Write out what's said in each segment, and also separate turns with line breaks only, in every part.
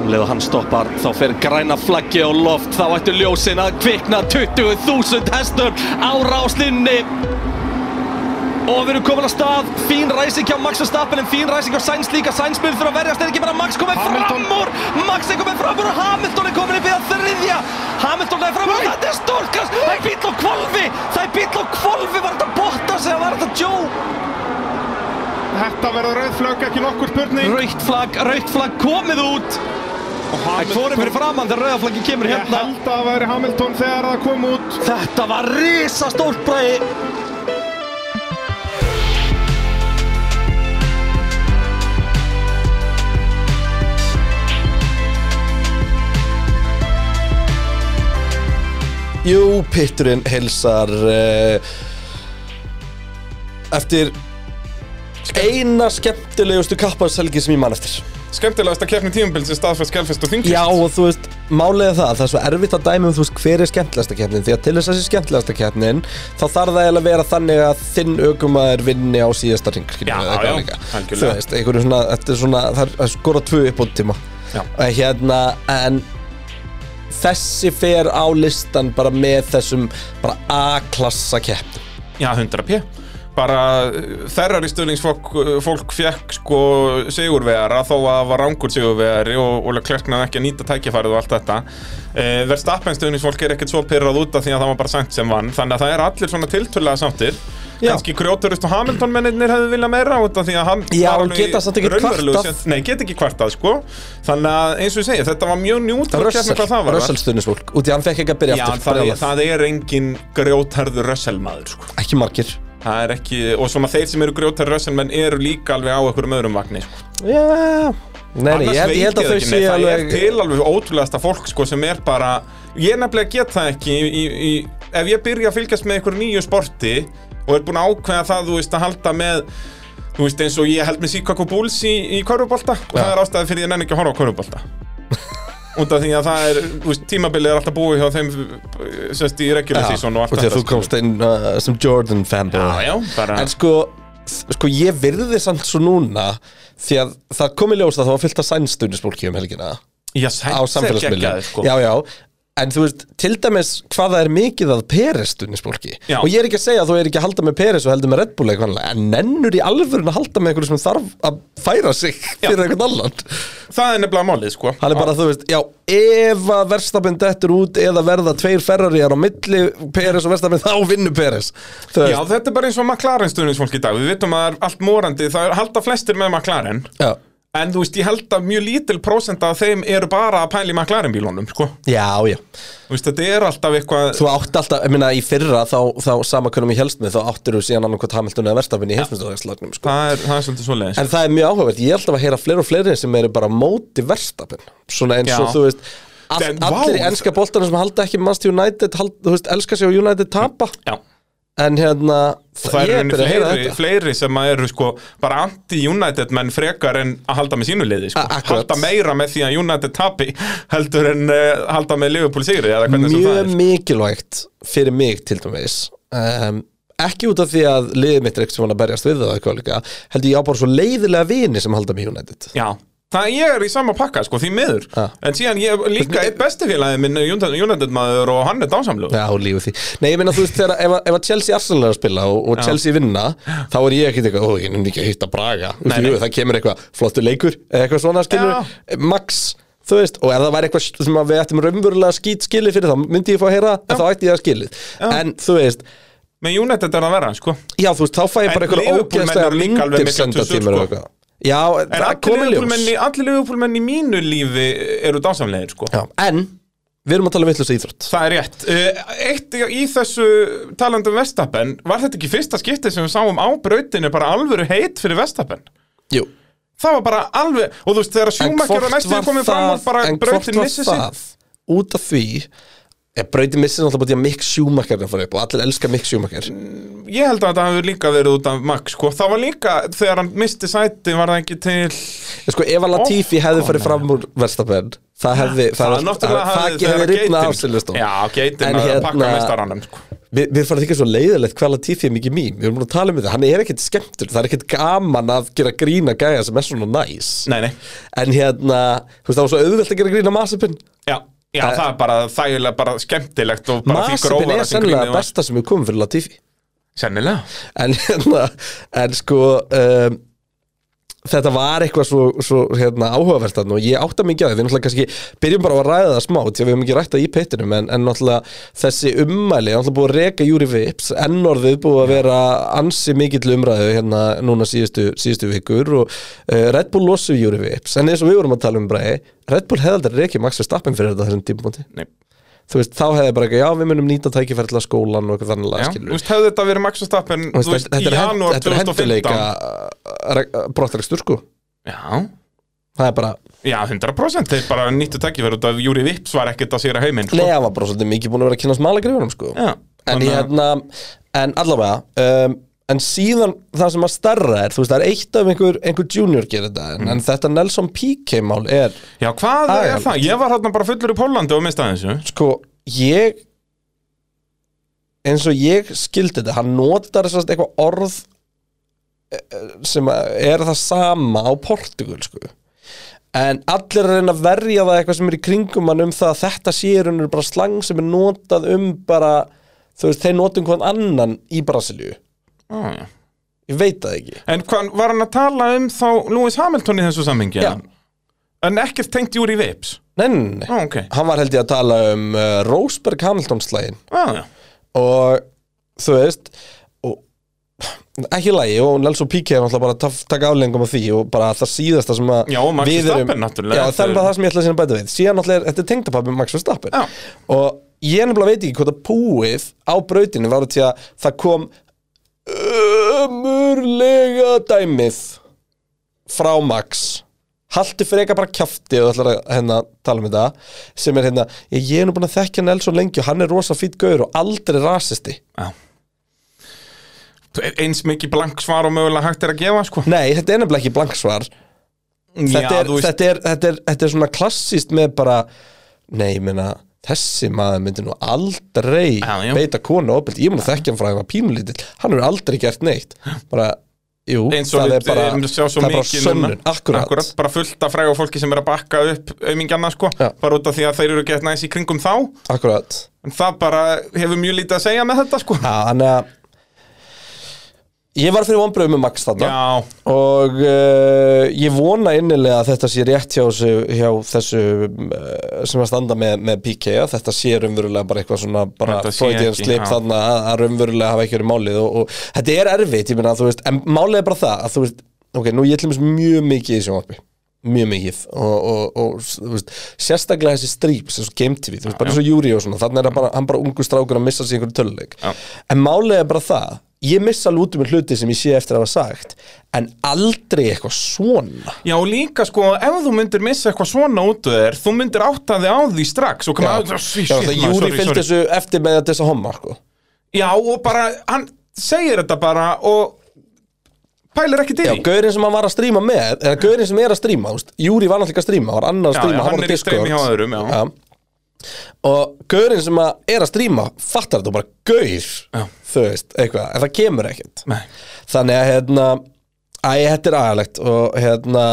Um leið og hann stoppar, þá fer græna flaggi á loft, þá ættu ljósin að kvikna 20.000 hestur á ráslinni. Og við erum komin að stað, fín ræsing hjá Max Verstappen, en fín ræsing hjá Sainz líka, Sainz byrður þurfa að verjast, er ekki bara Max komið
Hamilton.
fram úr, Max er komið fram úr og Hamilton er komin upp í það þriðja, Hamilton er fram úr, þetta er stórkast, það er bíl á kvolfi, það er bíl á kvolfi, var þetta Bottas eða var þetta Joe?
Þetta verður rauðflögg, ekki nokkur spurning.
Raukt flagg, raukt flagg komið út En hvor er fyrir framann þegar rauða flaggi kemur
Ég
hérna
held að það væri Hamilton þegar það kom út.
Þetta var risastórt bræði
Jú, pitturinn hilsar uh, eftir eina skemmtilegustu kappaðshelgi sem ég man eftir.
Skemmtilegast að keppni tímubils í staðfæst, skjálfist og þinglist
Já, og þú veist, málega það, það er svo erfitt að dæmi um þú veist hver er skemmtilegasta keppnin, því að til þess að sé skemmtilegasta keppnin, þá þarf það eiginlega að vera þannig að þinn aukumæður vinni á síðasta ring,
Já,
skiljum
já,
Þú
algjörlega.
veist, einhverjum svona, þetta er svona, það er að skora tvö upp á tíma.
Já.
Eh, Hérna, en þessi fer á listan bara með þessum bara A-klassa keppnum.
Já, 100p bara uh, Ferrari stuðlingsfólk uh, fólk fekk sko sigurvegara þó að það var rángur sigurvegari og, og klerknaði ekki að nýta tækifærið og allt þetta uh, Verstappen stuðlingsfólk er ekkert svo pyrrað út af því að það var bara sænt sem vann þannig að það er allir svona tiltölulega sáttir
Já.
kannski grjóturist og Hamilton mennirnir hefðu viljað meira út af því að hann
Já,
var
og
alveg í
geta samt ekkert
raunverulegu
kvartað.
séð- Nei, get ekki kvartað sko þannig að eins og ég segi, þetta var mjög njút
Russell stuðnisfólk, út í að hann fekk ekki að byrja
Já, en
aftur.
það er,
brjálað.
það er engin grjótarður rösselmaður sko.
Ekki margir.
Það er ekki, og svona þeir sem eru grjótarður rösselmenn eru líka alveg á einhverjum öðrum vagnir sko.
Já, nei, nei, ég, held- ég held að þau séu
Það er
alveg...
til alveg ótrúlegasta fólk sko, sem er bara Ég nefnilega get það ekki í, í, í, Ef ég byrja að fylgjast með einhverju nýju sporti og er búin að ákveða það, þú veist, að halda með Þú veist, eins og ég held með Sikako Bulls í, í Körubolta og það er ástæði fyrir ég nenni ekki að horfa á Körubolta Út af því að það er, þú veist, tímabilið er alltaf búið hjá þeim semst í regular season og allt
því að þú
sko.
komst inn uh, sem Jordan fanboy
Já, já, bara
En sko, sko, ég virði samt svo núna Því að það kom í ljós að það var fyllt af sænstunisbólki um helgina
Já,
Á samfélagsmiðlum
sko.
Já, já En þú veist, til dæmis hvað það er mikið að perestunisbólki
Já.
Og ég er ekki að segja að þú er ekki að halda með peres og heldur með Red Bull eitthvað annað, En nennur í alvörun að halda með einhverju sem þarf að færa sig fyrir einhvern annan
Það er nefnilega málið, sko
Hann er bara, þú veist, já, ef að verstafinn dettur út eða verða tveir ferraríjar á milli Peres og verstafinn, þá vinnur Peres Þú
Já,
veist,
þetta er bara eins og McLaren stuðningsfólk í dag Við vitum að það er allt morandi Það er- halda flestir með McLaren
já.
En þú veist, ég held að mjög lítil prósenta af þeim eru bara að pæla í McLaren bílunum, sko
já, já
Þú veist, þetta er alltaf eitthvað
Þú átt alltaf, ég meina, í fyrra þá, þá sama hvernig ég helst með, þá áttir þú síðan annað hvort Hamilton eða verstafinn í heimsmyndstöðarslagnum sko.
Það er, það er svolítið svo leiðis
En það er mjög áhugavert, ég er alltaf að heyra fleiri og fleiri sem eru bara á móti verstafinn Svona eins og,
Já.
þú veist, all,
Den- vá.
allir í enska boltanum sem halda ekki mannst United, hald, þú veist, elska sig á United tapa
Já
En hérna,
Það
ég
eru
er
henni
bara að heyra
fleiri,
þetta
fleiri sem að eru sko bara anti-United menn frekar en að halda með sínu liði sko.
A- akkurat.
halda meira með því að United tapi heldur en uh, halda með Liverpool sigri eða hvernig sem það
mjög
er sko.
mikilvægt fyrir mig til dæmis um, ekki út af því að liðið mitt er ekki sem hann að berjast við það eitthvað líka heldur ég á bara svo leiðilega vini sem halda mig United
Já Það ég er í sama pakka, sko, því miður
Ja.
En síðan ég líka eitt bestifélagi minn er United United maður og hann er dásamlu
Já, lífið því. Nei, ég meina þú veist þegar ef, að- ef að Chelsea Arsenal er að spila og, og Chelsea vinna þá er ég ekkert eitthvað, ó, ég nefnir ekki að hitta Braga nei,
Nei,
Jú,
nei.
það kemur eitthvað flottu leikur eða eitthvað svona skilur, Max þú veist, og ef það væri eitthvað sem að við ættum raunverulega skýt skilið fyrir þá myndi ég fá að heyra en þá ætti ég að skilið, en þú veist
Með United er það vera, sko
Já, þú veist, þá fæ ég bara
En
eitthvað
Liverpool menn
ógeðslega
eru líka alveg
myndir
miklir
senda
tussur,
tímur og
sko.
eitthvað Já,
En
það
allir
komi ljós
Liverpool-menn í, allir Liverpool-menn í mínu lífi eru dásamlegir, sko
Já, En, við erum að tala um vittlösa íþrótt
Það er rétt Eh, Eitt í þessu talandum Vestapen Var þetta ekki fyrsta skiptið sem við sáum á brautinu bara alvöru heit fyrir Vestapen?
Jú,
Það var bara alveg, og þú veist, þegar
en
sjúmakjör og
hvort
næstu
var
komið fram og bara
það En hvort
brautin
var
missi sig
það út af því Ég brauti missið náttúrulega bara því að Mick Schumacher er að fara upp og allir elska Mick Schumacher
Ég held að þetta hafi líka verið út af Max, sko Það var líka, þegar hann misti sæti var það ekki til
Ég sko, ef að Latifi hefði farið fram úr Verstapen Það hefði, það,
Það er náttúrulega
það, það
þegar
hefði ripnað
geitin-
af Silveston
Já, geitin
En
að
hérna-
pakka mestaranum sko.
Vi, við farum að þykja svo leiðilegt hvað Latifi er mikið mím Við erum búin að tala um þetta, hann er ekkert skemmtur Það er ekkert gaman að gera grína gæja sem er svona næs
Nei, nei.
En hérna, þú veist það var svo auðvelt að gera grína Masipin
Já, já það er bara þægilega bara skemmtilegt og bara því
Masipin
grófara
er
sem
sennilega
grínið var
besta sem við komum fyrir Latifi
Sennilega
En hérna, en sko um, Þetta var eitthvað svo, svo hérna, áhugavert þarna og ég átta mikið að því, við náttúrulega kannski byrjum bara á að ræða það smá því að við hefum ekki rætt það í peitinum en, en náttúrulega þessi ummæli, náttúrulega búið að reka Júri Vips, ennorðið búið að vera ansi mikill umræðu hérna núna síðustu, síðustu vikur og uh, Red Bull losu Júri Vips, en eins og við vorum að tala um bræði, Red Bull hefði aldrei rekið Max Verstappen fyrir þetta á þessum tímpúnti
Nei.
þú veist, þá hefði bara ekki, já við munum nýta tækifæri til að skólan og eitthvað þannig
Já,
að
þú veist, hefði þetta verið Max Verstappen
Þú
þú
veist,
veist, í
þetta er hent-
janúar
þetta er
2015
henduleika brottrekstur sko
Já,
það er bara,
já, 100% þeir bara nýttu tækifæri út af Júri Vips var ekkert að sigra heiminn sko.
Lea var bara svolítið mikið búin að vera að kynna smala greifunum sko
Já,
en,
þannig að-
hérna, en allavega um, en síðan það sem að starra er þú veist það er eitt af einhver, einhver junior gerir þetta en, en þetta Nelson Piquet mál er
Já, hvað er
Agalegt.
það? Ég var hérna bara fullur í Pólandi og mistaði þessu
sko ég eins og ég skildi þetta hann notar þess að eitthvað orð eh, eh, sem að er það sama á Portugal sko en allir er að reyna að verja það eitthvað sem er í kringum hann um það að þetta sé í rauninu bara slang sem er notað um bara þú veist, þeir notum hvern annan í Brasilíu
Ah, Já, já.
ég veit það ekki
En hvað var hann að tala um þá Lewis Hamilton í þessu samhengi?
Já.
En ekkert tengt Júri Vips?
nei, nei, nei,
Já,
nei.
ok
hann var held ég að tala um uh, Rósberg Hamilton slægin
Já, já
og þú veist og, ekki lægi og Nelson Piquet er náttúrulega bara að taf- taka aflengum af því og bara það síðasta sem að
Já, og Max
við erum-
Verstappen, náttúrulega.
já, það er bara það sem ég ætla að sinna að bæta við síðan náttúrulega er, þetta er tengdapappi Max Verstappen
Já.
og ég nefnilega veit ekki hvort að púið á brautinu var til að það kom ömurlega dæmið frá Max Haltu freka bara kjafti og ætlar að hérna, tala um þetta sem er hérna, ég, ég er nú búin að þekkja Nelson lengi og hann er rosa fýtt gaur og aldrei rasisti
Já e, Eins mikið blank svar og mögulega hægt er að gefa sko
Nei, þetta er nefnilega ekki blanksvar þetta,
Já,
er,
þú veist,
þetta, er, þetta, er, þetta er svona klassist með bara Nei, ég meina, þessi maður myndi nú aldrei
Já, já.
beita konu opildi Ég mun að þekkja hann frá hann að pínulítill Hann hefur aldrei gert neitt Bara, jú,
eins og
það er
við
bara
erum að sjá svo
Það er bara
mikið núna.
sönnun, akkurat,
Akkurat, bara fullt af fræga fólki sem er að bakka upp aumingjana sko
Já.
Bara út af því að þeir eru gett næs í kringum þá
akkurat.
En það bara hefur mjög lítið að segja með þetta sko
Já, þannig að Ég var fyrir vonbröðum með Max þarna
Já,
Og uh, ég vona innilega að þetta sé rétt hjá, þessu, hjá þessu uh, sem að standa með, með PK að þetta sé raunverulega bara eitthvað svona bara
Þetta sé
Freudian
ekki,
slip
já.
þarna að, að raunverulega hafa ekki verið málið og, og þetta er erfitt, ég meina þú veist, en málið er bara það að þú veist, ok, nú ég til mér mjög mikið í sjónvarpi mjög mikið og, og, og þú veist, sérstaklega þessi strýps eins og Game TV, þú veist, bara eins og Júri og svona þannig er hann bara, hann bara ungu strákur að missa sig í einhverju töluleik
Já.
en málið er bara það ég missa alveg út um hluti sem ég sé eftir að hafa sagt en aldrei eitthvað svona
Já, og líka sko, ef þú myndir missa eitthvað svona út úr þér, þú myndir átta þig á því strax og koma að, sí,
Já, það Júri fylgdi þessu eftir með þessa homma sko.
Já, og bara, hann segir þetta bara og pælir ekki til
Já,
því.
gaurinn sem hann var að stríma með eða gaurinn sem er að stríma, þú veist, Júri var náttúrulega að stríma var annar að
Já,
stríma,
já,
hann
hann
var á
er í
Discord
streymi hjá öðrum, já.
og gaurinn sem að er að stríma fattar þetta og bara gaur
Já.
þú veist, eitthvað, en það kemur ekkert
Nei.
þannig að hérna æ, þetta er agalegt og hérna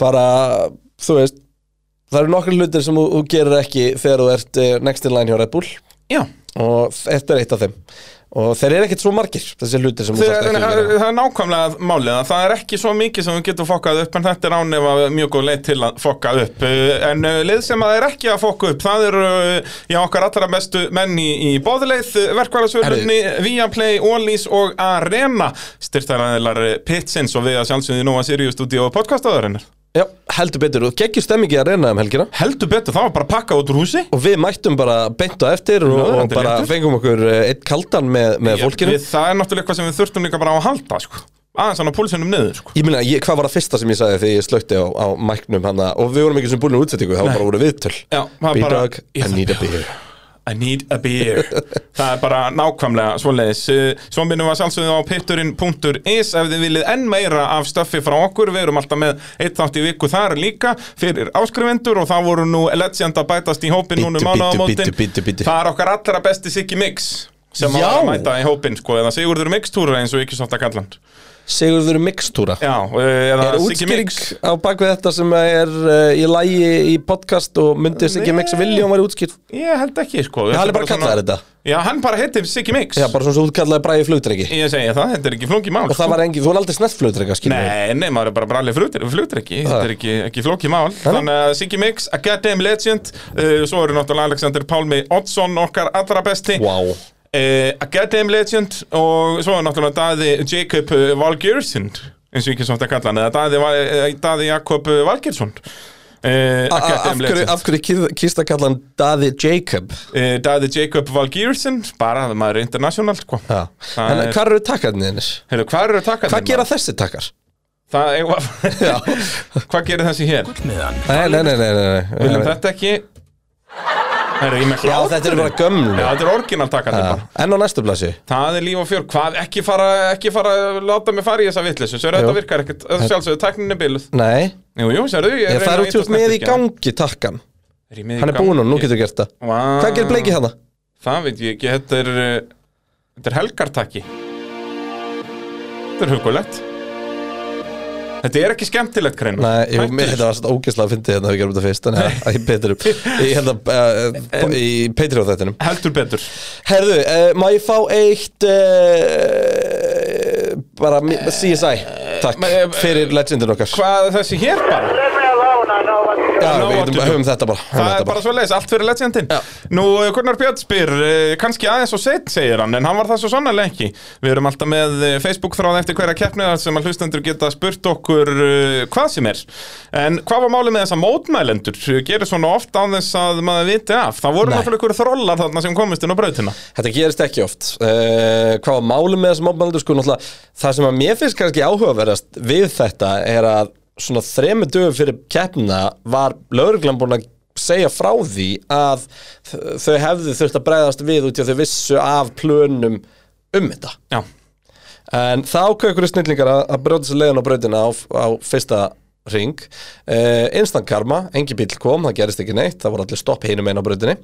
bara, þú veist það eru nokkri hlutir sem þú, þú gerir ekki þegar þú ert eh, next in line hjá Red Bull
Já,
og þetta er eitt af þeim og þeir eru ekkert svo margir þessi hlutir sem þú
Þegar,
þarft ekki að gera
það er nákvæmlega málið að það er ekki svo mikið sem við getum fokkað upp en þetta er ánefa mjög góð leið til að fokka upp Uh, en uh, leið sem að það er ekki að fokka upp það eru uh, já, okkar allra bestu menn í, í bóðleið verkvælasölunni, Viaplay, Ólís og Arena styrtaræðilar Pitsins og við að sjálfsögðu nú að Sirius Studio og podcastaðurinnar
Já, heldur betur og geggjur stemmingi að reyna um helgina
heldur betur, það var bara að pakka út úr húsi
og við mættum bara beint á eftir og,
Nú,
og
þetta er
bara
léttur.
fengum okkur eh, einn kaldan með, með fólkinu
Við- það er náttúrulega eitthvað sem við þurftum líka bara á að halda sko. aðeins hann á púlsunum niður sko.
Ég meina, ég, hvað var það fyrsta sem ég sagði þegar ég slökti á, á mæknum hana og við vorum ekki sem búin að útsettingu, það var bara voru viðtöl
Já, það var bara-
B-Dog, I
Ég-
need a beer
I need a beer Það er bara nákvæmlega svoleiðis Uh, Svo minnum við að sjálfsögðu á pitturinn.is ef þið viljið enn meira af stöffi frá okkur við erum alltaf með eitt þátt í viku þar líka fyrir áskrifundur og það voru nú legend að bætast í hópin núna
Bíddu,
um
bíddu,
mánaðamótin
bíddu, bíddu, bíddu.
Það er okkar allra besti Siggi Mix sem
Já.
á að mæta í hópinn sko, eða Sigurður Mikstúra eins og ekki sátt að kalla hann
Sigurður Mixtúra
Já, eh, eða
Er
Siggi
útskýring
Mix
á bakvið þetta sem er uh, í lægi í podcast og myndið Siggi Mix
Nei.
Viljón var útskýrt
Ég held ekki sko
Já, hann er bara
Þetta
kallaðar þetta
Já, hann bara heitir Siggi Mix
Já, bara svona svo útkallaði bræði flugdreki
Ég segi það, þetta er ekki flókið mál sko.
Og það var engin, þú er aldrei snett flugdreka, skilur við
Nei, nei, maður er bara brallið flugdreki
Ah.
Þetta er ekki, ekki flókið mál Þannig að Siggi Mix, a goddamn legend uh, Svo eru náttúrulega Alexander Pálmi Oddsson okkar allra besti
Vá
uh, A goddamn legend Og svo er náttúrulega Daði Jacob eh, Valgjörsson Eins og ekki svona að kalla hann Eða Daði, Va- eh, Daði Jakob eh, Valgjörsson uh,
A-
A
a- Af
goddamn
hverju,
legend
af hverju kýð- kýst að kalla hann Daði Jacob
uh, Daði Jacob Valgjörsson Bara að maður er international sko.
Já
Það
En
er-
hvað eru takkarnir þinnir?
Heyrðu, Hvar eru takkarnir?
Hvað gera þessi takkar?
Það, eigum að- hvað gerir þessi hér?
Nei, nei, nei, nei, nei, nei.
Viljum þetta ekki Heyrðu, ég er með
Já,
hlátur
þetta eru bara
Já,
gömlu
þetta er orginal takandi bara
En á næstu blasi
Það er líf og fjör, hvað, ekki fara, ekki fara að láta mig fara í þessa vitleysu Sérðu,
Jú.
þetta virkar ekkert, að sjálfsögðu, tæknin er biluð
Nei,
Jú, jú, sérðu, ég
ég, það er útjótt með í gangi takkan Hann er búinn og nú getur gert það
Vá.
Hvað gerir hérna? bleikið hana?
Það veit ég ekki, þetta er, uh, þetta er helgartaki Þetta er hugulegt Þetta er ekki skemmtilegt kreinu
Nei, jú, mér þetta var svona ógeðslega að fyndi hérna við gerum þetta fyrst, þannig að- að ég betur upp í, hérna, uh, í Patreon þættinum
Heldur betur
Herðu, uh, má ég fá eitt uh, bara mi- CSI, takk
eh, eh,
fyrir legendin okkar
Hvað þessi hér bara?
Leave me alone, I know what to do.
Já,
Nó,
við getum
áttu-
höfum þetta bara höfum
Það
þetta
er bara svo leiðis, allt fyrir legendin Nú, Gunnar Björn spyr, eh, kannski aðeins og seitt segir hann En hann var það svo sannarlega ekki Við erum alltaf með eh, Facebook-þráð eftir hverja keppni þar sem að hlustendur geta spurt okkur eh, hvað sem er En hvað var málið með þessa mótmælendur? Gerir svona oft án þess að maður viti af Það voru
Nei.
náttúrulega ykkur þrollar þarna sem komist inn á brautina
Þetta gerist ekki oft uh, Hvað var málum með þessum mótmælendur sko náttúrulega Það sem að mér finnst kannski áhugaverðast við þetta er að svona þremur dögum fyrir keppnina var lögreglan búin að segja frá því að þ- þau hefðu þurft að bregðast við út í að þau vissu af plönum um þetta
Já,
En þá ákveðu ykkur snillingar að, að brjóta sér leiðan á brautina á, á fyrsta ring uh, Instant karma, engi bíl kom, það gerist ekki neitt það voru allir stopp hinum einn á brautinni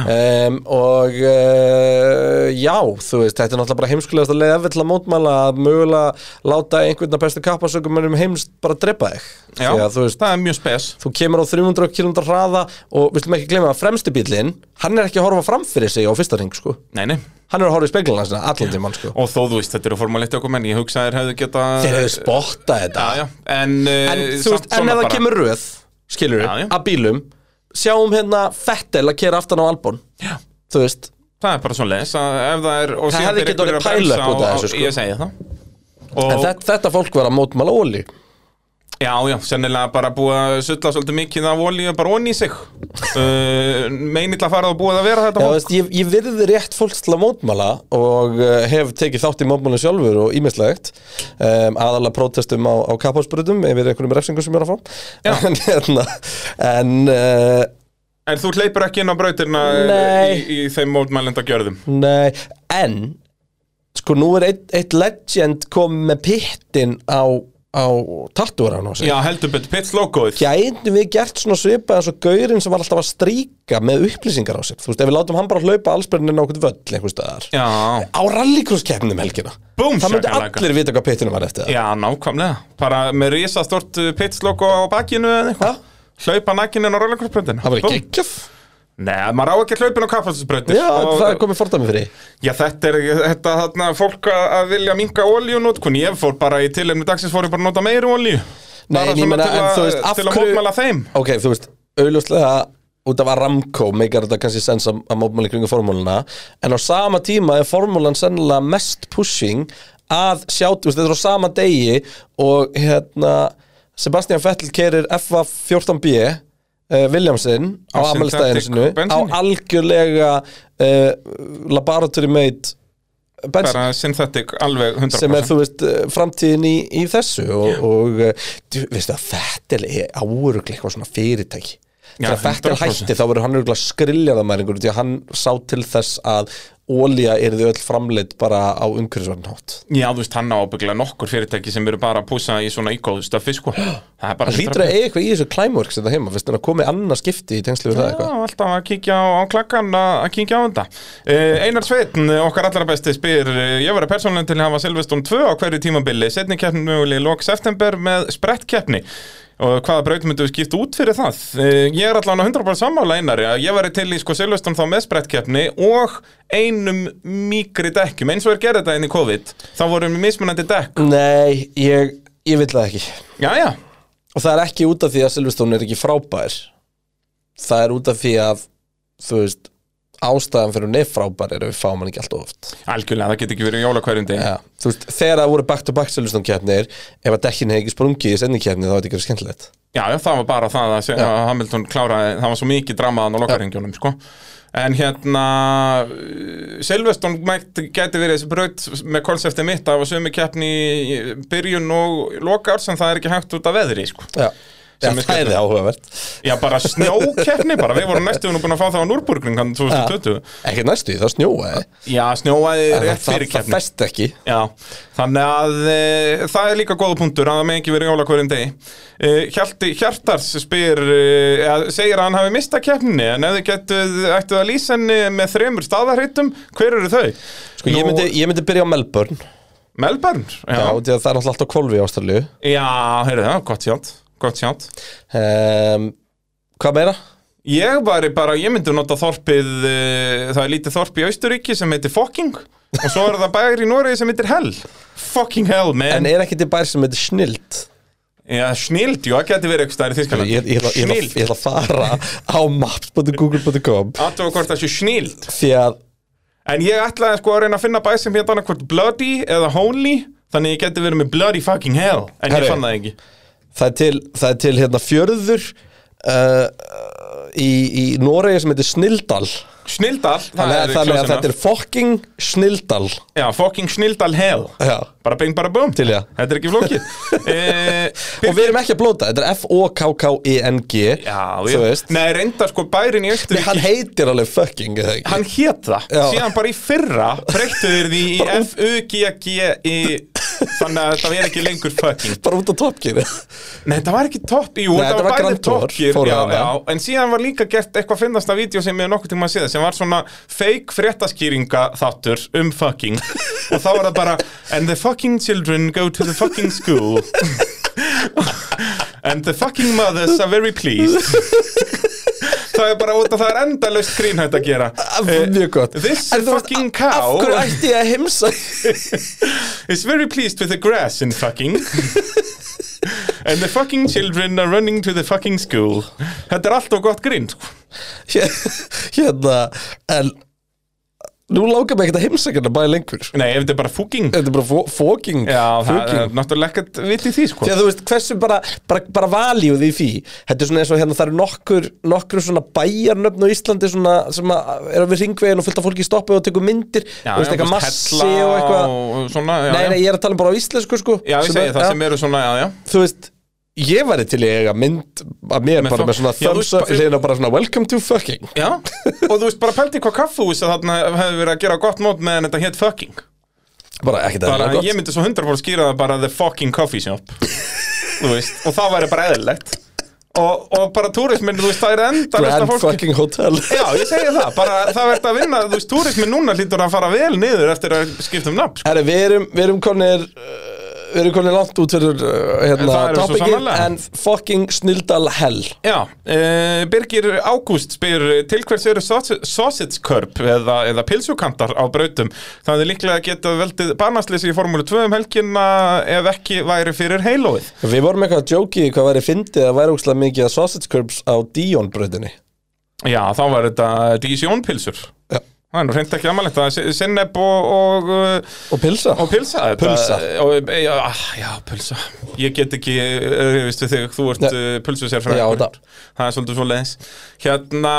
um, og uh, já, þú veist, þetta er náttúrulega bara heimskulegast að leiða til að mótmæla að mögulega láta einhvern að bestu kappasökumennum heimst bara drepa þig
já
Því að, þú veist,
það er mjög spes
þú kemur á 300 km hraða og við slum ekki glemja að fremsti bílinn hann er ekki að horfa fram fyrir sig á fyrsta ring sko.
Nei, nei
hann er að horfa í speglina allan tímann sko.
Og þó þú veist, þetta eru formuleitt okkur menn, ég hugsa að þeir hefðu geta
þeir hefur spottað þetta
Já, já, en, eh,
en, þú veist, en ef það kemur röð skilur
Já, já.
við, að bílum sjáum hérna Fettel að kera aftan á Albon
Já.
þú veist,
Það er bara svona leins að ef það er og
Það
síðan
hefði
þeir
getað
einhverjir
orðið
að bremsa
pile-up út af
á- á-
þessu, sko.
Ég segi það Og,
en þetta, þetta fólk var að mótmála óli
já, já, sennilega bara búið að sulla svolítið mikið af olíu bara onni í sig uh, Meinill að fara og búið að vera þetta
Já,
fólk
veist, ég, ég virði rétt fólk til að mótmála og uh, hef tekið þátt í mótmála sjálfur og ímislegt um, aðalega prótestum á, á kapphásbrutum yfir einhverjum refsingum sem ég er að
Já.
fá en, hérna, en uh,
En þú hleypur ekki inn á brautirna
Nei.
í, í þeim mótmælenda gjörðum
Nei, en sko nú er eitt, eitt legend kom með pittin á, á tattúran á sig
Já, heldur betur, pits logoið
gætum við gert svona svipa eins og gaurinn sem var alltaf að stríka með upplýsingar á sér þú veist, ef við látum hann bara hlaupa allsbyrnin á okkur völl einhvers staðar
Já,
á rallycross-keppnum helgina
Búm,
það myndi
sjakalaka.
allir vita hvað pittinu var eftir það
já, nákvæmlega Bara með risastort pits logo á bakinu eða eitthvað Hlaupa nakkinn inn á rollingrúfbröndina
það var geggjaf
Nei, maður á ekki að hlaupa inn á kaffalsbröndin
já, það er komið fordæmi fyrir því.
Já, þetta er þetta þarna fólk að að vilja minka olíunotkun Ég fór bara í tilefni dagsins fór ég bara að nota meiri olíu
Nei,
Bara
en ég
svona
meina,
til
en
að-
þú veist, af
Til að
hverju-
mótmæla þeim
ok, þú veist, augljóslega út af Aramco meikar þetta kannski sens að, að mótmáli kringu formúluna en á sama tíma er formúlan sennilega mest pushing að sjátt, þú veist, þetta er á sama degi og hérna Sebastian Vettel kerir FA14B uh, Williamson á
Á
afmælstæðinu
synthetic
sinu á
bensíni.
algjörlega uh, laboratory made bensin
Bara synthetic alveg 100%
sem er, þú veist, eh, framtíðin í, í þessu og, og eh, þú veist að Vettel er áuruglega eitthvað svona fyrirtæki
Já,
þegar Fettel
100%.
hætti þá verður hann örugglega skriljaðamæringur því að hann sá til þess að ólía yrði öll framleitt bara á umhverfisvarnhátt
Já, þú veist, hann á ábygglega nokkur fyrirtæki sem eru bara að púsa í svona íkóðustöfi, sko. Það er bara...
hann hlýtur að eiga eitthvað í þessu climeworks þetta heima, finnst hann að komi annað skipti í tengslu við það
Já,
eitthvað
alltaf að kíkja á, á klakkan að að kíkja á þetta uh, Einar Sveitn, okkar allra besti spyr uh, Ég verið persónlega til að hafa Silveston 2 á hverju tímabili Setni keppni möguleg lók september með sprett keppni og hvaða braut myndu skipt út fyrir það uh, Ég er allan á 100% sammála einari að ég verið til í sko Silveston þá með sprett keppni og einum mýkri dekkjum eins og er gerði þetta inn í COVID þá vorum við mismunandi dekk
nei, ég, ég vil það ekki
Jæja,
Og það er ekki út af því að Silveston er ekki frábær Það er út af því að Þú veist Ástæðan fyrir hún er frábær er að við fáum hann ekki alltaf oft
algjörlega, það getur ekki verið jólakværundi
ja. Þú veist, þegar það voru back-to-back Silveston keppnir Ef að dekkin hefði ekki sprungið í senni keppni Þá er þetta ekki verið skemmtilegt
Já, já, það var bara það að se- að Hamilton kláraði, það var svo mikið dramaðan á lokaringjónum, sko. En hérna, eh, Silveston geti verið þessi braut með konseptið mitt að það var sömu keppni í byrjun og loka árs en það er ekki hægt út af veðri, sko.
Já, Já
Sem er
það er
skemmtilegt.
það áhugavert
Já, bara snjókeppni bara, við vorum næstu búin að fá það á Núrburgring hann 2020.
Ekki næstu, því, það snjóaði
Já, snjóaði
En
rétt
það,
fyrir
það
keppni.
fest ekki Sko,
Já, þannig að e, það er líka góða punktur að það með ekki verið jóla hverjum degi e, Hjalti Hjartars spyr e, segir að hann hafi mista keppninni en ef þið getuð, ættuð að lýsa henni með þremur staðarheitum, hver eru þau?
Sko, ég, myndi, ég myndi byrja á Melbourne Já,
Melbourne? Já,
Já því að það er náttúrulega alltaf kvolfi í Ástralju
já heyrðu það, gott sjátt gott sjátt.
um, Hvað meira?
Ég væri bara, ég myndi nota þorpið e, það er lítið þorp í Austuríki sem heitir Fokking og svo er það bæri í Noregi sem heitir Hell Fucking Hell, man
En er ekki til bær sem heitir Snild?
Já, snild, jú, það geti verið eitthvað stær í Þískaland
Ég, ég, ætla- ég, ætla- ég ætla að fara á maps.google.com
Aðtöfa hvort það sé snild
því að
En ég ætlaði sko að reyna að finna bæ sem hérna hvort bloody eða holy Þannig ég geti verið með bloody fucking hell En
Herri.
ég fann það ekki
það er til, það er til hérna fjörður uh, í, í Noregi sem heitir Snildal
Snildal, það
þannig
er
að, þannig
close
að þetta er
enough.
fucking Snildal
Já, fucking snildal hell
Já.
Bara bing bara boom
Til í það.
Þetta er ekki flókið eh,
og við erum ekki að blóta, þetta er F-O-K-K-I-N-G
Já,
E þú
ég,
veist
nei, reynda sko bærin í
Nei,
Östuríki
hann heitir alveg fucking eða ekki
Hann hét það,
Já.
síðan bara í fyrra breyttu þeir því í F-U-G-G-I E, Þannig að þetta verið ekki lengur fucking
bara út á topkinu
Eh, Nei, þetta var ekki topp, jú,
Nei,
þetta var bæði
Grand Tour,
topp hér,
fóru
já,
þarna.
já, en síðan var líka gert eitthvað finnasta vídeo sem ég hef nokkuð tíma að séð sem var svona fake fréttaskýringa þáttur um fucking og þá var það bara, and the fucking children go to the fucking school and the fucking mothers are very pleased það er bara út að það er endalaust grín hægt að gera Eh,
mjög gott
This
En þú veist,
fucking
a- af hverju
cow
ætti ég að heimsa
is very pleased with the grass in fucking and the fucking children are running to the fucking school Þetta er alltaf gott grín sko.
hérna en nú lágum ekki að heimsa hérna bæði lengur
Nei, ef þetta er bara fucking
þetta er bara fó- fucking
Já, það
fucking
er náttúrulega ekkert vit í því sko.
Því að þú veist, hversu bara, bara, bara valjúð í því Þetta er svona eins og hérna, það eru nokkur nokkur svona bæjarnöfn á Íslandi svona, sem að eru við ringvegin og fullt af fólki í stoppu og tekur myndir, þú
Já,
veist,
já,
eitthvað
þú veist,
massi
hella
og eitthvað
og svona, já,
Nei, nei,
já.
ég er að tala bara á íslensku, sko
já, ég segi það sem eru svona, já, já
Þú veist, ég væri til í að eiga mynd að mér
Með
bara
fuck-
með svona
Já, þú
thumbs
veist,
up í hliðina á bara svona welcome to fucking
Já, og þú veist bara pælti hvað kaffuhús að þarna hefði verið að gera gott mót meðan þetta hétt fucking
Bara ekkert
bara,
eðlilega
Ég
gott
myndi svo 100% skýra það bara the fucking coffee shop Þú veist, og það væri bara eðlilegt og, og bara túrisminn, þú veist, það er enda
Grand fucking hotel
Já, ég segi það, bara það verður að vinna Þú veist, túrismin núna hlýtur að fara vel niður eftir að skipta um nafn sko.
Herri, við erum, við erum konir við erum konir langt út fyrir uh, hérna,
Það er svo
topikið
sannarlega.
en fucking snildal hell
Já, uh, Birgir Ágúst spyr til hvers eru sausage- sausage curb eða, eða pilsukantar á brautum Það er líklega að geta veldið barnaslýsi í formúlu 2 um helgina ef ekki væri fyrir heilóið
Við vorum eitthvað að jóki hvað væri fyndið að væri úkslega mikið að sausage curbs á Dion bröðinni
Já, þá var þetta Dijon pilsur
Já.
Það Það er nú reynd ekki amalegt að sinneb og, og, uh,
Og pilsa
og pilsa þetta-
Pulsa.
og, e, já, ah, já, pulsa Ég get ekki, viðst við þig, þú ert
Nei.
uh, pulsu
Já, þetta.
Það er svolítið svo leiðis Hérna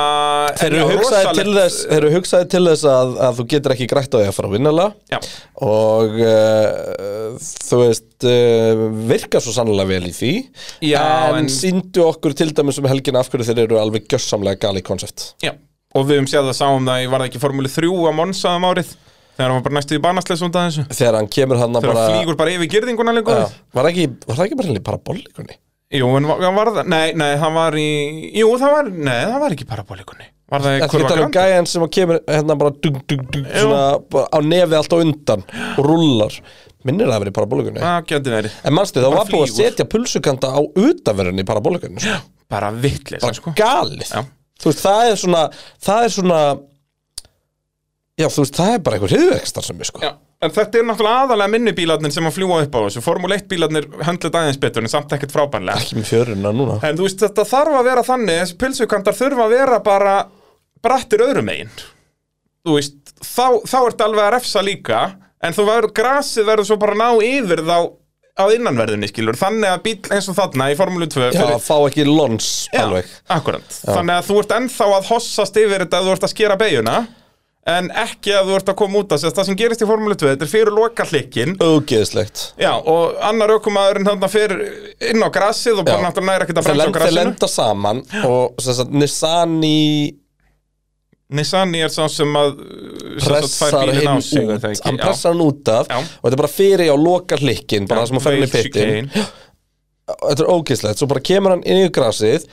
Þeir eru
já,
hugsaði
rosalegt-
til þess, þeir eru hugsaði til þess að, að þú getur ekki grætt á því að fara vinnalega
Já,
og uh, þú veist uh, virka svo sannlega vel í því
Já,
en,
en-
en síndu okkur til dæmis um helgin af hverju þeir eru alveg gjössamlega gali koncept
já Og við höfum séð að sáum það, ég var það ekki formúli 3 á Monsa um árið Þegar hann var bara næstu í banasleis út af þessu
þegar hann kemur hann
Þegar
bara
hann flýgur bara yfir girðinguna lengur
Já, var, ekki, var það ekki bara henni bara bollikunni
Jú, en var, var það, nei, nei, það var í Jú, það var, nei, það var ekki parabolikunni Var það
Það er
kurva
ekki um alveg
grandi?
gæjan sem að kemur hérna bara, dung, dung, dung, svona, bara á nefið allt á undan og rullar minnir það að vera í parabolikunni
Ah. Það geti verið
en manstu það
Bara
var búið að
flýgur.
setja pulsukanta á utanverðinni í parabolikunni sko.
Bara vitleis,
bara
sko
galið
Já.
þú veist, það er svona það er svona já, þú veist, það er bara einhver hriðvekstar sem sko.
Já, en þetta er náttúrulega aðalega minni bílarnir sem að fljúa upp á þessu Formule 1 bílarnir höndla aðeins betur en samt ekkert frábænlega
ekki með fjöruna núna
En þú veist, þetta þarf að vera þannig þessi pilsukantar þurfa að vera bara brattir öðrum megin Þú veist, þá, þá ertu alveg að refsa líka En þú verður, grasið verður svo bara að ná yfir þá á innanverðinni, skilur Þannig að bíl eins og þarna í Formule 2
já,
fyrir-
fá ekki lons alveg
akkurat Þannig að þú ert ennþá að hossast yfir þetta að þú ert að skera beiguna En ekki að þú ert að koma út að sérst Það sem gerist í Formule 2, þetta er fyrir lokalikkin
ógeðslegt
Já, og annar aukumaðurinn þarna fyrir inn á grassið og bara
Já.
náttúrulega næra ekkert að
þeir
bremsa á
lenda, þeir
grassinu
lenda saman og sem sagt, Nissan í
Nissani er sá sem að
pressar hinn út hann pressar hann út af
Já.
og þetta er bara fyrir á loka hlikkin bara það sem að fer hann í pittin þetta er ógeðslegt, svo bara kemur hann inn í grasið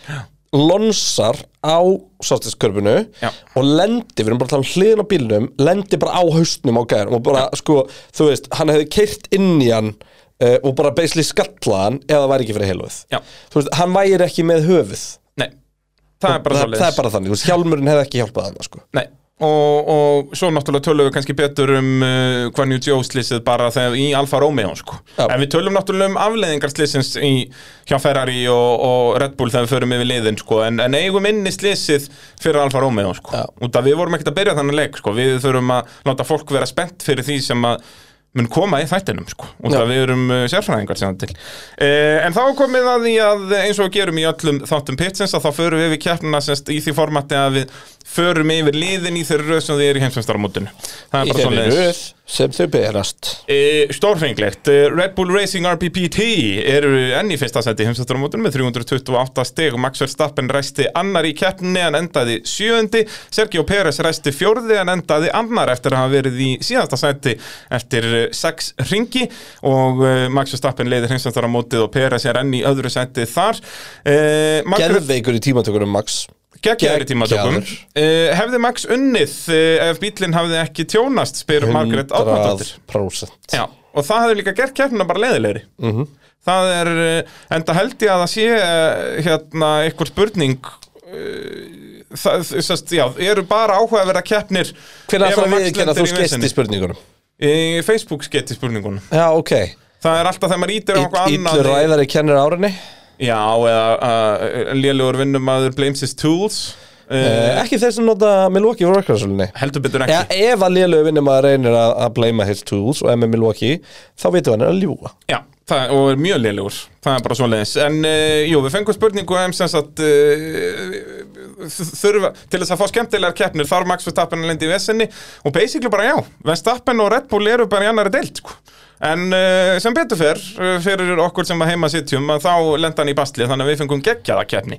lonsar á sástiskörfinu
Já.
og lendi, við erum bara að tala um hliðin á bílnum lendi bara á haustnum á gæðinum og bara, sko, þú veist, hann hefði keirt inn í hann uh, og bara basically skallað hann ef það væri ekki fyrir heiluð
Já.
þú veist, hann væri ekki með höfuð
Nei, það er bara
það, það er
svoleiðis
bara þannig, þú veist, hjálmurinn hefði ekki hjálpað hann sko.
Nei, og, og svo náttúrulega tölum við kannski betur um uh, hvað New Joe slissið bara þegar í Alfa Romeo sko.
Já.
En við tölum náttúrulega um afleðingar slissins í, hjá Ferrari og, og Red Bull þegar við förum yfir liðin sko. en, en eigum inni slissið fyrir Alfa Romeo sko.
Já.
Út að við vorum ekkert að byrja þannig leik sko. Við þurfum að láta fólk vera spennt fyrir því sem að mun koma í þættinum sko og
Já.
það við erum uh, sérfræðingar sem það til uh, en þá er komið að því að eins og við gerum í öllum þáttum pitsins að þá förum við yfir keppnuna semst í því formati að við förum yfir liðin í þeirri röð sem þið er í heimsveimstaramótinu það
í
er bara
þeirri
svona
röð sem þau berast
E, Stórfenglegt, Eh, Red Bull Racing RPPT eru enn í fyrsta seti heimsættarumótinu með 328 stig Max Verstappen resti annar í keppni en endaði sjöundi, Sergio Pérez resti fjórði en endaði annar eftir að hafa verið í síðasta seti eftir eh, sex ringi og eh, Max Verstappen leiðir heimsættarumótið og Pérez er enn í öðru seti þar Eh, Margaret-
gerðveikur í tímatökunum Max
Geggjaður í tímatökum
Geggjaður.
Eh, Hefði Max unnið eh, ef bílinn hafði ekki tjónast spyr Margaret Átnardóttir
100%
Já, og það hefur líka gert keppnina bara leiðilegri
Mhm.
Það er, eh, enda held ég að það sé eh, hérna einhver spurning eh, það, þú sest, já, eru bara áhuga að vera keppnir
Hvernig
ef
ætlar að
Max
viðkenna að
lendir
þú
í
skeist
vesinni?
í spurningunum?
Í Facebook skeiti spurningunum
Já, ok
Það er alltaf þegar maður ítir á eitthvað annað
Ítlu ræðari kennir árinni
Já, eða uh, lélugur vinnumæður blames his tools uh,
eh, Ekki þeir sem nota Milwaukee Workersölunni
Heldur betur ekki
Já, ef að lélögu vinnum að reynir að, að blama his tools og emmi Milwaukee þá veitum hann er að ljúga
Já, það, og er mjög lélegur Það er bara svoleiðis En uh, jú, við fengum spurningu um sem sagt uh, þurfa, Til þess að fá skemmtilegar keppnir Þar Max Verstappen að lendi í vesenni Og basically bara já, Verstappen og Red Bull eru bara í annari deild sko. En uh, sem betur fer eh, Fyrir okkur sem að heima sitjum að Þá lenda hann í bastli Þannig að við fengum geggjaða keppni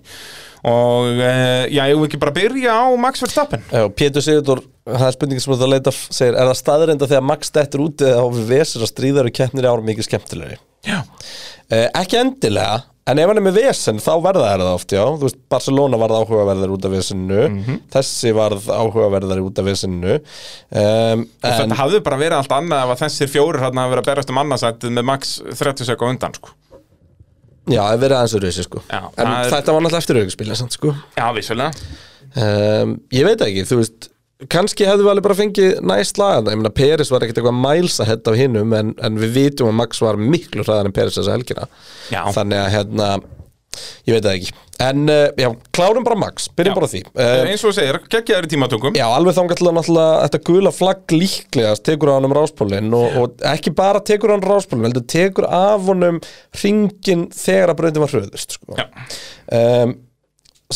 Og uh, já, ég vil ekki bara byrja á Max Verstappen
Já, Pétur Sigurður, það er spurningin sem þú ert að leita f- segir, er það staðrenda þegar Max dettur úti eða hófið vesir að stríðar og keppnir ára mikið skemmtilegri
Já,
eh, Ekki endilega, en ef hann er með vesen þá verða þær það oft, já Þú veist, Barcelona varð áhugaverðar út af vesinu
Mhm.
Þessi varð áhugaverðar út af vesinu um,
og
en-
þetta hafði bara verið allt annað ef að þessir fjórir hann að vera að berast um annarsættið með max 30 sekund undan sko.
Já, það er verið aðeins öðruvísi sko
Já,
En
það er-
þetta var náttúrulega eftir auðvitað samt sko
Já, vissulega
um, Ég veit ekki, þú veist kannski hefðu við alveg bara fengið næst lagan Ég meina, Peris var ekkert eitthvað mælsa hett af hinnum en, en við vitum að Max var miklu hraðan en Peris þessa helgina
Já.
Þannig að hérna ég veit það ekki en uh, já, klárum bara Max, byrjum
Já.
bara á því uh,
eins og þú segir, geggjaður í tímatökum
já, alveg þangað til að náttúrulega þetta gula flagg líklegast tekur á hann um ráspólinn og, og ekki bara tekur á hann ráspólinn, heldur tekur af honum ringin þegar að bröndin var hröðust sko.
Já.
um,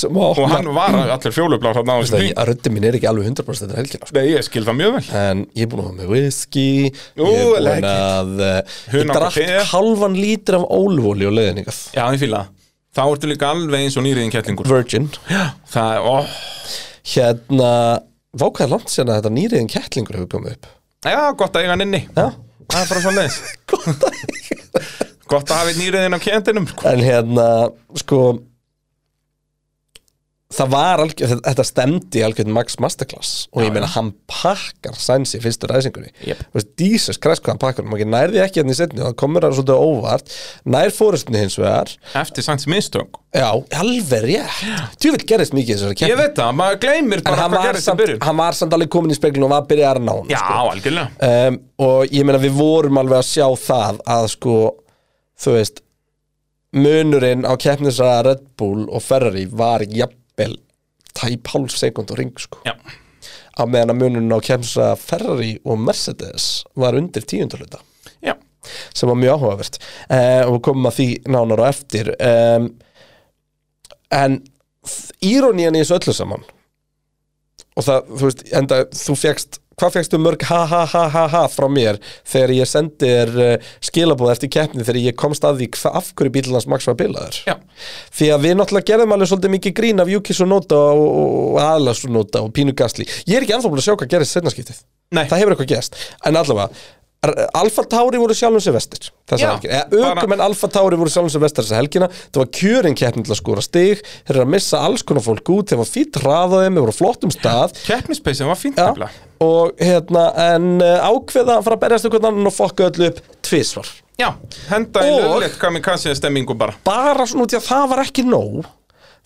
sem, og,
og hann var allir fjólublar þarna á þessum
Það,
hring
að röddum mín er ekki alveg 100% þetta er helgina sko.
Nei, ég skil það mjög vel
en ég er búin að hafa með whisky
Ú,
ég er
like it.
búin að uh, ég
Hunang og
drakk
te.
halvan lítur af ólvóli og leðningað
Já, ég fíla það. Þá ertu líka alveg eins og nýriðin kettlingur
Virgin
Það, ó,
hérna vákaði langt sérna þetta nýriðin kettlingur hefur komið upp
já, gott að eiga hann inni
Já.
Það er bara svo leiðis Gott að hafa einn nýriðin af kettinum sko.
en hérna sko það var algjör, þetta- þetta stemdi algjörn Max Masterclass og ég meina hann pakkar sæns í fyrstu ræsingunni
Jep.
Þú veist, Jesus Christ hvað hann pakkar og maður nærði ekki hérna í setni og það komur hann svolítið á óvart nær fórustinni hins vegar
Eftir sanns mistök
Já, alveg rétt Tjúvill gerist mikið í þessari
Ég
keppni
veit það, maður gleymir
En
bara
hann
hvað
var,
gerist í
samt,
byrjun
hann var samt alveg komin í speklinu og var að byrja að ná hann
Já, algjörlega
um, Og ég meina við vorum alveg að sjá það að sko, þú veist munurinn á keppnisraða Red Bull og Ferrari var jafnvel tæp hálf sekund og ring sko.
Já,
á meðan að munurinn á keppnisraða Ferrari og Mercedes var undir tíundalöta
já,
sem var mjög áhugavert uh, og við komum að því nánar á eftir um, en írónían í þessu öllu saman og það, þú veist, enda þú fegst, hvað fegst þú mörg ha ha ha ha ha frá mér þegar ég sendi þér uh, skilabóð eftir keppni þegar ég komst að því hva, af hverju bílunans Max var bilaður
já
því að við náttúrulega gerðum alveg svolítið mikið grín af Yuki Sunoda og, og Alas Sunoda og Pínu Gasly ég er ekki ennþá búin að sjá hvað gerist setnaskiptið
Nei.
það hefur eitthvað gerst, en allavega R- Alfa Tauri voru sjálfum sér vestir þessa
Já,
helgina, eða
bara-
aukum en Alfa Tauri voru sjálfum sér vestir þessa helgina það var kjörin keppnum til að skora stig þeir eru að missa alls konar fólk út þeir var fýtt hraðaðið, þeir voru á flottum stað
Keppnispeysin var fínt
Já,
nefnilega
og hérna en uh, ákveða að fara að berjast ykkur annan og fokka öllu upp tvisvar
Já, henda í
Og-
lögleitt kamikassið stemmingu bara
bara svona út í að það var ekki nóg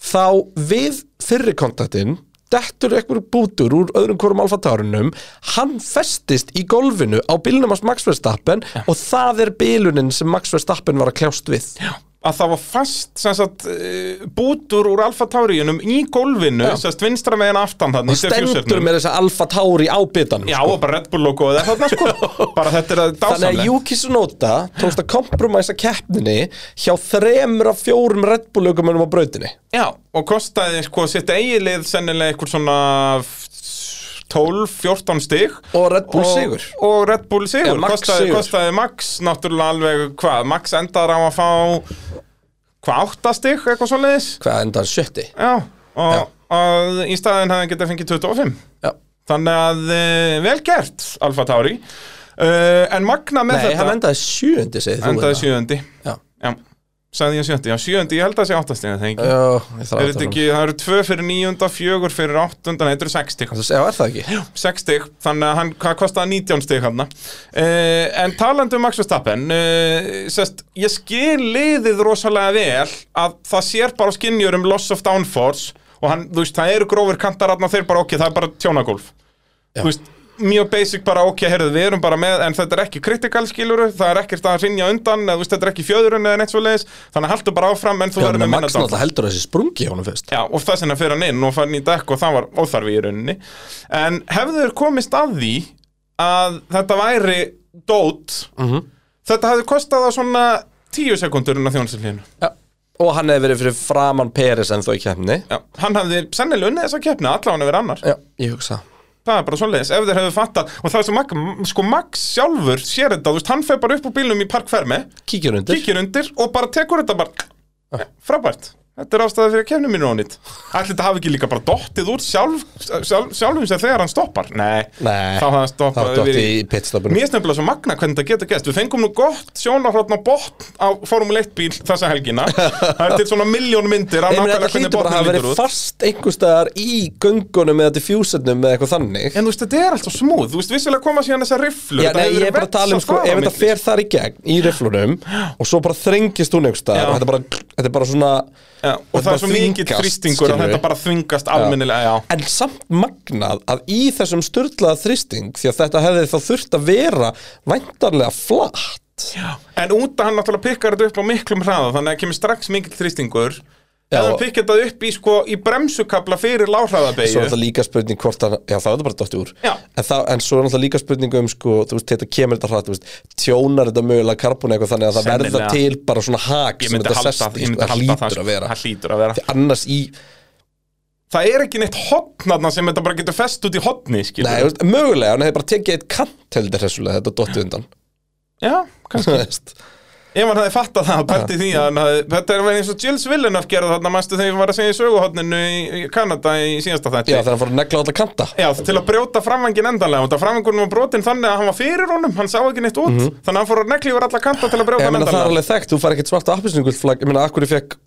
þá við fyrri kontaktinn dettur einhverjum bútur úr öðrum hvorum alfatárunum hann festist í golfinu á bílnum hans Max Verstappen og það er bílunin sem Max Verstappen var að kljást við Já.
að það var fast sem sagt, eh, bútur úr Alfa Tauriunum í gólfinu, sem sagt vinstra megin aftan þannig,
stendur með þess að alfatári á bitanum
Já, og bara Red Bull logo eða þarna sko bara þetta er að
Þannig að
dásamlega
Yuki Tsunoda tókst að kompromæsa keppninni hjá þremur af fjórum Red Bull aukumönnum á brautinni
Já, og kostaði sko sitt eigilið sennilega eitthvað svona f- 12-14 stig
Og Red Bull sigur.
Og Red Bull sigur,
Já, Max
kostaði,
sigur.
kostaði Max náttúrulega alveg hvað, Max endar á að fá hvað, 8 stig, eitthvað svo leiðis
Hvað enda hann sjötti?
Já, og, og í staðin hefði hann getað fengið 25
Já.
Þannig að e, vel gert, Alfa Tauri uh, En magna með
Nei,
þetta
hann endaði sjöundi, segir þú
endaði
þetta.
sjöundi
Já.
Já, sagði ég sjöundi Já, sjöundi, ég held að það sé áttastið Það ekki.
Já, ég þarf
Er
að
þetta
tala um
ekki, það eru tvö fyrir níunda, fjögur fyrir áttunda, nei, þetta eru sex stig
Þú segir, er það ekki?
Sex stig, þannig að hann, hvað kostaði 19 stig hann uh, En talandi um Max Verstappen uh, sest, Ég skil liðið rosalega vel að það sér bara skinnjur um loss of downforce og hann, þú veist, það eru grófir kantar þarna og þeir bara, ok, það er bara tjónagólf Þú veist, mjög basic bara, ok, heyrðu, við erum bara með en þetta er ekki kritikal skiluru, það er ekkert að rinja undan, eða, þú veist, þetta er ekki fjöðurinn eða neitt svo þannig að haldu bara áfram en þú
Já,
verður
menn
með
Max
minna downforce.
náttúrulega heldur þessi sprungi honum fyrst
Já, og þess vegna fyrir hann inn og fann í dekk og það var óþarfi í rauninni En hefðu þeir komist að því að þetta væri dót Þetta hefði kostað á svona 10 sekundur inn á þjónsilínu
Já. Og hann hefði verið fyrir framann Peres en þó í kemni
Já, hann hefði sennilega unnið þess að keppni allan yfir annar
Já, ég hugsa
Það er bara svoleiðis, ef þeir hefðu fattað Og það er svo Max, sko Max sjálfur sér þetta, þú veist, hann fer bara upp á bílnum í parkfermi
Kíkjur undir
Kíkir undir og bara tekur þetta bara
Ah.
Frábært Þetta er ástæða fyrir að kemna mínu ónýtt Ætli þetta hafi ekki líka bara dottið úr sjálf, sjálf, sjálfum sem þegar hann stoppar Nei,
Nei,
þá hafði hann
Það
stoppað
var dótt í pitstopunum
Mér snöfnilega svo magna hvernig þetta getur gæst Við fengum nú gott sjónarhóttn á botn á Formule 1 bíl þessa helgina Það er til svona miljón myndir af
Nei, menn þetta
nákvæmlega hvernig
hlýtur bara að hafa
botnin lítur
verið
út
fast einhverstaðar í göngunum eða diffjúsernum eða eitthvað þannig
En þú veist, þetta er alltaf smúð Þú veist, vissulega koma síðan þessar rifflur
Já,
Þetta
nei,
hefur
ég er
verið
bara að tala um
vets
sko, ef
að fara
þetta
milli.
fer þar í gegn í rifflunum og svo bara þrengist hún einhverstaðar
Já.
og þetta bara, þetta er bara svona
Já, Og það
bara
er svo mikill
þvingast,
þrýstingur að
skilurðu.
þetta bara þvingast almennilega Já,
En samt magnað að í þessum styrlaða þrýsting því að þetta hefði þá þurft að vera væntanlega flatt rétt
En út að hann náttúrulega pikkar þetta upp á miklum hraða Þannig að kemur strax mikill þrýstingur Ef hann pikkar þetta upp í, sko, í bremsukabla fyrir
Svo er
láhraðabegju
náttúrulega líka spurning hvort hann, já það var þetta bara dottir úr
Já.
en, það, en svo er náttúrulega líka spurning um sko, þú veist, þetta kemur þetta hratt, þú veist, tjónar þetta mögulega karbon eitthvað þannig að það verða
Sennilega.
til bara svona hak
Ég
sem
myndi
þetta
halda,
sest í,
ég
sko,
myndi
það
halda það
hlýtur
sko.
að vera
Það hlýtur að vera
Því annars í,
Það er ekki neitt hotnaðna sem þetta bara getur fest út í hotni
nei, þú veist, mögulega hann hefði bara tekið eitt kant heldur hressulega þetta dottir undan
Já, kannski
Þú veist.
Ef hann hefði fattað það, pælt í því að hann hefði- Þetta er verið eins og Jules Villeneuve gerði þarna Mæstu þegar ég var að segja í söguhotninu í í Kanada í síðasta
Já,
þætti
þegar hann fór að negla á alla kanta
Já, til að brjóta framvangin endanlega Þetta framvangurinn var brotinn þannig að hann var fyrir honum Hann sá ekki neitt út Þannig að hann fór að negli yfir alla kanta til að
Mhm. Ég
brjóta hann
meina það er
endanlega
alveg þekkt, þú fær ekkert svart á appisningult flagg, ég meina akkur fekk,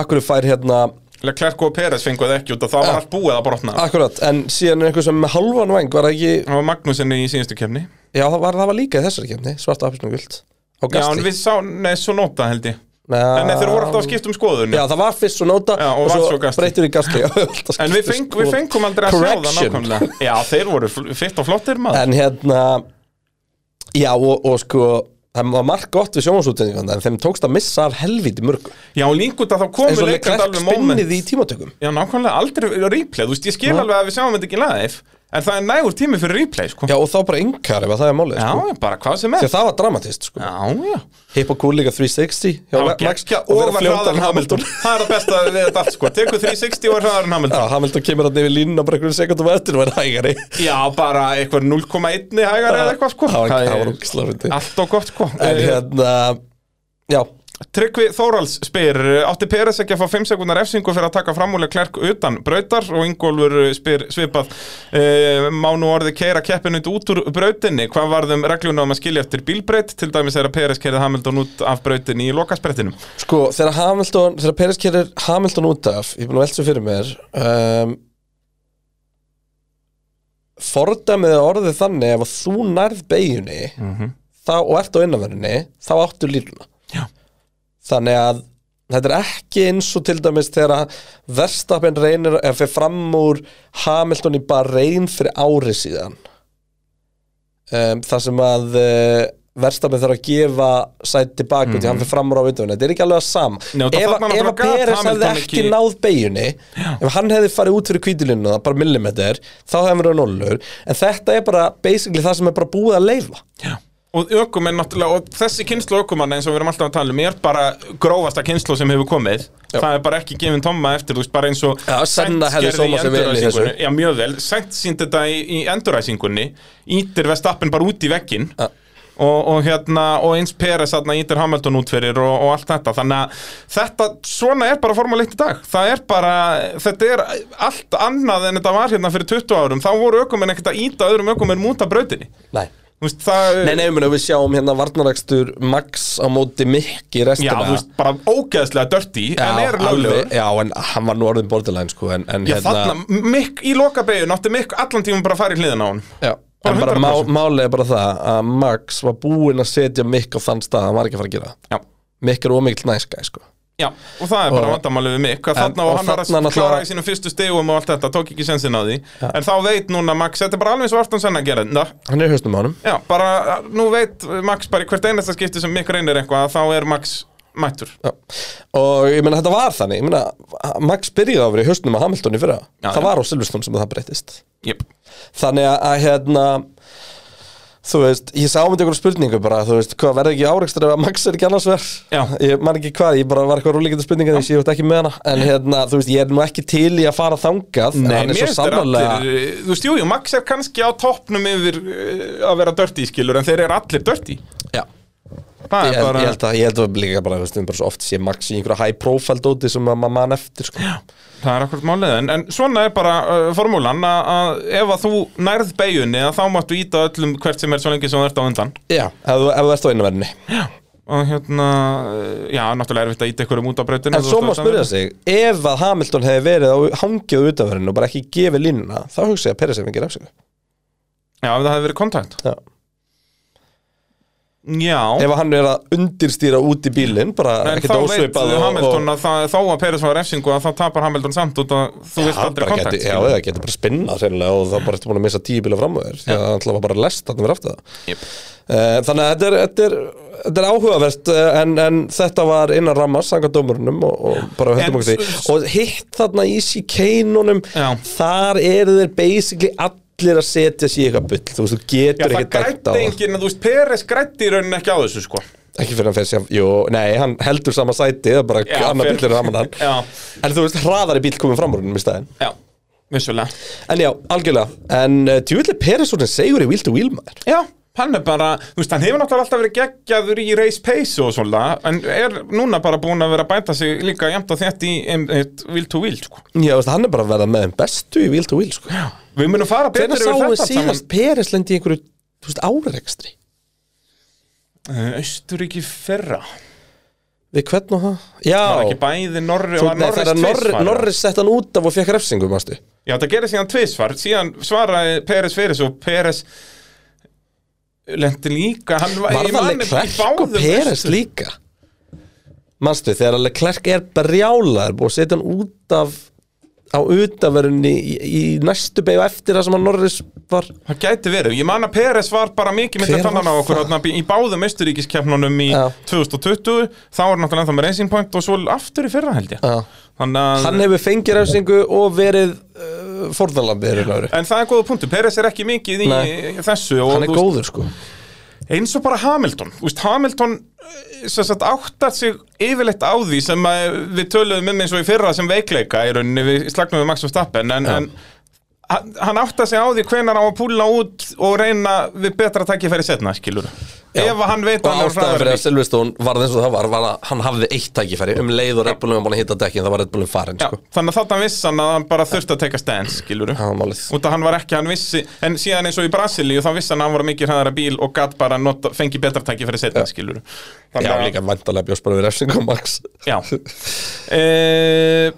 akkur fær hérna
Leclerc og Peres fengu það ekki út og það var allt búið að brotna
Akkurat, en síðan er einhver sem er með halvan væng var það ekki,
Það var Magnúsinni í síðustu kemni
já það var, það var líka í þessari kemni, svart á appisningult á
Já, en
gasti
við sá, nei, svo nota held ég
Nei,
En nei, þeir voru alltaf að skipta um skoðun
Ah. Já, það var fyrst svo nota
Já, og
og,
var
svo
svo Gasly.
breytir í gasli En
En við, feng, við fengum aldrei að sjá það
Sko, Correction.
nákvæmlega Já, þeir voru fl- fitt og flottir maður
En hérna Já, og, og sko Það var margt gott við sjónvarsútendingan En þeim tókst að missa af helviti mörgu
Já, og líkut að þá
En
komu
svo
leikand
leikræk
alveg moment
spinnið í tímatökum
Já, nákvæmlega, aldrei replay Þú veist, ég skil alveg að við sjáum þetta ekki live En það er nægur tími fyrir replay, sko
Já, og þá bara yngar ef að það er málið
Já,
sko.
bara hvað sem
Því
er
að það var dramatist sko.
Já, já
Hip og cool líka 360 hjá
Það var
Max,
gekkja
og
og
vera
var
fljótar
hraðar en Hamilton Það er að besta við þetta allt sko Tekur 360 og er hraðar
Já,
en Hamilton
Hamilton kemur hann yfir línuna bara einhverjum sekundum á eftir og verður hægari
Já, bara eitthvað 0,1 hægar eða eitthvað sko
Það var-
Það
það var
er
ógislega fyndið.
Allt og gott sko
En
Eh,
hérna Já,
Tryggvi Þóralds spyr eh, Átti Peres ekki að fá 5 sekundar efsingu fyrir að taka framúlega klærk utan brautar og Ingólfur eh, spyr svipað eh, Má nú orðið keira keppin út út úr brautinni Hvað varðum regluna um að skilja eftir bílbraut til dæmis er að Peres keirði Hamilton út af brautinni í lokasprettinum
Sko, þegar Hamilton, þegar Peres kerir Hamilton út af, ég er búin að velta svo fyrir mér um, Fordæmið er orðið þannig ef að þú nærð beigjunni
Mm.
þá, og ert á innanverðinni þá áttu línuna
Já.
Þannig að þetta er ekki eins og til dæmis þegar að Verstappen reynir eða fyrir fram úr Hamilton í bara reyn fyrir ári síðan um, þar sem að uh, verstafinn þarf að gefa sæti tilbaka mm. því hann fyrir framur á vindunni, þetta er ekki alveg að sam
Mhm. Nei, og það
ef
þarna
að- ef að
náttúrulega gat
Peres hefði
Hamilton
ekki
ekki-
náð beigjunni ef hann hefði farið út fyrir kvítilinu bara millimeter, þá hefði hann verið nullur en þetta er bara basically það sem er bara búið að leifa
Og ökumenn náttúrulega, og þessi kynslu ökumann eins og við erum alltaf að tala um, er bara grófasta kynslu sem hefur komið. Það er bara ekki gefin tomma eftir, þú veist, bara eins og
Já, Senna
Sainz
hefði
gerði
sómað sér vel í
endurræsingunni.
þessu.
Já, mjög vel. Sænt síndi þetta í, í enduræsingunni, ítir Vestappen bara út í vegginn.
Já.
Og, og hérna, og eins Peres þarna ítir Hamilton út fyrir og, og allt þetta þannig að þetta, svona er bara formuleitt í dag það er bara, þetta er allt annað en þetta var hérna fyrir 20 árum þá voru ökumenn ekkert að íta öðrum ökumenn múta brautinni,
nei
þú veist, það
Nei, nei, meni, við sjáum hérna varnarækstur Max á móti Mikki
Já,
restina
þú veist, bara ógeðslega dörti en er löglegur
alveg, já, en hann var nú orðin borderline sko, en, en
Já, þarna, Mikk í lokabegin átti Mikk allan tíma bara að fara í hliðina á hann
Já,
Bara
en bara má,
100%.
málið er bara það að Max var búinn að setja Mikk á þann stað, hann var ekki að fara að gera það.
Já,
Mikk er ómikil næskæ, sko
já, og það er bara
Og-
vandamálið við Mikk að
En-
þarna
og
og hann var að
þarna náttúrulega-
klára í sínum fyrstu stegum og allt þetta, tók ekki sensin á því en þá veit núna Max, þetta er bara alveg svo aftan senna að gera þetta
Hann er í hausnum á honum
Já, bara, nú veit Max bara í hvert einasta skipti sem Mikk reynir eitthvað að þá er Max mættur
Já. Og ég meina þetta var þannig ég meina, Max byrjaði að vera í hausnum á Hamilton í fyrra
Já,
Það
já.
var á Silveston sem það breytist
Jep,
Þannig að, að hérna Þú veist, ég sá um myndi ykkur spurningu bara, þú veist, hvað verði ekki áreikstur ef að Max er ekki annars verð?
Já.
Ég man ekki hvað, ég bara var eitthvað rúlíkita spurninga því ég átt ekki með hana, en hérna, þú veist, ég er nú ekki til í að fara þangað, en
Nei,
hann
mér
er svo
finnst þeir
sannarlega...
allir, eh, þú veist, jú, jú, Max er kannski á toppnum yfir uh, að vera dörti skilur, en þeir eru allir dörti
Já,
Það
ég,
er bara
ég, held að, ég held að líka bara, þú veist, við bara svo oft sé Max í einhverja high profile dóti sem að maður man eftir sko.
Það er akkurat málið, en, en svona er bara uh, formúlan að- að ef að þú nærð beigjunni að þá máttu íta öllum hvert sem er svo lengi sem þú ert á undan
Já, ef þú, ef þú ert á innverðinni
og hérna, uh, já, náttúrulega erfitt að íta ykkur um út á brautinu
En svo má spyrja sig, ef að Hamilton hefði verið á hangið utanverðinu og bara ekki gefið línuna þá hugsa ég að Peres hefði ekki refsingu
Já, ef það hefði verið kontakt
Já,
Já,
ef hann er að undirstýra út í bílinn bara
en
ekkert
þá veit
ósvipað og-
Hamilton að það, þó að Peres var refsingu að þá tapar Hamilton samt út að þú veist
Já,
aldrei
bara
kontakt
geti, já, eða getur bara spinnað sennilega og þá bara ertu búin að missa tíu bíla fram á þér því að hann var bara lest hann verið aftur það
Jep.
Eh, Þannig að þetta er, þetta er, þetta er áhugavert eh, en, en þetta var innan rammas sangað dómurunum og, og bara höndum
En
okkur því
s-
og hitt þarna í síkeinunum
Já.
þar eru þeir basically allir að setja sér í eitthvað bull þú veist, þú
Já,
getur
það
ekki dæmt á
grætti
það
enginn, þú veist, Peres grætti í rauninni ekki á þessu, sko
ekki fyrir hann fyrir sér, jú, nei, hann heldur sama sæti, það er bara
Já,
annar
fer-
bíl er ramman hann
Já.
en þú veist, hraðari bíl komið fram úr honum í staðinn
Já, vissulega
En já, algjörlega En uh, djúvillig Peresurin segur í Wheel to Wheel maður
Já, hann er bara, þú veist, hann hefur náttúrulega alltaf verið geggjaður í race pace og svona en er núna bara búin að vera að bæta sig líka jæmt og þett í einmitt wheel to wheel, sko
Já, veist, hann er bara að verða með þeim bestu í Wheel to Wheel sko.
Við munum fara betur
Hvernig
yfir
sáum
þetta
við síðast Peres lendi í einhverju þú veist, árekstri
saman Östuríki Eh, fyrra
Við hvern og það? Já
Það var ekki bæði Norri
Svo,
var
nei,
Norris
þegar Norris,
tvisvar
Norris sett hann út af og fekk refsingu, mástu
Já, það gerði síðan tvisvar Síðan svaraði Peres fyrir svo Peres lendi líka Hann var,
Var
ég
það
man ekki í
Leclerc og
báðum
Peres
þessu.
líka? Mástu, þegar Leclerc er brjálaður og setja hann út af á utavörunni í, í næstu beig og eftir það sem hann Norris var
Það gæti verið, ég man að Peres var bara mikið mitt
Hver
að tala
var
á okkur
það?
hana, í báðum austuríkiskeppnunum í
Já.
2020 þá var hann náttúrulega ennþá með Racing Point og svo aftur í fyrra held ég
Já.
Þannig að,
Hann hefur fengið refsingu og verið uh, forðalambið í raun og veru
en það er góða punktu Peres er ekki mikið í
Nei.
þessu og,
Hann er
þú veist,
góður sko
eins og bara Hamilton Þú veist, Hamilton eh, sem sagt, áttar sig yfirleitt á því sem að við töluðum um eins og í fyrra sem veikleika í rauninni við slagnum við Max Verstappen en, en hann hann áttar sig á því hvenar á að púla út og reyna við betra takkifæri setna skilur
Já.
ef að hann
Og
veit að hann er
ástæðan
hraðari
fyrir að
bíll.
Silveston varð eins og það var, var að hann hafði eitt tækifæri um leið og Red Bullum var búin að hitta dekkin, það var Red Bullum farin
Já,
sko.
þannig að þarna vissi hann að hann bara þurfti að teka stens, skilur
Það var málið
Út að hann var ekki, hann vissi, en síðan eins og í Brasilíu þá vissi hann að hann var mikið hraðara bíl og gatt bara nota, fengi betra tæki fyrir setna, skilur
Já, líka vantarlega bjóst bara við refsingum Max
Já e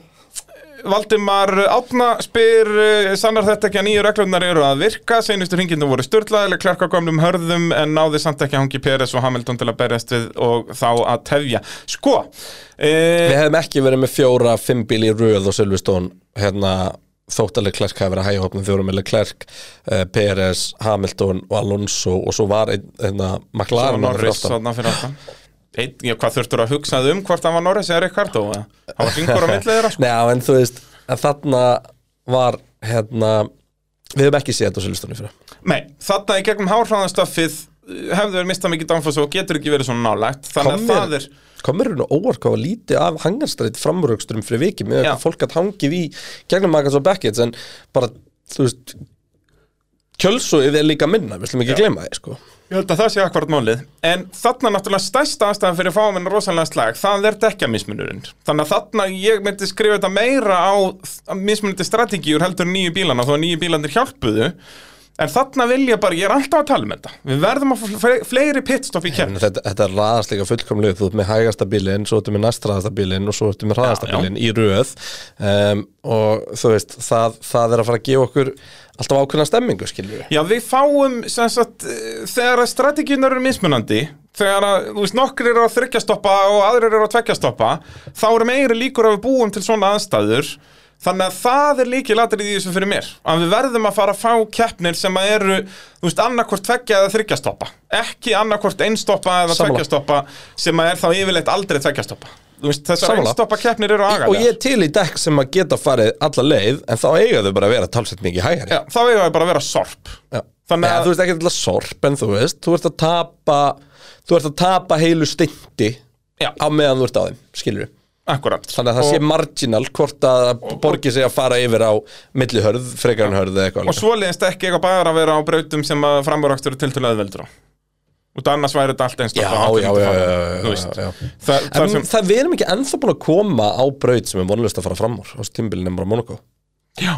Valdimar Átna spyr eh, sannar þetta ekki að nýju reglurnar eru að virka seinustu hringindu voru störtlaðileg klærka gömlum hörðum en náði samt ekki að hangi Peres og Hamilton til að berjast við og þá að tefja Sko e
Við hefum ekki verið með fjóra, fimm bíl í röð og Silveston hérna þóttalega Klerk hafi verið að hægja hópnum þegar voru með Klerk, uh, Peres, Hamilton og Alonso og svo var einn, hérna,
Svo
McLaren
Norris
fyrir aftan.
þarna fyrir aftan Eitt, já, hvað þurftur að hugsa þau um hvort hann var Norris eða Ricardo eða? hann var syngur á millið þeirra sko.
Nei, já, en þú veist, að þarna var hérna, við hefum ekki séð þetta á Silveston í fyrra
Nei, þarna í gegnum hárhraðanstöffið hefðu verið mistað mikið dánfos og getur ekki verið svona nálægt þannig að það er
komur hún óvart hvað var lítið af hangarstrætt framröksturinn fyrir vikið með
Já.
að fólk að hangið í gegnum magas og backheads en bara, þú veist kjölsóið er líka minna við slum ekki gleyma því, sko
Ég held að það sé akkurat málið En þarna náttúrulega stærsta ástæðan fyrir að fá minn rosalega slag Það er dekkjamismunurinn Þannig að þarna ég myndi skrifa þetta meira á mismunandi strategíur heldur en nýju bílana Þó að nýju bílanir hjálpuðu En þarna vil ég bara, ég er alltaf að tala um þetta Við verðum að fá fle- fleiri pitstopp í
En
kemni
þetta, þetta raðast líka fullkomlega upp, þú ert með hægasta bílinn, svo ertu með næstraðasta bílinn og svo ertu með hraðasta
Já, já.
bílinn í röð um, og þú veist, það, það er að fara að gefa okkur alltaf ákveðna stemmingu, skilur við
Já, við fáum sem sagt, eh, þegar að strategíunar eru mismunandi þegar að, þú veist, nokkur eru að þryggja stoppa og aðrir eru að tvekja stoppa þá eru meiri líkur að við búum til svona aðstæður þannig að það er líki latrið í þessu fyrir mér að við verðum að fara að fá keppnir sem að eru, þú veist, annarkvort tvekja eða þryggja stoppa ekki annarkvort einstoppa eða
Sammála.
tvekja stoppa sem að er þá yfirleitt aldrei tvekja stoppa þú veist, þessar
Sammála.
einstoppa keppnir eru
Og ég
agalegar
er til í dekk sem að geta farið alla leið en þá eiga þau bara að vera talsett mikið hægari
Já, þá eiga við bara að vera sorp
Já.
Þannig
Eða,
að-
þú veist ekki alltaf sorp en þú veist, þú ert að tapa þú ert að tapa heilu styndi
Já.
á meðan þú ert á þeim, skilur
Akkurat
þannig að það sé marginal hvort að það borgi sig að fara yfir á millihörð, frekarnhörð eða eitthvað
Og svoleiðist ekki eitthvað bara að vera á brautum sem að framúrakstur er tiltölu auðveldur á Út annars væri þetta allt einstofn
Já, já, já, já, já, já,
Þú veist,
já.
Það, það
en
sem,
það við erum ekki ennþá búin að koma á braut sem er vonlust að fara fram úr á tímbilin bara Monaco
já,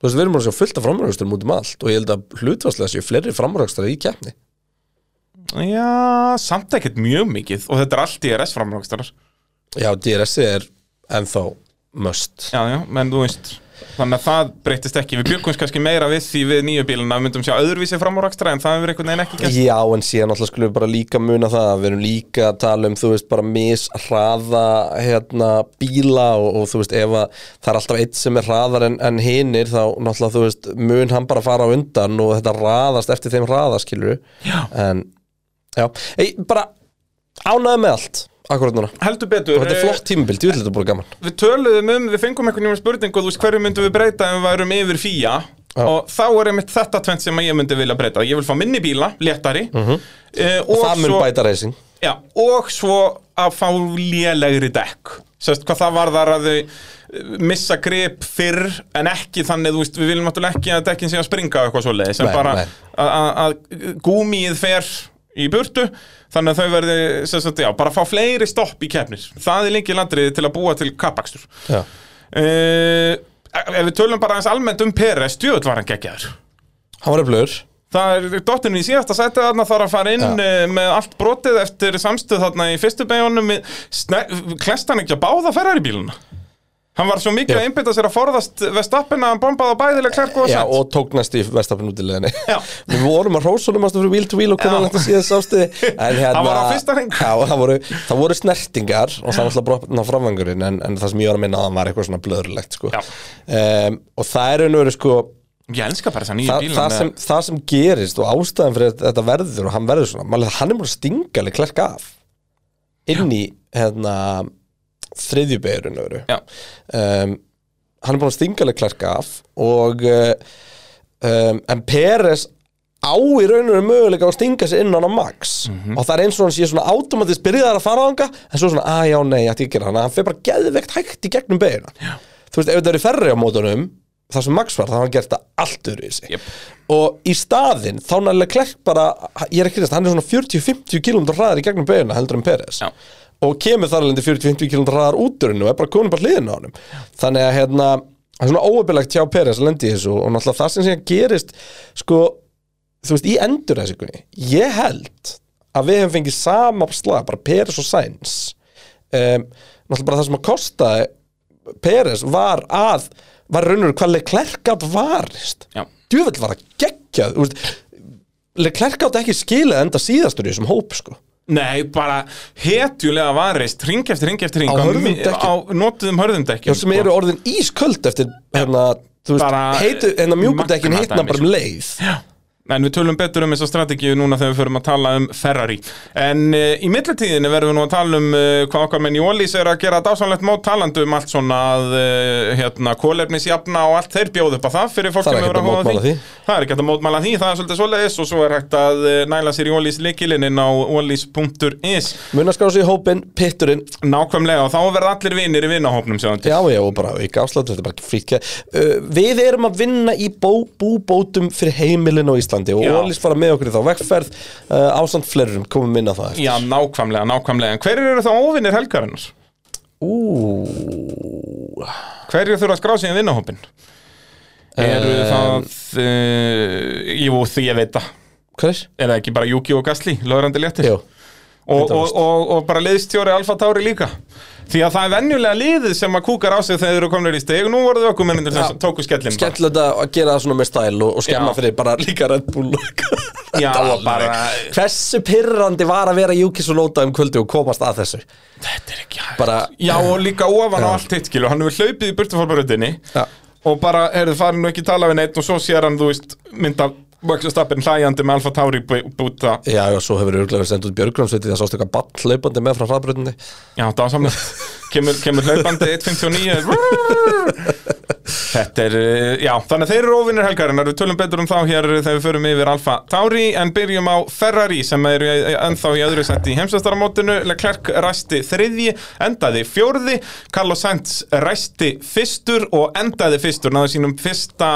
þú veist, við erum búin að sjá fullt af framúrökstur mútum allt og ég held að hlutvarslega séu fleiri framúrökstur í keppni
já, samt ekkert mjög mikið Og þetta er allt DRS framúraksturar
já, DRS er E ennþá möst
Já, já, menn þú veist þannig að það breytist ekki við bjökkumst kannski meira við því við nýju bíluna við myndum sjá öðruvísi framúrakstra en það hefur einhvern veginn ekki gæst
Já, en síðan alltaf skulum við bara líka muna það að Við erum líka að tala um, þú veist, bara mishraða hérna, bíla og, og þú veist, ef að það er alltaf eitt sem er hraðar en, en hinir þá náttúrulega, þú veist, mun hann bara fara á undan og þetta hraðast eftir þeim hraða, skilur Já En, já, Ei, bara ánæði með allt, akkurat núna
heldur betur
Og þetta er
eh,
flott tímabild, ég vil þetta búið gaman
við töluðum um, við fengum einhvern veginn spurningu þú veist hverju myndum við breyta ef við værum yfir fíja og þá er einmitt þetta tvent sem ég myndi vilja breyta ég vil fá minni bíla, léttari uh og,
Mhm. Það mun
svo,
bæta reising
já, og svo að fá lélegri dekk Sest, hvað það varðar að þau eh, missa grip fyrr en ekki þannig þú veist, við viljum náttúrulega ekki að dekkin sé að springa og eitthvað svo leiðis, en
Nei,
bara
nei.
að- að að gúmið fer í burtu þannig að þau verði, sem sagt, já, bara fá fleiri stopp í keppnir, það er lengi landriði til að búa til kappakstur
Já
Uh, ef við tölum bara aðeins almennt um Peres, djöðl var hann geggjaður
Hann var öflugur
Það er dottinu í síðasta sæti þarna þarf að fara inn
Já.
ja. með allt brotið eftir samstöð þarna í fyrstu beigjónum klest hann ekki að báða ferrar í bíluna Hann var svo mikið
Já.
að einbytta sér að forðast Vestappen að hann bombaði á bæðileg klærku og
Já,
sætt
og tóknast í vestafinn út í leðinni
Já.
Við vorum að hrósunum ástu fyrir wheel to wheel og
Já.
komum langt að síðast ástuði En hérna
Það var á fyrsta hring.
Já, það voru, það voru snertingar og það var alltaf brotna framvangurinn en, en það sem ég var að minna að það var eitthvað svona blöðrulegt sko.
Já.
um, Og það er raun og veru sko
Ég elska bara þess að nýja
það,
bíluna
það, sem, það sem gerist og ástæðan fyrir að þetta verður og hann verður svona, maður, hann er múin að stinga alveg klerk af inn í hérna, þriðjubeyrun öru
Já.
um, hann er búin að stinga alveg klerk af og uh, um, en Peres á í rauninu möguleika á að stinga sig inn á hana Max og það er eins og hann sé svona automatist byrjaðar að fara á hanga en svo svona, að já, nei, ég ætti ekki að gera hana hann fer bara geðvegt hægt í gegnum beina þú veist, ef þetta eru ferri á mótunum það sem Max var, þá hafði hann gert það allt öðru í sig
Jep.
og í staðinn, þá nægilega klerk bara, ég er ekki reist, hann er svona 40-50 km hraðar í gegnum beina heldur en Peres
Já.
og kemur þar alveg 40-50 km hraðar úturinn og er bara komin bara hliðin á honum þannig að hérna, það er svona óöfilegt hjá Peres að lendi í þessu og náttúrulega það sem síðan gerist sko, þú veist, í endurræsingunni ég held að við hefum fengið sama slag, bara Peres og Sainz um, náttúrulega bara það sem að kostaði Peres var að var raunur hvað Leclerc átt varist
Já.
djúvöld var að gegja Leclerc átt ekki skilið að enda síðastur í þessum hóp sko
Nei, bara hetjulega varist ring eftir ring eftir ring
Á hörðum
mi-
dekkjum.
á notuðum hörðum
Já,
dekkjum
sem eru orðin ísköld eftir hérna, þú veist,
sko. Bara,
heitu, hérna mjúkudekkin
magna
heitna
dæmi, sko.
bara um leið
En við tölum betur um þessa strategíu núna þegar við förum að tala um Ferrari. En uh, í millitíðinu verðum við nú að tala um uh, hvað okkar menn í Ólís er að gera dásanlegt mót talandi um allt svona að uh, hérna, kólefnisjafna og allt þeir bjóðu upp á það fyrir fólk
Það er
sem
ekkert
hefur
að
áhuga á
mótmæla því.
Það er ekki hægt að mótmæla því, það er svolítið svoleiðis og svo er hægt að uh, næla sér í Ólís leikilinn inn á ólís.is
Munaskási í hópin, pitturinn
Nákvæmlega og þá verða allir vinir í vinahópnum sjáðan til.
Já, já, og bara auka afslátt, þetta er bara ekki fríkja uh, Við erum að vinna í bó, búbótum fyrir heimilin á Íslandi og
Já.
Ólís fara með okkur í þá vegferð uh, ásamt flerum, komum inn á það eftir.
Já, nákvæmlega, nákvæmlega. En hverjir eru þá óvinir helgarinnar?
Ú,
Hverju þurfa að skrá sig í vinnahópin? Eru það, uh, jú því ég veit það,
hver er?
er það ekki bara Juki og Gasly, lögrandi léttir?
Jú,
og,
100%.
og, og, og bara liðstjóri Alfa Tauri líka. Því að það er venjulega liðið sem að kúkar á sig þegar þeir eru komnir í steg, nú voru þau okkur mennindir sem
Já.
tóku skellin. bara.
skemmtilegt að að gera það svona með stæl og, og skemma
Já.
fyrir bara líka Red Bull og-
Já,
Þetta
og bara-
alveg. Hversu pirrandi var að vera Júkis og Lóta um kvöldi og komast að þessu
Þetta er ekki hægt.
Bara-
Já, og líka ofan á allt hitt, skilu, hann hefur hlaupið í burtufólparöðinni
Já.
og bara, heyrðu, farin og ekki tala við neitt og svo sér hann, þú veist, mynda Vöxlastappin hlæjandi með Alfa Tauri bú- búta
Já, og svo hefur örglega verið sendt út Björgrunnsveiti það sást eitthvað ball hlaupandi með frá hraðbrutinni
Já, dásamlegt Kemur, kemur hlaupandi 1.59 Þetta er, eh, já, þannig að þeir eru óvinnir helgarinnar Við tölum betur um þá hér þegar við förum yfir Alfa Tauri En byrjum á Ferrari sem eru í- ennþá í öðru senti í heimsvestaramótinu Leclerc ræsti þriðji, endaði fjórði Carlos Sainz ræsti fyrstur og endaði fyrstur Náðu sínum fyrsta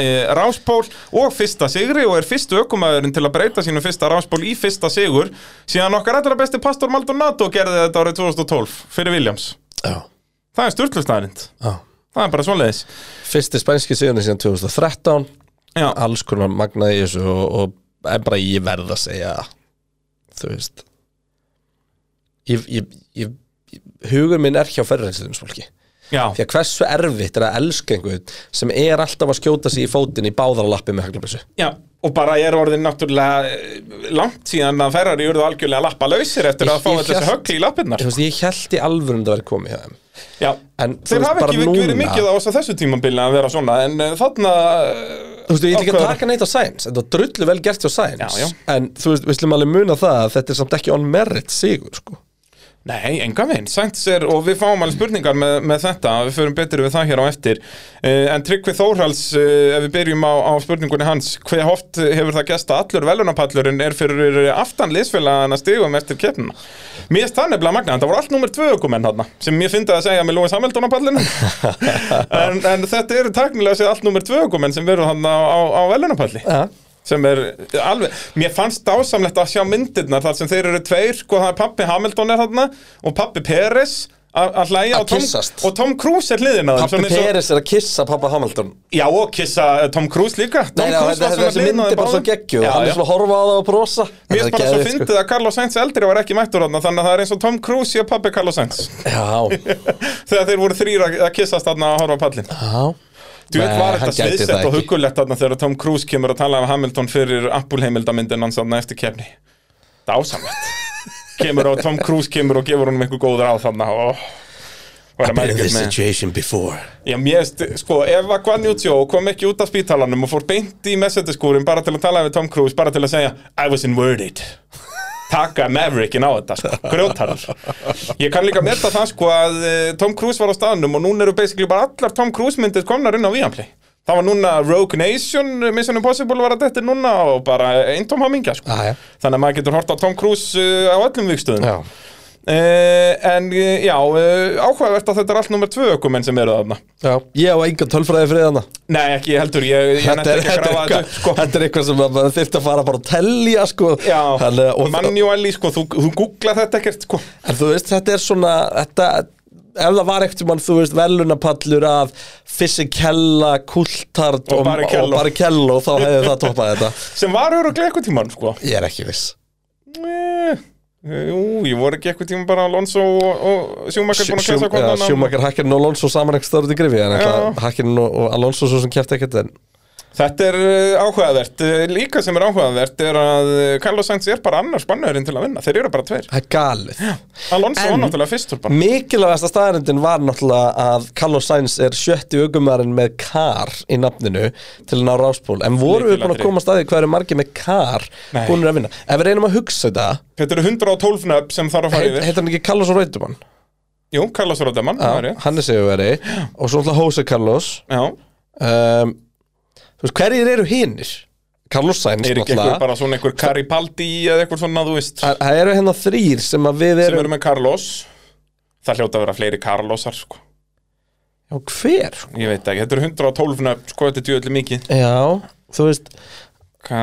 e, ráspól og fyrsta sigri Og er fyrstu ökumæðurinn til að breyta sínum fyrsta ráspól í fyrsta sigur Síðan okkar allra besti pastor Maldonado gerði þetta árið 2012 fyrir Williams
Já,
Það er styrtlustæðarind
já
Það er bara svoleiðis
Fyrsti spænski sigurinn síðan 2013
Já,
alls konar magnaði í þessu og, og en bara ég verð að segja þú veist ég, ég, ég, hugur minn er hjá ferðarinsliðum fólki
Já.
því að hversu erfitt er að elska einhvern sem er alltaf að skjóta sig í fótinn í báðarlappi með haglabessu
Já, og bara er orðin náttúrulega eh, langt síðan að Ferrari urðu algjörlega lappa lausir eftir að fá
Ég- ég
alltaf þessi
hélt-
högg í lappirnar
Þú veist, ég held í um alvörum það verið komið hjá þeim
Já,
En, þú
þeir
veist,
hafa
bara
ekki verið
núna-
mikið á þessu- þessu tímabili að vera svona en uh, þarna
Þú veist, ég ætla ekki að
Ákveður.
taka neitt á Sainz Þetta var drullu vel gert hjá Sainz
Já, já.
En þú veist, við slum alveg muna það að Þetta er samt ekki on merit sigur, sko
Nei, enga veginn, Sainz er, og við fáum alveg spurningar með, með þetta, við förum betur við það hér á eftir, uh, en Tryggvi Þórhals, uh, ef við byrjum á, á spurningunni hans, hve oft hefur það gæst að allur velunapallurinn er fyrir aftan liðsfélagana stigum eftir keppnum? Mér finnst það nefnilega magna, þetta voru allt nummer tvö ökumenn þarna, sem ég fyndi að segja með Lóis Hamilton á pallinu, en, en þetta eru taknilega sér allt nummer tvö ökumenn sem veru þarna á, á, á velunapalli
ja.
sem er alveg, mér fannst dásamlegt að sjá myndirnar þar sem þeir eru tveir sko það er pappi Hamilton er þarna og pappi Peres að hlæja
Að
og Tom,
kyssast.
og Tom Cruise er hliðin að þeim
Pappi
svona eins og-
Peres er að kissa pappa Hamilton
já og kissa eh, Tom Cruise líka Tom
Nei,
Cruise
þetta- þessi
hliðin á
mynd
þeim
er bara svo
báðum.
geggju
Já,
Hann
já.
er svona að horfa á það og brosa
Mér
Þetta
finnst
er
bara svo
geðveikt, sko.
fyndið að Carlos Sainz eldri var ekki mættur þarna þannig að það er eins og Tom Cruise sé pappi Carlos Sainz
sko.
þegar þeir voru þrýr að að kyssast þarna að horfa á pallin
Já, já
Þú veit
Nei,
var
hann
þetta
gæti það
sviðsett og
ekki.
hugulegt þarna þegar Tom Cruise kemur að tala af Hamilton fyrir Apple-heimildamindin hans þarna eftir kefni Dásamlegt Kemur og Tom Cruise kemur og gefur honum einhver góður á þarna og Var að mæri með
situation before
Já, mér veist, sko, ef að Guan Jútsjó kom ekki út af spítalanum og fór beint í messeteskúrin bara til að tala við Tom Cruise, bara til að segja I was inverted taka Maverickin á þetta, sko, grjótarður Ég kann líka metta það, sko, að eh, Tom Cruise var á staðnum og núna eru basically bara allar Tom Cruise myndir komnar inn á Viaplay Það var núna Rogue Nation, eh, Mission Impossible var að þetta núna og bara eintóm hamingja, sko
Ah, Já, já.
Þannig að maður getur hort á Tom Cruise eh, á öllum vikstöðum
Já
En eh, já, eh, áhugavert að þetta er allt nummer tvö ökumenn sem eru þarna
Já, ég á engan tölfræði fyrir þarna
Nei, ekki ég heldur, ég, ég
þetta
nætti
er,
ekki að
þetta, er
grafa þetta
eitthvað,
upp sko.
þetta er eitthvað sem að maður þyrfti að fara bara og telja sko.
Já,
Þannig, að- og,
manually, sko, þú, þú googla þetta ekkert sko.
En þú veist, þetta er svona þetta, Ef það var ekkert mann, þú veist, velunapallur af Fysikella, Kultard
Og Barrichello.
og Barrichello Þá hefði það toppað þetta
sem var öruglega eitthvað tíman sko.
Ég er ekki viss
eh, Jú, ég voru ekki eitthvað tíma bara Alonso og, og Sjúmakar búin að klæsa konan
Sjúmakar, Hakkerinn og Alonso saman ekki stóruð í grifi En
Já.
Hakkerinn og og Alonso svo sem kæfti ekkert en
Þetta er eh, áhugavert Eh, Líka sem er áhugavert er að eh, Carlos Sainz er bara annar spannurinn til að vinna Þeir eru bara tveir
Það er galið
Alonso
En-
var náttúrulega fyrstur bara
Mikilvægasta staðarindin var náttúrulega að Carlos Sainz er sjötti aukumærin með kar í nafninu til að ná ráspól En voru við búin að
Lykilatriði.
komast að því hvað eru margir með kar
Nei.
búinir að vinna Ef við reynum að hugsa þetta
Þetta eru 112 nöfn sem þarf að fara
Heit-
yfir
heitir hann ekki Carlos Rautumann
Jú, Carlos Rodemann, það er ég
hann er sigurveri og svo alltaf Jose Carlos
Já,
um, þú veist hverjir eru hinnir Carlos Sainz
er ekki
náttúrulega.
eitthvað bara svona einhver Karipaldi eða eitthvað svona, þú veist
Það- það eru hérna þrýr sem að við
sem
erum,
eru með Carlos það hljóta að vera fleiri Carlosar sko.
já hver sko?
ég veit ekki, þetta eru 112 nöfn sko, þetta er djúðlega mikið
já þú veist
Ka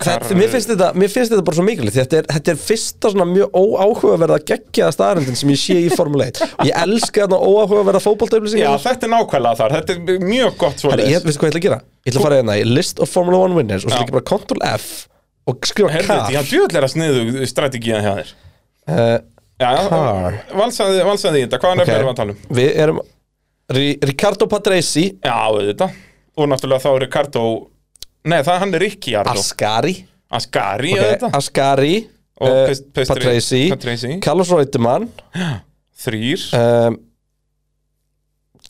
Þetta, mér, finnst þetta, mér finnst þetta bara svo mikilvægt þetta er, þetta er fyrsta svona mjög óáhugaverða geggjaða staðarendin sem ég sé í Formule 1 og ég elska þarna óáhugaverða
Já,
fótboltaöflýsingar
þetta er nákvæmlega þar, þetta er mjög gott svo
Herri, ég, veistu hvað ég ætla að gera? Ég ætla að fara hérna í list of Formula 1 winners og svo
Já.
ekki bara Ctrl F og skrifa
Herðið,
K
já, djúðlega er að sniðu strategíðan hjá þér
uh,
Já,
Car.
valsaði, valsaði í þetta, hvaða nöfn
Ok.
erum við að tala um?
Við erum Ri- Ricardo Patresi
Já, auðvitað, og náttúrulega þá er Ricardo Nei, það hann er Ricciardo
Ascari
Ascari,
okay.
auðvitað
Ascari
Og
eh,
Pes- Pestri-
Patrese,
Patrese.
Carlos Reutemann
Þrýr
um,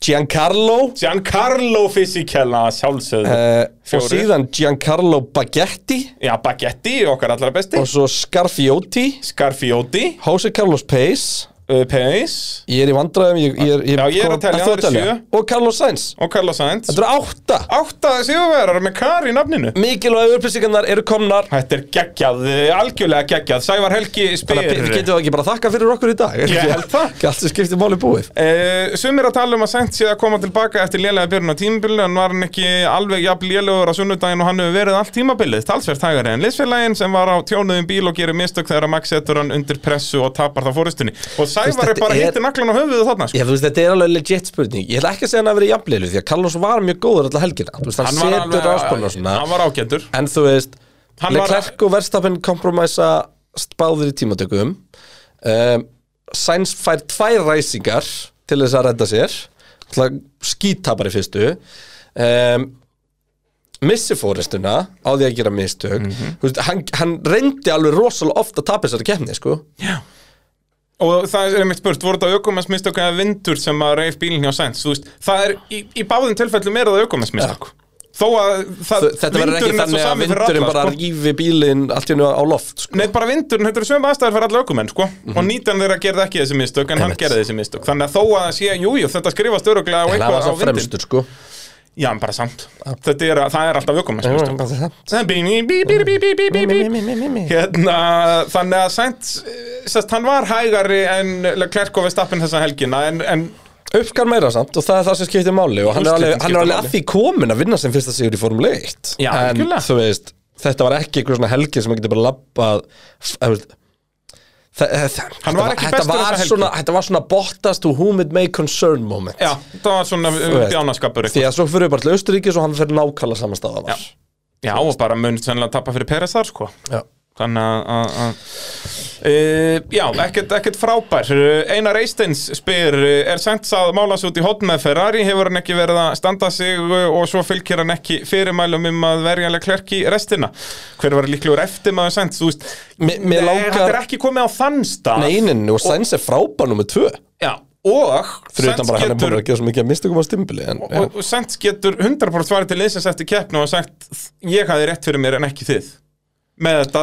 Giancarlo
Giancarlo Fisichella, sjálfsögðu
uh, og
Fjórir.
síðan Giancarlo Baghetti
Já, Baghetti, okkar allra besti
og svo Scarfiotti
Scarfiotti,
Jose Carlos Pace
uh, Pace
ég er í vandræðum ég, ég, ég,
Já, ég er að telja,
Ert þú
það eru sjö.
og Carlos Sainz
og Carlos Sainz
þetta eru átta
Átta sigurvegarar með kar í nafninu
mikilvæg upplýsingarnar eru komnar
Þetta er geggjað, eh, algjörlega geggjað Sævar Helgi spyr
þannig að við getum ekki bara að þakka fyrir okkur í dag
Ég held það.
Ekki allt sem skiptir máli búið
Eh, Sumir að tala um að Sainz sé að koma tilbaka eftir lélega byrjun á tímabilið en var hann ekki alveg jafn lélegur á sunnudaginn og hann hefur verið allt tímabilið talsvert hægari en liðsfélaginn sem var á tjónuðum bíl og gerir mistök þegar að Max setur hann undir pressu og tapar það fórustunni og Sævar
þetta
er bara
er-
hittir naklan á höfuðu þarna sko.
Já, þú veist, þetta er alveg legit spurning Ég ætla ekki að segja hann að vera jafnleilu Því að Carlos var mjög góður alltaf helgina Þú veist, hann,
var
setur ráspána og svona
hann var ágættur
En þú veist,
Hann var-
Leclerc og Verstappen kompromæsa báðir í tímatökum Ehm, um, Sainz fær tvær ræsingar til þess að redda sér skýta bara í fyrstu um, missi fóristuna á því að gera mistök mm
Mhm.
veist, hann, hann reyndi alveg rosalega oft að tapa þessari kemni sko.
Og það er einmitt spurt, voru þetta aukumessmistök eða vindur sem að reif bílinn hjá Sainz, þú veist, það er, í, í báðum tilfellum er það aukumessmistök. Þó að það,
þetta verður ekki
vindurinn er svo
þannig að
sami fyrir
vindurinn
alla,
bara
sko.
rífi bílinn allt í hennu á loft sko.
Nei, bara vindurinn, þetta er sömu aðstæður fyrir alla aukumenn, sko Og nýtan þeirra gerði ekki þessi mistök, en hann
Einmitt.
gerði þessi mistök Þannig að þó að sé, jújú, jú, þetta skrifast öruglega á
en hann var
eitthvað á
svo
vindin
fremstur sko.
Já, en bara samt Þetta er, það er alltaf aukumenn
já,
Hérna, þannig að Sainz, sérst, hann var hægari en Leclerc og Vestappen þessa helgina en, en
uppgar meira samt og það er það sem skiptir máli og hann er alveg,
Úrslitin
hann er
skipta
alveg
máli.
að því komin að vinna sem fyrsta sigur í Formule 1
Já,
en
algjörlega.
þú veist, þetta var ekki einhver svona helgi sem hann getur bara labbað eða, þú veist, þa- þa- þa-
Hann
þetta
var ekki
þetta
bestur
var
þessa helgi.
svona, þetta var svona Bottas to whom it may concern moment
já, það var svona eh,
Þú veist,
bjánaskapur
því að svo fyrir við bara til Austuríkis og hann fyrir nákvæmlega saman stað og var
Já, og bara mun sennilega tappa fyrir Peres þar, sko
Já.
Þannig að- að að- e, Já, ekkert, ekkert frábær Einar Eistens spyr eh, Er sent að mála svo út í hotn með Ferrari Hefur hann ekki verið að standa sig eh, Og svo fylgir hann ekki fyrirmælum Um að verjanlega klerki restina Hver var líklegur eftir maður sent Þú veist,
Mér- mér
nei,
langar-
Þetta er ekki komið á þann stað
neynin og Sainz er frábær nummer 2
Já, og
fyrir
Sainz
utan bara að hann er búin
getur-
að gera svo mikið að mista koma á stimbili en, já.
og, og Sainz getur 100% svarið til liðsins eftir keppni og sagt ég hafði rétt fyrir mér en ekki þið með þetta,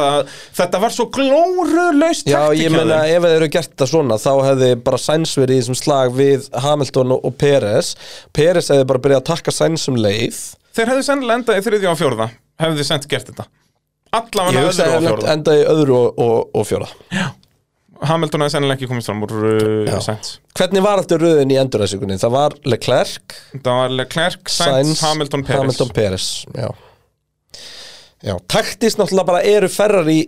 þetta var svo glórulaust
Já, ég meina ef þeir eru gert það svona þá hefði bara Sainz verið í þessum slag við Hamilton og og Peres Peres hefði bara byrjað að takka Sainz um leið
þeir hefðu sennilega endað í þriðja og fjórða hefðu Sainz gert þetta
Ég
allavega
hugsa
öðru
að
og fjórða
enda í öðru og, og, og fjóra
Hamilton hefði sennilega ekki komist fram úr uh,
Já.
Sainz
Hvernig var aftur röðin í enduræsingunni? Það var Leclerc,
það var Leclerc,
Sainz,
Sainz, Hamilton, Peres
Hamilton, Peres. Já. Já, taktist náttúrulega bara eru Ferrari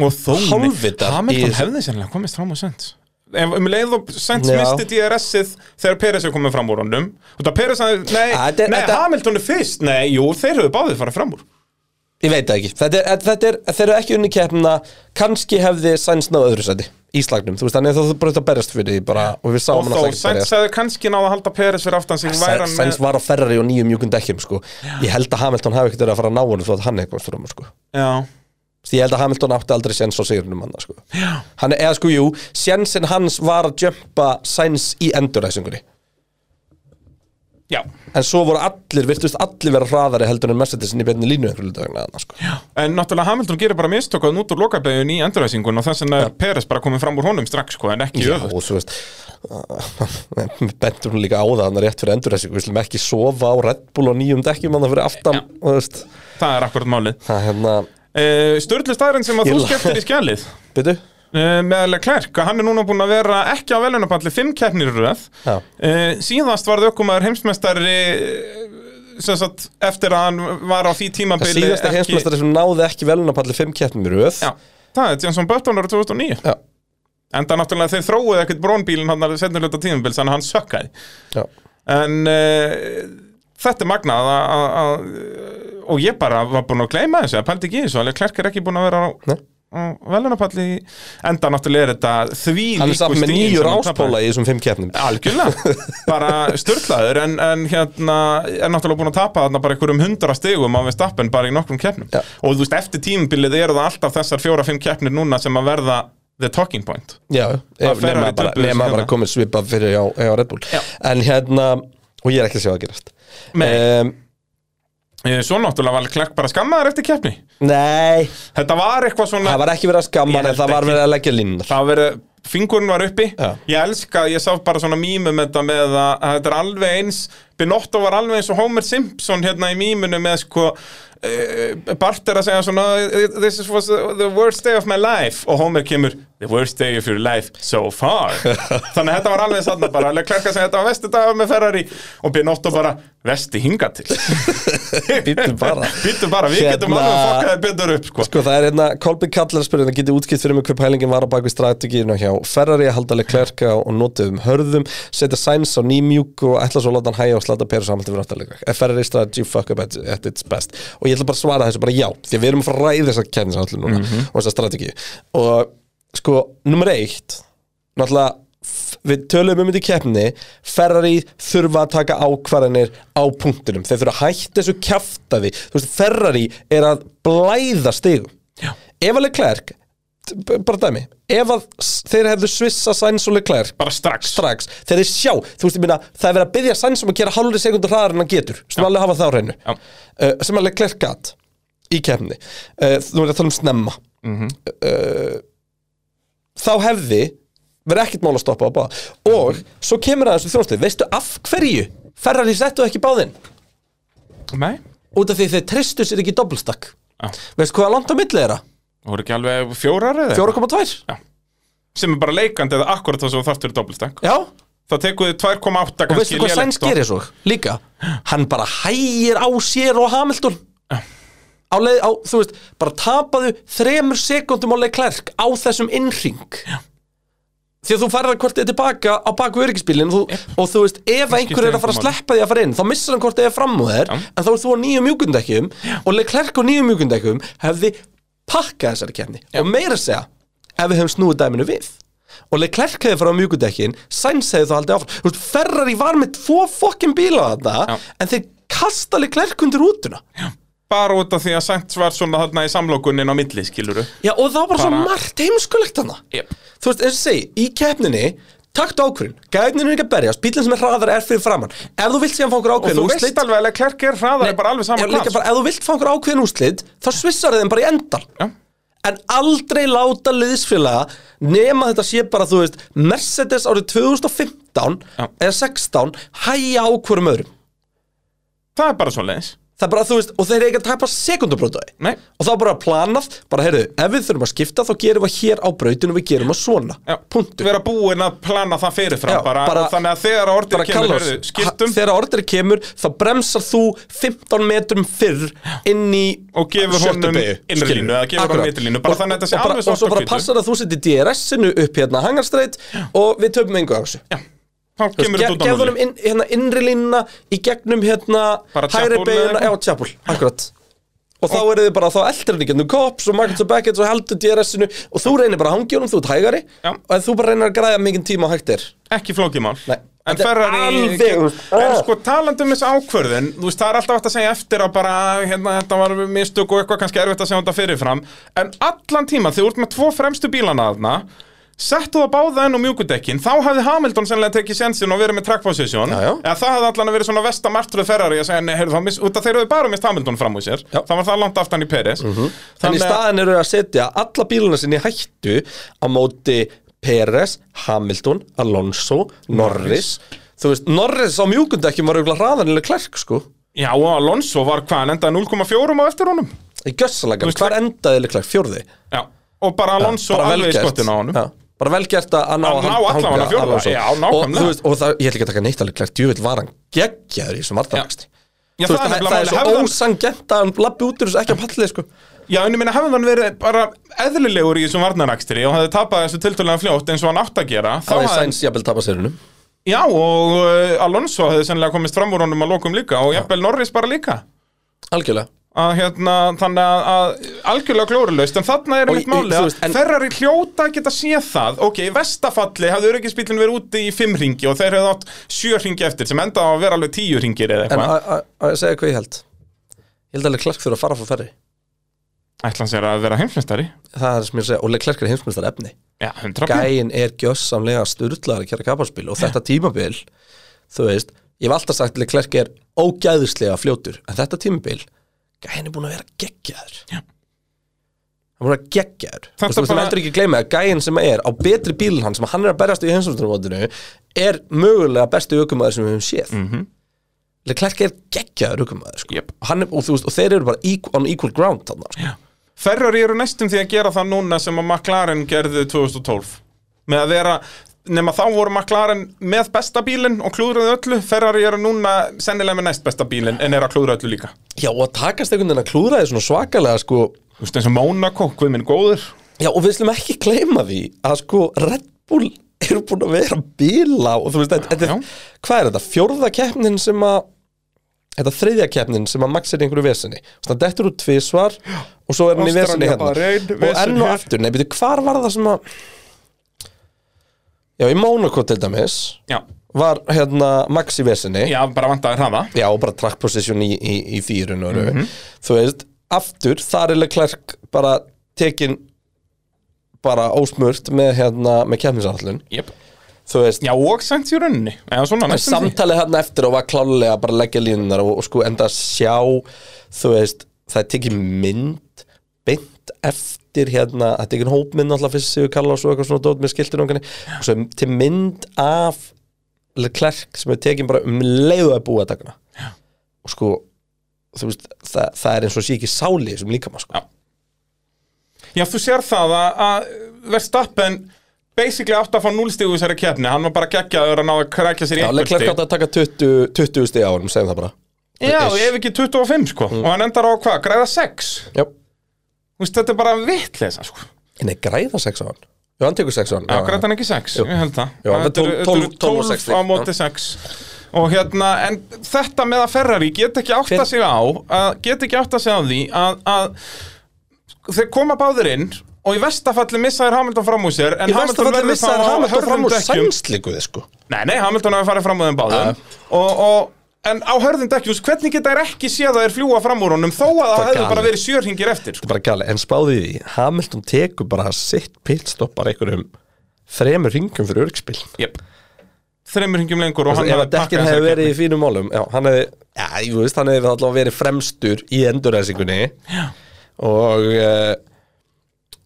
og þó nei,
Hálfvitar í
Hamilton
þessu.
hefði sennilega komist fram úr Sainz Ef- um leið og Sainz
Já.
misti DRS-ið þegar Peres hefur komið fram úr honum og það Peres hafði, nei,
Að þetta er-
nei
þetta-
Hamilton er fyrst nei, jú, þeir hefur báðið farið fram úr
Ég veit það ekki, þetta er, þetta er, þeir eru ekki unni keppna kannski hefði Sainz náðu öðru sæti í slagnum, þú veist, þannig að þú bara þetta berjast fyrir því bara, og við sáum
og
hann
þó,
alltaf ekki
Sainz
berjast
hefði kannski náða að halda Peres fyrir aftan sig væri hann
Sainz
með,
var á Ferrari og nýjum mjúkum dekkjum sko. ég held að Hamilton hafi ekkert verið að fara að ná honum þó að hann eitthvað frum sko.
já,
því ég held að Hamilton átti aldrei séns á sigurinnum hann sko. hann eða sko jú, sénsinn hans var að jumpa Sainz í enduræsingunni
já
en svo voru allir, virtust allir vera hraðari heldur en Mercedesin í beinni línu einhverju hluta vegna þarna, sko.
En náttúrulega Hamilton gerir bara mistökuðan út úr lokabegjun í enduræsingun og þess vegna er Peres bara komið fram úr honum strax sko, en ekki
Já,
öfugt.
og þú veist við bentum hún líka á það hann er rétt fyrir enduræsingu, við slum ekki sofa á Red Bull og nýjum dekkjum hann fyrir aftan
Já.
þú veist,
Það er akkurat málið.
það er hérna,
Uh, Sturlu staðurinn sem að
Ég
þú
la-
skemmtir í skjalið
byrju
uh, með Leclerc, að hann er núna búin að vera ekki á velunapalli fimm keppnir í röð.
Já.
Uh, síðast varð ökkumæður heimsmeistari eh, sem sagt, eftir að hann var á því tímabili
síðasta
ekki-
heimsmeistari sem náði ekki velunapalli fimm keppnum í röð
Já, það er Jansson Button ára 2009.
Já.
Enda náttúrulega þeir þróuðu ekkert brónbílinn hann að setna hluta tímabils, þannig að hann sökkaði.
Já.
en uh, þetta er magnað að- að- að- og ég bara var búinn að gleyma þessu, að pældi ekki í þessu alveg klerk er ekki búinn að vera á,
Nei.
á velunapalli í- enda náttúrulega er þetta því
hann er
líku
samt með
stigin
nýjur
sem hann tapaði.
áspóla í þessum fimm keppnum
Algjörlega, bara störtlaður en, en hérna, er náttúrulega búin að tapa þarna bara einhverjum hundra stigum á Vestappen bara í nokkrum keppnum
Já.
og þú veist, eftir tímabilið eru það alltaf þessar fjóra-fimm keppnir núna sem að verða the talking point
Já, ef-
Ferrari
nema bara,
töpuðu
nema
þessu
bara
hérna.
komið svipað fyrir á, á Red Bull
Já.
en hérna, og ég er ekki að sjá að gerast
Nei.
um,
Eh, Svo náttúrulega var Klerk bara skammaður eftir keppni
nei
Þetta var eitthvað svona
það var ekki verið að
Ég
skamma en
held
það var
ekki.
verið að leggja línunar
Það verið, fingurinn var uppi
Já.
Ég elska, ég sá bara svona mýmum þetta með að, að þetta er alveg eins Binotto var alveg eins og Homer Simpson hérna í mýmunu með sko uh, Bart er að segja svona This is- was the worst day of my life og Homer kemur The worst day of your life so far Þannig að þetta var alveg sann bara Klerk að segja þetta var vesti dagar með Ferrari og Binotto bara vesti hinga til
Bíddu bara.
Býttu bara, við getum
Hérna-
alveg fokkaði betur upp sko.
Sko það er hérna, Kolby Kallar spyrir hérna, getið útskipt fyrir mig hver pælingin var á bakvið strategíinu hjá Ferrari að halda Leclerc á og notuðum hörðum, setja Sainz á nýmjúk og ætla svo að láta hann hægja og slata Peres samhaldi fyrir aftalega. Er Ferrari strategy fuck up at, at its best? Og ég ætla bara að svara þessu bara já, því að við erum að fara að ræða þessar kæðinsáttlu núna og þessar strategíu. Og sko, nummer eitt, náttúrulega f- við töluðum um þetta í keppni Ferrari þurfa að taka ákvarðanir á punktunum, þeir þurfa að hætta þessu kjaftaði, þú veist Ferrari er að blæða stigum Já. ef að Leclerc t- b- bara dæmi, ef að s- þeir hefðu svissa Sainz og Leclerc
bara strax
strax, þegar þið sjá, þú veist, ég minna það er verið að byggja Sainz um að gera halvri sekundu hraðar en hann getur, sem alveg hafa þá reynu
Já.
uh, sem alveg Leclerc gat í kefni, uh, nú er ég að tala um snemma uh, þá hefði verið ekkert mál að stoppa á báða og svo kemur aðeins við þjónslið, veistu af hverju Ferrari settu ekki báðinn
Nei,
út af því þeir tristu sér ekki í dobbelstakk
Já.
veistu hvað langt á milli er það?
voru ekki alveg fjórar eða?
4,2?
Sem er bara leikandi eða akkurat það sem þú þarft fyrir dobbelstang
Já,
Það tekur þið 2,8
og veistu
kannski sko.
hvað Sainz gerir svo líka hann bara hægir á sér og Hamilton á leið, á, þú veist, bara tapaðu þremur sekundum á leið klærk á þessum innring því að þú færðar kortið tilbaka á baku öryggisbílinn og, þú- og þú veist, ef einhver er að fara að
engu máli.
sleppa því að fara inn þá missar hann kortið eða fram úr þér en þá ert þú á nýjum mjúkundekkjum og leið klærk á nýjum mjúkundekkjum hefði pakkað þessari kefni og meira að segja ef við höfum snúið dæminu við og Leclerc hefði farið á mjúkudekkin Sainz hefði þá haldið áfram Þú veist, Ferrari var með tvo fokkin bíla þarna
Já.
en þeir kasta Leclerc undir útuna já.
Bara út af því að Sainz var svona þarna í samlokunin á milli, skiluru
og það var svo
Bara-
margt heimskulegt þarna
Jep.
þú veist, eins og segi, í keppninni taktu ákvörðin, gæðnin er ekki að berjast bílinn sem er hraðar er fyrir framann ef þú vilt síðan fá einhver
Og
ákveðin
þú veist alveg að Leclerc er hraðar er bara alveg
Ég
saman
líka bara, ef þú vilt fá einhver ákveðin úrslit þá svissar þeim bara í endan
Já.
en aldrei láta liðsfélaga nema þetta sé bara, þú veist Mercedes árið 2015
Já.
eða 16, hæja á hverjum öðrum
Það er bara svo leiðis
það er bara, þú veist, og þeir eru ekki að tapa sekundubrótaði
Nei,
og þá bara planað, bara heyrðu ef við þurfum að skipta þá gerum við hér á brautinu við gerum að svona,
já,
punktur
Vera búin að plana það fyrirfram
Já,
bara,
bara-
Þannig að þegar orðið
bara
kemur,
Carlos,
hörðu, skiptum
ha- þegar orðinni kemur þá bremsar þú 15 metrum fyrr inn í
Og gefur
sjöttu
honum
beygju,
innri
skilurðu.
línu, eða gefur honum
Akkurat.
ytri línu, bara
Og-
þannig að þetta sé
og bara-
alveg svart
og svo
á
bara
hvítu.
passar að þú settir DRS-inu upp hérna hangarstreit og við töfum engu á þessu
Þá kemur þetta út á
gefur
núli
honum inn, hérna, innri línuna í gegnum hérna
Bara
hægri
chapel eða
beiguna,
eitthvað?
já, tjapul, akkurat og þá eru þið bara, þá eldir hann ekki ennum kops og Magnus og Beckett og heldur DRS-inu og þú reynir bara að hangi honum, þú ert hægari
Já.
og þú bara reynir að græða mikið tíma og hægt er
ekki flókimál
Nei,
en
þetta er
Ferrari
alveg- ah.
en sko talandi um þessu ákvörðin þú veist það er alltaf hægt að segja eftir að bara hérna þetta var mistök og eitthvað kannski erfitt að segja þetta fyrirfram en allan tíma þegar þú ert með tvo fremstu bílana þarna settu það báða enn á mjúkudekkin þá hafði Hamilton sennilega tekið sensin og verið með track position
Já, já.
eða það hafði allan verið svona vestamartröð Ferrari að segja nei, heyrðu, þá miss, út að þeir eru bara mist Hamilton fram úr sér
Já. Mhm.
þá var það langt aftan í Peres mm -hmm.
en í staðin eru þau að setja alla bíluna sinni í hættu á móti Peres, Hamilton, Alonso Norris, þú veist Norris á mjúkundekkjum var auðvitað hraðanilega klerk sko,
já og Alonso var hvað hann endaði 0,4 á eftir honum
í gjössalega
veist,
hvar endaði klerk, fjórði
já. og bara Alonso
bara vel
alveg í
gert.
skottinu á honum
Já, bara vel gert að ná
Að ná
hang-
allavega
hanga
hann fjórða,
Alonso.
já,
og,
nákvæmlega.
þú veist, og það, ég ætla ekki að taka neitt alveg klart djúvill var hann geggjaður í þessum vartanvæksti
Já, það er
það, það er
nefnilega máli.
svo
Hefði hann-
ósangent að hann lappi út úr þessu ekki að pallið sko.
Já, en ég meina, hefði hann verið bara eðlilegur í þessum varnarakstri og hefði tapað þessu tiltölulega fljótt eins og hann átt að gera þá
það er
hefði-
sæns jafnvel tapað sérunum
Já, og uh, Alonso hefði sennilega komist fram úr honum að lokum líka og jafnvel Norris bara líka
algjörlega
að hérna, þannig að, að algjörlega glórulaust, en þarna er
Og
mitt
í-
máli
þú
að
veist, en-
Ferrari hljóta að geta séð það, ok, í vestafalli hefði öryggisbílinn verið úti í fimm ringi og þeir hefði átt sjö ringi eftir sem endaði á að vera alveg tíu ringir eða
en
eitthvað
að- að að segja hvað ég held ég held að Leclerc fyrir að fara frá ferri
Ætla hann sér að vera heimfinstari
það er sem ég er að segja og Leclerc er heimsmyndar efni
Já, 100%
gæin er gjössamlega styrlaðar að kjæra kapparspil og þetta tímabil þú veist, ég hef alltaf sagt að Leclerc er ógæðislega fljótur en þetta tímabil, gæin er búin að vera geggjaður
Já.
hann er búin að vera geggjaður þú veist,
Þetta
þú veist,
bara-
bara... heldur ekki gleyma að gæin sem er á betri bílinn hann sem hann er að berjast í heimsumtunumótinu er mögulega besti aukumæður sem við höfum séð mm -hmm. Leclerc er geggjaður aukumæður sko.
Mhm. Jep.
og, hann er, og, þú veist, og þeir eru bara equal, on equal ground þarna, sko.
Ferrari eru næstum því að gera það núna sem að McLaren gerði 2012 með að vera, nema þá voru McLaren með besta bílinn og klúðraði öllu Ferrari eru núna sennilega með næst besta bílinn en eru að klúðra öllu líka
já og að takast einhvern veginn að klúra því svona svakalega sko,
Þú veist eins og Monaco, hvað minn góður
Já og við slum ekki gleyma því að sko Red Bull eru búin að vera bíla og þú veist, þetta, þetta, er- hvað er þetta, fjórða keppnin sem að þetta er þriðja keppnin sem að Max er í einhverju vesenni og það dettur út tvisvar og svo er hann í
Ástralía,
vesenni hérna
Bahrein,
og
vesen
enn og
hér.
aftur, nei, byrju, hvar var það sem að Já, í Monaco til dæmis
Já,
var hérna Max í vesinni
já bara vantaði hraða
Já, og bara track position í, í, í þýrun og mm Þú veist, aftur þar er Leclerc bara tekin bara ósmurt með hérna, með kemminsallun
yep.
Þú veist,
Já, og sent í rauninni Eða svona
En
næstum því.
samtalið hann eftir og var klálega bara að leggja línunar og, og sko enda að sjá þú veist, það er tekið mynd beint eftir hérna, það er tekið hópmynd alltaf fyrst Sigur Karlás og eitthvað svona dót með skiltir og hvernig og svo til mynd af Leclerc sem er tekin bara um leiðu að búa dagana Já. og sko þú veist, það, það er eins og sé ekki sáli sem líka maður sko
Já. Já, þú sér það að, að Verstappen basically átti að fá 0 stíðu í þessari keppni Hann var bara geggjaður að ná að krækja sér í
Já,
einhver
Leclerc
stig.
átti að taka 20, 20 stig á honum, segjum það bara
Já,
Ish.
ef ekki 25 sko Og hann endar á hvað, græða 6
Já,
Þú veist, þetta er bara vitleisa sko
en er græða 6 á hann? Já, hann tekur 6 á hann
Já, græða hann ekki 6,
Jú.
ég held það
Jú, hann fer
Þetta
12
eru- þetta eru
12 og 6
á móti 6 Og hérna, en þetta með að Ferrari get ekki átta
Fyrr-
sig á að, get ekki átta sig á því að, að þeir koma báðir inn og í vestafalli missa þeir Hamilton fram úr sér en
Í versta falli
verður þá
missaði
á
Hamilton
hörðum
fram úr
dekkjum.
sænslíkuði sko
Nei, nei, Hamilton hafi farið fram úr þeim báðum og, og En á hörðum dekkjum, þú veist, hvernig geta þær ekki séð að þær fljúa fram úr honum þó að það hefði
galið.
bara verið sjörhingir eftir sko.
Bara gæli, en spáði því, Hamilton tekur bara sitt pitstop bara einhverjum þremur ringum fyrir örgspil
yep. Þreymur hingjum lengur og hann
Ef að
hafði
dekkin
pakkað
hefði
þessari
verið í fínum málum Já, hann hefði, já, ég veist, hann hefði allavega verið fremstur í endurreysingunni Já Og uh,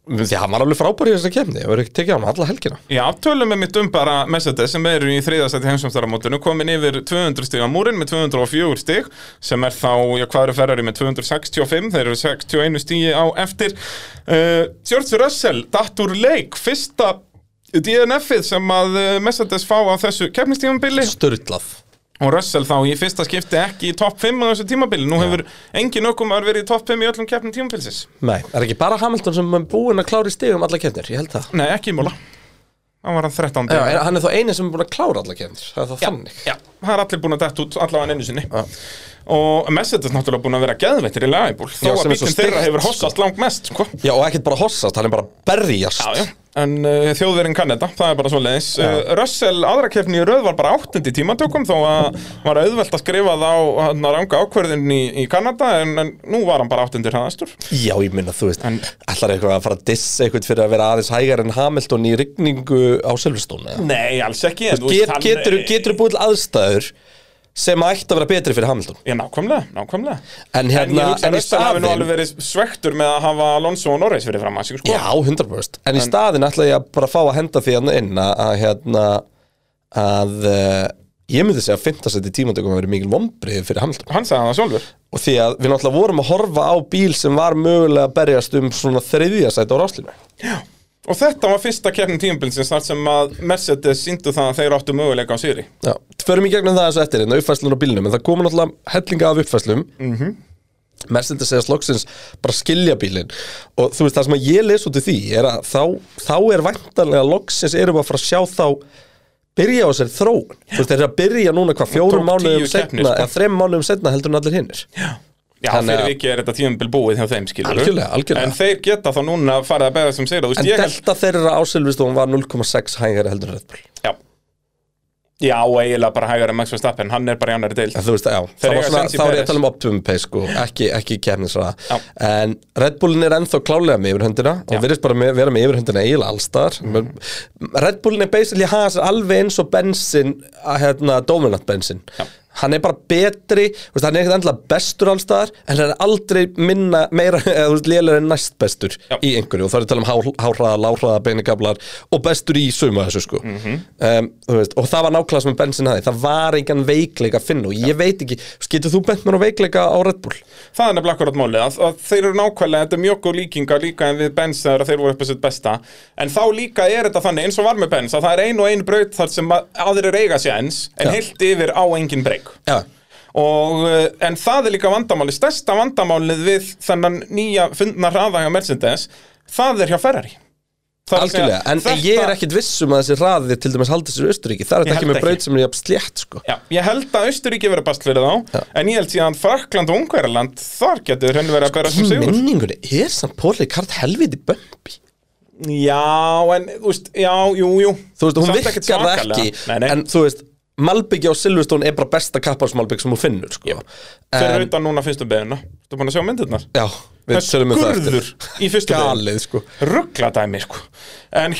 Því hann var alveg frábær í þessari kemni Það var ekki tekið á hann alla helgina
Já, tölum við mitt um bara Mercedes sem eru í þriðasætti heimsumstaramótinu komin yfir 200 stig á múrin með 204 stig sem er þá, já hvað eru Ferrari með 265, þeir eru 61 stigi á eftir uh, George Russell, datt úr leik fyrsta DNF-ið sem að eh, Mercedes fá á þessu keppnistímabili
Sturlað
og Russell þá í fyrsta skipti ekki í topp 5 á þessu tímabili, nú hefur engin ökumar verið í topp 5 í öllum keppnum tímabilsis
Nei, er ekki bara Hamilton sem er búinn að klára í stigum alla kemnir, ég held það
Nei, ekki í múla, hann var hann 13
Já, er, hann er þó eini sem er búinn að klára alla kemnir Það er það þannig
Já, það er allir búin að detta út allavega einu sinni Og Mercedes náttúrulega búin að vera geðveitir í lagæbúl Þó
Já,
að
sem er svo
bílinn þeirra
styrkt,
hefur
sko.
hossast langt mest sko.
Já, og ekkert bara hossast, hann er bara berjast
Já, já En uh, þjóðverinn kann þetta, það er bara svo leiðis uh, Russell, aðra keppni í röð var bara áttundi tímatökum Þó að var auðvelt að skrifa þá hann að ranga ákverðin í, í Kanada en, en nú var hann bara áttundi hraðastur
Já, ég minna, þú veist, ætlar eitthvað að fara að dissa eitthvað fyrir að vera aðeins hægar en Hamilton í rigningu á Silverstone eða?
Nei, alls ekki en þú veist,
Get,
hann- eh,
getur, getur búið til aðstæður sem ætti að vera betri fyrir Hamilton
Já, nákvæmlega, nákvæmlega
En
En ég
hérna,
hugsa að
en í
Russell hafi nú alveg
staðin
verið svektur með að hafa Alonso og Norris fyrir fram að sig sko.
Já, 100% En í staðin ætla ég að bara fá að henda því hann inn að, að hérna að uh, ég myndi segja að 15 seti tímandökum að vera mikil vombrið fyrir Hamilton
Hann sagði það sjálfur
og því að við náttúrulega vorum að horfa á bíl sem var mögulega að berjast um svona þriðja sæti á ráslinu
Og þetta var fyrsta keppnin tímabilsins þar sem að Mercedes síndu það að þeir áttu möguleika á sýri.
Já, förum í gegnum það þessu eftir hérna, uppfæslun á bílnum, en það komur náttúrulega hellinga af uppfæslum
Mhm.
Mercedes segja slóksins bara skilja bílinn og þú veist, það sem að ég les út í því er að þá, þá er væntanlega loksins erum við að fara að sjá þá byrja á þessari þróun, þú veist, þeir eru að byrja núna hvað fjórum
tók tíu
mánuðum
keppnir,
setna,
sko.
eða þrem mánuðum setna heldur en allir hinnir
Já,
Þannig að-
fyrir vikið er þetta tímabil búið hjá þeim, skilur
Algjörlega, algjörlega.
En þeir geta þá núna farið að beða sem segir þú
En
veist, ég held...
delta þeirra á Silveston var 0,6 hægari heldur en Red Bull
Já, já og eiginlega bara hægur en Max Verstappen, hann er bara í annari deild.
En þú veist, já, það
eiga
var svona,
Sainz í
þá er ég
Perez.
að tala um optimum pace sko, ekki, ekki kefnisraða
Já.
En Red Bullin er ennþá klálega með yfirhöndina
Já. Mhm.
og virðist bara með, vera með yfirhöndina eiginlega allstar mm. Red Bullin er basically hans alveg eins og bensin, hérna, dominant bensin
Já.
Hann er bara betri, þú veist, hann er ekkert endilega bestur allstaðar en hann er aldrei minna, meira, eða þú veist, lélega en næst bestur
Já.
í einhverju og þá er ég að tala um há- háhraða, láhraða, beinigablar og bestur í suma þessu sko
Mhm.
um, þú veist, og það var nákvæmlega sem bensin hafði það var engan veikleika að finna og ég veit ekki, getur þú bent mér á veikleika á Red Bull?
Það er nefnilega akkurat málið að, að þeir eru nákvæmlega, þetta er mjög góð líkinga líka en við Benz þegar þeir voru upp að sitt besta en þá líka er þetta þannig eins og var með Benz að það er ein og ein braut þar sem að- aðrir eiga sér ens en
Já.
heilt yfir á engin breyk
Já,
og, eh, en það er líka vandamáli stærsta vandamálið við þennan nýja fundna hraða hjá Mercedes það er hjá Ferrari Það er að segja,
algjörlega, en ég er ekkit viss um að þessi hraði til dæmis haldið sér í Östuríki það er
Ég
þetta ekki
held
með
ekki.
braut sem er jafn slétt sko.
Já, ég held að Austuríki verið bast fyrir þá
Já.
en ég held síðan Frakland og Ungverjaland þar getur henni verið að bera sem
í
sigur
minningunni er samt Póli Kart helviti bömbi
Já, en, þú veist, já, jú, jú
þú veist, hún
Samt
virkar
ekkert
það
svakalega.
ekki
Nei, nei,
en þú veist, malbyggja á Silveston er bara besta kapparsmalbygg sem hún finnur sko.
fyrir
en,
utan núna fyrstu beðina Þú búin að sjá myndirnar?
já, við tölum um það
Skurður í fyrstu beðina
galið sko.
Ruggladæmi, sko En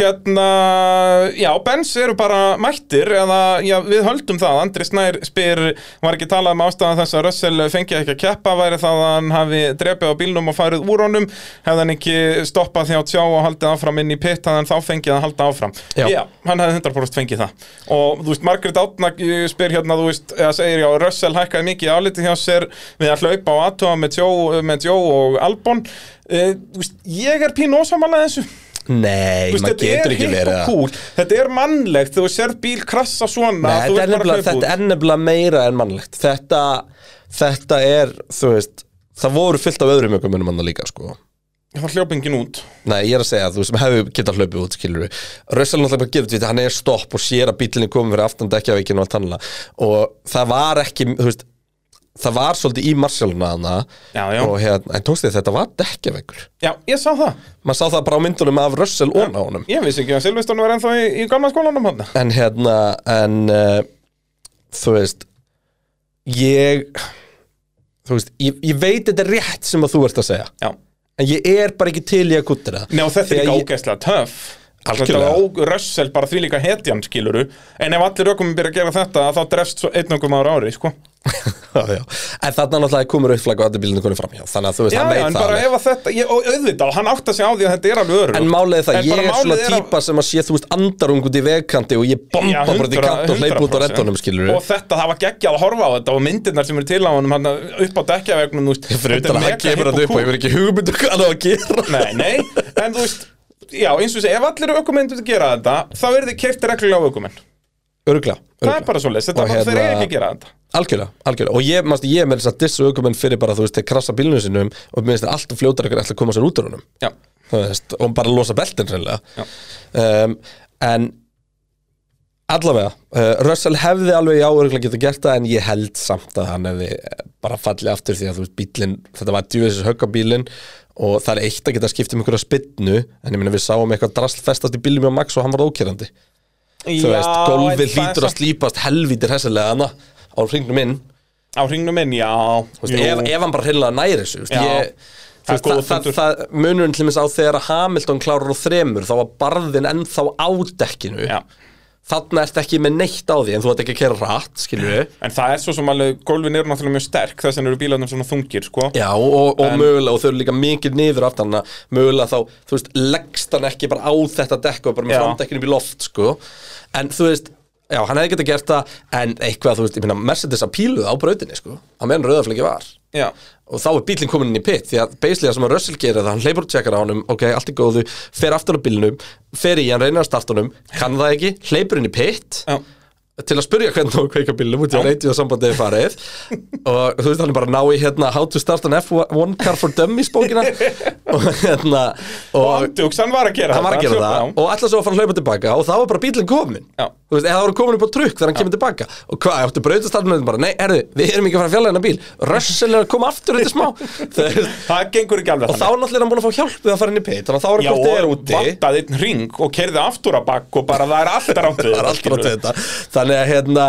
hérna, já, Benz eru bara mættir eða, já, við höldum það Andri Snær spyr, var ekki talað um ástæðan þess að Russell fengi ekki að keppa væri það að hann hafi drepið á bílnum og farið úr honum hefði hann ekki stoppað því á tjá og haldið áfram inn í pitt að hann þá fengið að halda áfram
Já.
hann hefði 100% fengið það og þú veist, Margrét Átna eh, spyr hérna, þú veist, eða segir já, Russell hækkaði mikið álitið hjá sér við að hlaupa á aðtóa með, Joe- eh, með Joe og Albon uh, veist, ég er pínu ósamalega þessu
nei,
Þú veist,
maður
þetta
getur
er
ekki
hitt
verið
og
það.
cool Þetta er mannlegt, þegar þú sér bíl krassa svona
Nei,
þú
þetta, er
vilt bara
nefnilega,
hlaupa
þetta er nefnilega meira en mannlegt þetta, þetta er, þú veist það voru fullt af öðrum ykkur munum annað líka sko.
út Það hljóp enginn út
Nei, ég er að segja, þú sem hefur getað hlaupið út, skilur við Russell náttúrulega bara gefið við, hann er stopp og sér að bílinni komið fyrir aftan dekkjaveikinu og allt hann og það var ekki, þú veist það var svolítið í marsjáluna hana
Já, já.
og hérna, en tókst þið þetta var dekkjaveikur
Já, ég sá það
maður sá það bara á myndunum af Russell og á honum
Ég vissi ekki að Silveston var ennþá í, í gamla skólanum hann
en hérna, en uh, þú veist ég þú veist, ég, ég veit þetta er rétt sem að þú ert að segja
Já
en ég er bara ekki til í að kuttir það
Nei, og þetta er
Þegar
ekki
ég-
ágæslega töff Þetta
Algjörlega.
var ó- Russell bara því líka hetjan skiluru En ef allir ökumum byrja að gera þetta þá drefst svo einn ökum ára ári sko.
Já, já. En þarna náttúrulega komur auðflag og allir bílunni konum fram hjá Þannig að þú veist,
Já,
hann
já,
veit
en
það
bara
alveg.
ef að þetta ég, Og auðvitað, hann átta sig á því að þetta er alveg öru
En málið er það,
En
ég
bara
er svona
málið er að-
típa sem að sé, þú veist, andarung út í vegkanti og ég bomba bara til kant og hleyp út á reddunum, skilur
Og þetta, það var geggjað að horfa á þetta og myndirnar sem eru til á honum hann upp á dekkjavegnum, þú veist
Fyrir
þetta er
utan að
mega
hann kemur
hipp
hann upp og ég verð ekki hugmyndu hvað hann á að gera
cool. Nei, nei, en þú veist Já, eins og sé, ef allir ökumenn myndu gera þetta þá verði keift reglulega á ökumenn
Öruglega,
Það er bara svo leys, þetta
Og
er bara þeir
hérna-
eiga ekki að gera þetta
Algjörlega, algjörlega Og ég, mástu, ég er með þess að dissu aukumenn fyrir bara, þú veist, þeir krassa bílunum sinum og mér finnst það alltaf fljótar ykkur ætla að koma sér út úr honum
Já,
þú veist, og bara losa beltin
Já.
sennilega um, en allavega, uh, Russell hefði alveg já, örgulega geta gert það en ég held samt að hann hefði eh, bara fallið aftur því að þú veist, bílinn, þetta var djúfisins höggabílinn og það er eitt að geta skipt um einhverja spynnu, en ég meina við sáum eitthvað drasl festast í bílum hjá Max og hann var ókerandi þú veist,
en
gólfið
það er
hlýtur að
samt-
slípast helvítir hessilega hana á hringnum inn
Á hringnum minn, já
Þú veist, ef, ef hann bara hreinlega næri þessu þú veist,
Já.
ég, þú veist,
Það er
það,
góður
það,
punktur.
það munurinn til minns á þegar að Hamilton klárar á þremur þá var barðin ennþá á dekkinu
Já.
þarna ert ekki með neitt á því en þú ert ekki að kera rætt, skilur við
En það er svo sem alveg, gólfin eru náttúrulega mjög sterk þess vegna eru bílarnir svona þungir, sko
Já, og, og mögulega, og þau eru líka mikið niður aftan þannig að mögulega þá, þú veist, leggst hann ekki bara á þetta dekk og bara með
Já.
framdekkinu upp í loft, sko en þú veist, já, hann hefði getað gert það en eitthvað, þú veist, ég minna, Mercedes að píluð á brautinni, sko, á meðan rauðafleiki var
Já,
og þá er bílinn komin inn í pitt því að basically það sem að Russell gerir það, hann hleypur og tjekkar á honum ok, allt er góðu, fer aftur á bílnum fer í hann, reynir að starta honum, kann það ekki hleypur inn í pitt
já,
til að spyrja hvernig hún kveika bílnum út í að reytið og sambandið er farið og þú veist hann er bara að ná í hérna how to start an F1 car for dummies bókina og hérna
og
og
andjóks, hann var að gera
hann var að gera
hljóp-
það
já.
og ætla svo að fara að hlaupa tilbaka og þá var bara bílinn komin
Já.
þú veist, eða það var komin upp á trukk þegar hann kemur tilbaka og hvað, áttu brautastarfnum bara, nei, herðu, við erum ekki að fara að fjalla hennar bíl Russell er að koma aftur þetta smá Þú veist,
Það gengur ekki alveg
og þá náttúrulega er hann búin að fá hjálp við að fara inn í pit þannig að þá er
Já,
hvort þið er
og
úti
vantaði einn ring og kerði aftur að bakk og bara það er alltaf rátt við
það er alltaf rátt við þetta þannig að hérna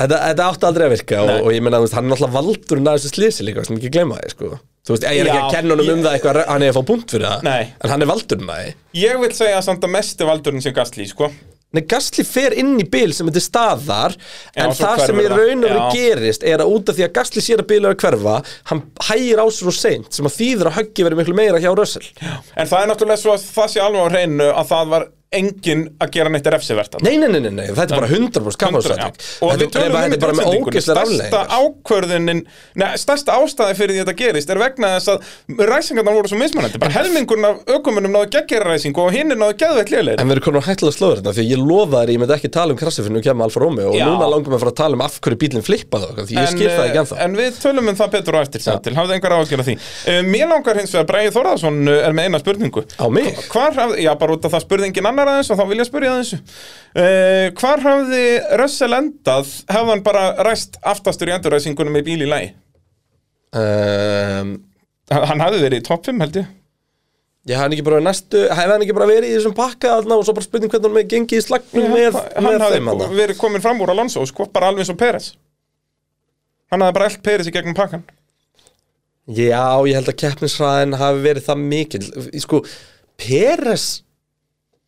Þetta, þetta átti aldrei að virka og,
Nei.
og ég meina, þú veist, hann er náttúrulega valdur að þessu slisi líka, sem ekki gleyma það, sko. Þú veist, ég er ekki
Já,
að kenna honum um
ég-
það eitthvað, að hann er að fá punkt fyrir það,
Nei.
en hann er valdur að það.
Ég vil segja samt að mesti valdurinn sem Gastli, sko
Nei, Gastli fer inn í bil sem þetta er staðar
Já,
en
svo
það sem í
hverfur það.
raun og veru
Já.
gerist er að út af því að Gastli sér að bil er að hverfa hann hægir á sér og seint sem að þýðir að höggi verið miklu meira hjá Russell
En það er náttúrulega svo að það sé alveg á hreinu að það var enginn að gera neitt refsivertan
Nei, nei, nei, nei, nei, þetta er bara 100% kapphásætning
Og við
Þetta er
tölum um
bara- þetta er bara með ógeðslega sko.
Stærsta
afleggingar
ákvörðunin, neða, stærsta ástæði fyrir því þetta gerist er vegna þess að ræsingarnar voru svo mismunandi Bara helmingurinn af ökumunum náðu geggjara ræsingu og hinn er náðu geðveitt liðleir
En við erum komin að hættilega slóður þetta hérna, því að ég lofa þær að ég myndi ekki tala um krassi fyrir nú kemur Alfa Romeo og
Já. eh,
núna langar mér að fara að tala um af hverju bílinn flippaði okkar því ég skil það ekki ennþá
en við tölum um það betur á eftir ja. til, hafðu einhver áhyggjur af því Eh, Mér langar hins vegar Bræði Þorðarsson eh, er með eina spurningu
Á mig?
Hvar hafði, já bara út af það spurðingin annar aðeins og þá vil ég spurja þessu uh, Hvar hafði Russell endað hefði hann bara ræst aftastur í endurræsingunum með bíl í lægi?
um,
Hann hafði verið í topp 5 held ég
Ég hafði hann ekki bara verið næstu, hafði hann ekki bara verið í þessum pakka þarna og svo bara spurning hvernig hann með gengið í slagnum með,
hann
með
hafði
þeim hann.
verið komin fram úr Alonso sko, bara alveg eins og Peres hann hafði bara eld Peres í gegnum pakkan
Já, ég held að keppnisraðin hafi verið það mikil. Sko, Peres,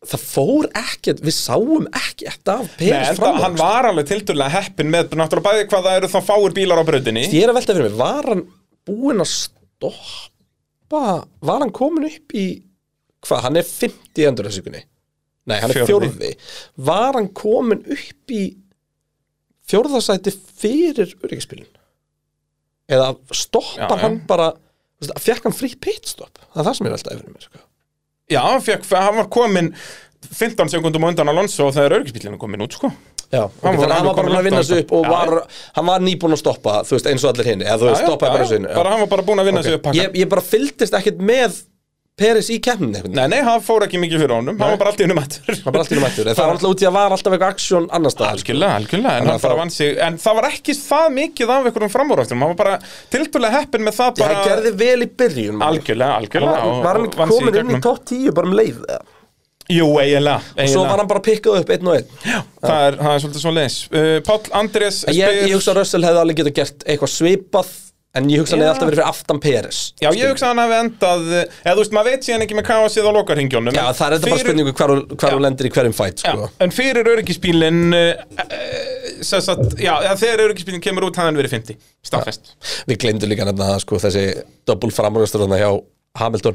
það fór ekkert, við sáum ekkert af
Nei,
Peres
enda,
fram.
hann var alveg tildulega heppin með náttúrulega bæði hvað það eru þá fáir bílar á brautinni
Ég er að velta fyrir mig, var hann búinn að stoppa, var hann komin upp í, hvað, hann er 50 endur þessu kunni? Nei, hann er
Fjórði.
fjórði. Var hann komin upp í fjórðasæti fyrir öryggispilin? Eða
Já,
stoppar
já.
hann bara, þú veist, fekk hann frí pitstop? Það er það sem ég velta fyrir mér, sko.
Já, hann, fekk, hann var komin 15 sekundum á undan Alonso þegar örgisbílinn komin út sko
Já, okay,
var
þannig að hann
alveg
var bara búinn
kominn
að
langt
vinna
á
þessu upp og
þetta.
var, hann var nýbúinn að stoppa, þú veist, eins og allir hinn, eða þú veist,
Já, já,
stoppaði bara
já,
sinu.
bara hann var bara búin að vinna sig upp pakkan
Ég, ég bara fylgdist ekkert með Peris í keppninni, einhvern veginn.
Nei, nei, hann fór ekki mikið fyrir honum, hann var bara allt í unum mættur
Það var bara allt í einu mættur, en það var alltaf út í að var alltaf eitthvað aksjón annar staðar
Algjörlega, algjörlega, en
Þannig
hann
að
bara
þá-
vann sig En það var ekki það mikið af einhverjum framúræftum Hann var bara tildulega heppin með það
Já,
bara
hann gerði vel í byrjun maður.
Algjörlega, algjörlega
Var-
og-
Var hann
og
ekki
vann sig
komin inn í
gegnum.
topp 10 bara um leið eða?
Jú, eiginlega,
Og svo var
eiginlega.
hann bara pikkað upp einn og einn Ég,
Það er, það er svolítið svo leins uh, Páll Andrés
ég
spyr-
hugsa að Russell hefði alveg getað gert eitthvað svipað En ég hugsa hann hefði alltaf verið fyrir aftan Peres
Já, ég hugsa að hann hafi endað eh, Eða þú veist, maður veit síðan ekki með káasið á lokarhingjónum
Já, það er þetta bara spurningu hvar, hún- hvar hún lendir í hverjum fæt
Já,
sko.
en fyrir öryggisbílinn uh, uh, að, já, eða þegar öryggisbílinn kemur út hafði hann verið 50, staðfest
Við glemdu líka nefna það sko, þessi double framröstur þarna hjá Hamilton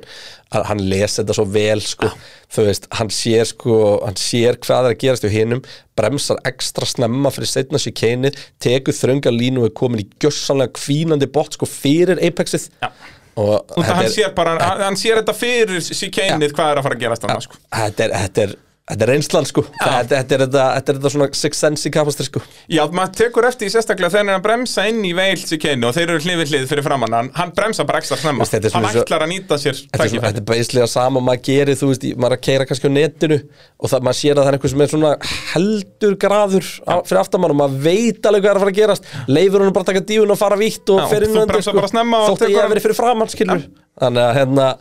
að hann les þetta svo vel sko. þú veist, hann sér sko hann sér hvað er að gerast hjá hinum bremsar ekstra snemma fyrir setna sér keinið, tekur þrönga línu og er komin í gjössanlega kvínandi bótt sko fyrir Apexið
Já.
og
Út að
þetta er,
hann sér bara, hann- hann sér þetta fyrir síkeinið hvað er að fara að gerast hann sko.
þetta er, þetta er Þetta er reynslan sko, þetta, þetta, er þetta, þetta er þetta svona six sense í kapastri sko
Já, maður tekur eftir í sérstaklega þegar hann er að bremsa inn í veil síkeinu og þeir eru hlið við hlið fyrir framann hann, hann bremsa bara ekstra snemma
Veist, þetta er
hann
svona svo-
ætlar að nýta sér
Þetta er, svona,
tækifæri
þetta er beislega sama og maður gerir, þú veist, í- maður er að keira kannski á netinu og það, maður sér að það er einhver sem er svona heldur graður á, fyrir aftamann og maður veit alveg hvað er að fara að gerast leifur honum bara að taka dífun og fara vítt og
Já,
fer
þú
inn undir, sko.
bremsar bara snemma og
þótt að
tekur
ég
hann.
hef verið fyrir framann skilur þannig að hérna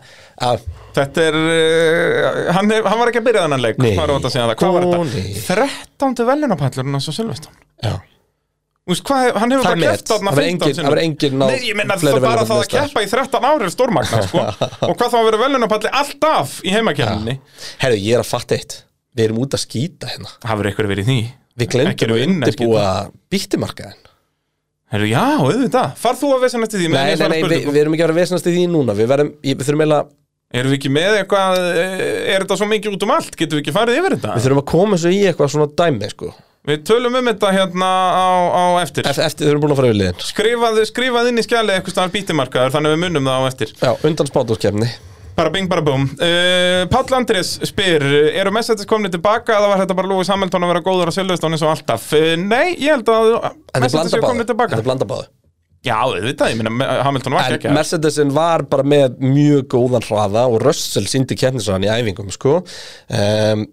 að,
Þetta er, uh, hann, hef, hann var ekki að byrja þennan leik
Nei.
Hvað er þetta að segja það, hvað var
Ó,
þetta?
nei.
13. velunapallurinn á svo Silveston
já,
Þú veist hvað, hann hefur
Það er
bara
met.
keppt þarna
Það verður enginn-
15
það verður enginn náð
Nei, ég menna
fleiri
það bara það að
verðlaunapallmeistrar.
keppa í 13 árið stórmagna, sko Og hvað þá að vera velunapalli alltaf í heimakefninni
herru, ég er að fatta eitt við erum út að skýta hérna
Hafur ykkur verið í því?
við
Ekki
glemdum
eru
að
inn að
undirbúa býttimarkaðin
Herru, já, auðvitað, far þú að vesa nætti því
nei, nei, nei, við, við erum ekki að vera vesnast í því núna við, verðum, í- við þurfum eiginlega
Erum við ekki með eitthvað, eh, er þetta svo mikið út um allt? Getum við ekki farið yfir þetta?
við þurfum að koma þessu í eitthvað svona dæmi sko.
Við tölum um þetta hérna á, á eftir
eftir, eftir þurfum búin að fara yfir liðin
Skrifað, skrifað inn í skjali eitthvað staðar bítimarkaður þannig að við munum það á eftir
já, undan spátumskefni
Bara bing, bara búm. Uh, Páll Andrés spyr, eru Mercedes komni tilbaka eða var þetta bara Lewis Hamilton að vera góður á Silveston eins og alltaf? Uh, nei, ég held að
Þetta er
Mercedes
blanda
eru komni
báðu Þetta
tilbaka.
er blanda báðu
Já, auðvitað, ég minna Hamilton var ekki
En
ekki.
Mercedesin var bara með mjög góðan hraða og Russell síndi keppnisraðan í æfingum sko um,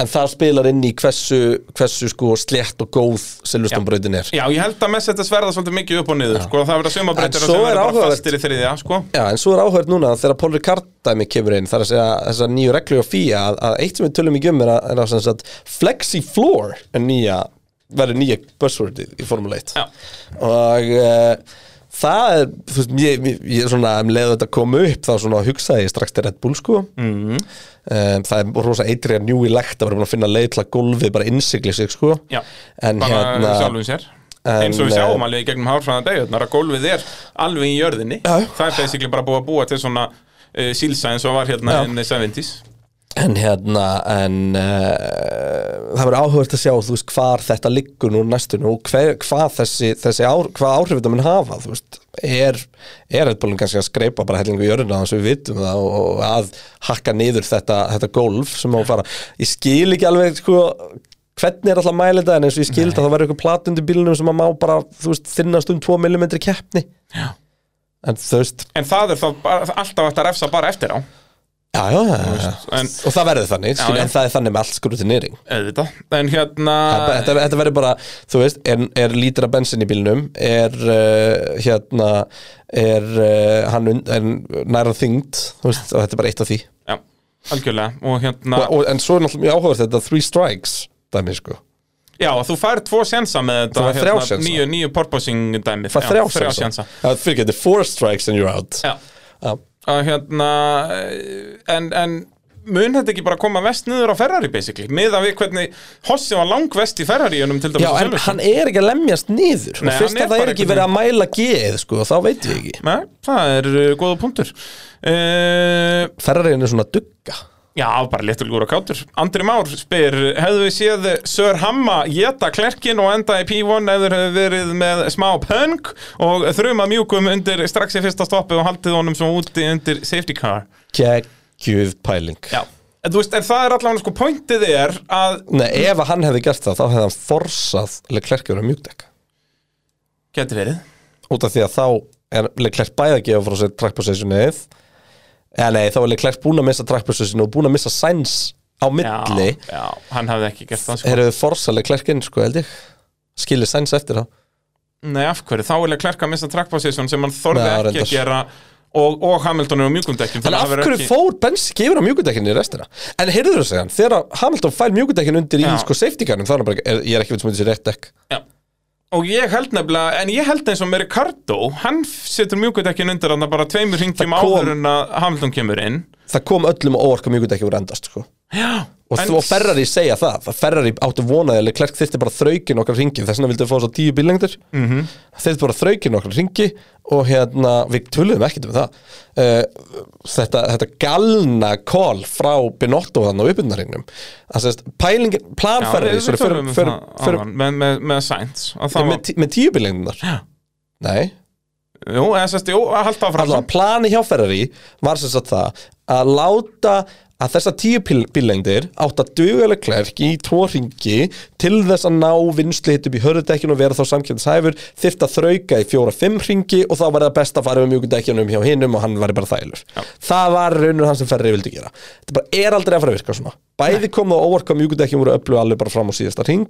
En það spilar inn í hversu, hversu sko slétt og góð Silvestonbrautin er
Já, ég held að Mercedes verða svolítið mikið upp og niður, sko, það verða
En
sumabreytir
svo
og sem
er
verða bara
áhugavert.
fastir í þriðja, sko.
Já, en svo er áhört núna að þegar Paul Ricard dæmi kemur inn, það er að segja þessar nýju reglu og fíja að, að eitt sem við tölum ekki um er að, er að sem sagt, flexi floor er nýja, verður nýja buzzwordið í Formule 1
Já.
og uh, það er, þú veist, ég, ég, ég svona um leið þetta kom upp þá svona hugsaði ég strax til Red Bull sko
Mhm.
mm. það er rosa eitri að njúi legt að vera búin að finna leið til að gólfið bara innsigli sig sko
Já,
en
bara
hérna
sjálfum sér.
en,
Eins og við
eh,
sjáum alveg í gegnum hárfræðan degjötnar að gólfið er alveg í jörðinni.
Já.
Það er basically bara búið að búa til svona uh, sílsa eins og var
Já.
hérna inn í 70s.
En hérna, en uh, það verður áhugast að sjá, þú veist, hvar þetta liggur nú næstunum og hver, hvað þessi, þessi ár, hvað áhrif þetta mun hafa, þú veist, er, er eitthvað kannski að skreipa bara hellingu í jörðina þannig sem við vitum það og, og að hakka niður þetta, þetta golf sem á að fara, ég skil ekki alveg, sko, hvernig er alltaf að mæla þetta en eins og ég skil það, það verður eitthvað platundi bílunum sem að má bara, þú veist, þinnast um 2 mm keppni. Já. En þú veist,
En það er þá bara, alltaf hægt að refsa bara eftir á
já, já, já, já.
en-
og það verður þannig,
Já,
skilur,
já.
en það er þannig með allt skrutinering
Auðvitað. En hérna
þetta, þetta verður bara, þú veist, er, er lítra bensin í bílnum, er uh, hérna, er uh, hann und, er næra þyngd þú veist, og þetta er bara eitt af því
Já, algjörlega Og hérna
og, og, en svo er náttúrulega mjög áhugavert þetta three strikes dæmi, sko
Já, þú fær tvo sensa með þetta
Það
hérna,
var þrjá sénsa.
Nýju, nýju porposing dæmi
það er
Já,
þrjá sensa.
sénsa.
Já, fyrir getur four strikes and you're out
Já,
Já.
að hérna En, en mun þetta ekki bara koma vest niður á Ferrari basically miðan við hvernig Hossi var langvest í Ferrari unum til dæmis
Já,
á
en
Silverstone.
hann er ekki að lemjast niður
Nei,
og fyrst
hann
að
er
það
bara
er ekki
einhvern
verið að mæla geð sko, þá veitum við ekki
Nei, það er uh, góða punktur uh,
Ferrariðin er svona að dugga
Já, bara léttulgur og kátur Andri Már spyr, hefðu við séð Sör Hamma geta klerkin og enda í P1 ef þeir hefðu verið með smá punk og þruma mjúkum undir strax í fyrsta stoppi og haldið honum sem úti undir safety car
Gekkjuð pæling
Já, en, þú veist, en það er allavega sko pointið er að
Nei, ef að hann hefði gert það, þá hefði hann forsað Leclercur að mjúkdekka
Geti verið
út af því að þá er Leclerc bæði að gefa frá sér track positionið eða nei, þá er Leclerc búin að missa track positionið og búin að missa sæns á milli
Já, sko. já, hann hefði ekki gert það sko
eru þau forsa Leclerc inn, sko, held ég skilir sæns eftir þá
Nei, af hverju, þá er Leclerc að missa track position sem hann þorði
Nei, reyndar.
ekki að gera og, og Hamilton er á mjúkum dekkjum
en
þannig að
af
það verður
hverju fór Benz gefur á mjúkudekkinu í restina en heyrður þau segjan, þegar að Hamilton fær mjúkudekkinu undir í
Já.
sko safety carnum, þá er hann bara, er, ég er ekki veit sem þetta sé rétt dekk
Já. Og ég held nefnilega, en ég held eins og með Ricardo, hann setur mjúkudekkin undir hann bara tveimur ringjum
Það kom-
áður en að Hamilton kemur inn.
það kom öllum á óorka mjúkudekki voru endast, sko
Já.
og þú og Ferrari segja það að Ferrari áttu vonaði að Leclerc þyrfti bara þraukin okkar ringi þess vegna vildu við fá svo tíu bílengdur mm
Mhm.
-hmm. þyrfti bara þraukin okkar ringi og hérna, við töluðum ekkert um það uh, þetta, þetta galna call frá Binotto þannig á uppbyrnarinnum pælingin, plan Ferrari
við
sorry, förum-
tölum um
förum-
það
förum-
áðan, með, með, með Sainz. Og það
með
var,
tí- með tíu bílengdunar
Já.
nei
jú, eða sérst, jú, að halda áfram.
allavega plani hjá Ferrari var sem sagt það að láta að þessar tíu píl- bíllengdir átt að dugulega klerk í tvo ringi til þess að ná vinsli hitt upp í hörðudekkinu og vera þá samkjöndshæfur þyrft að þrauka í fjóra-fimm ringi og þá var það best að fara um mjúkudekkinum hjá hinnum og hann var bara þælur það var raunur hann sem Ferrari vildi gera þetta bara er aldrei að fara að virka svona bæði kom það óvorka mjúkudekkjum voru öllu alveg bara fram á síðasta ring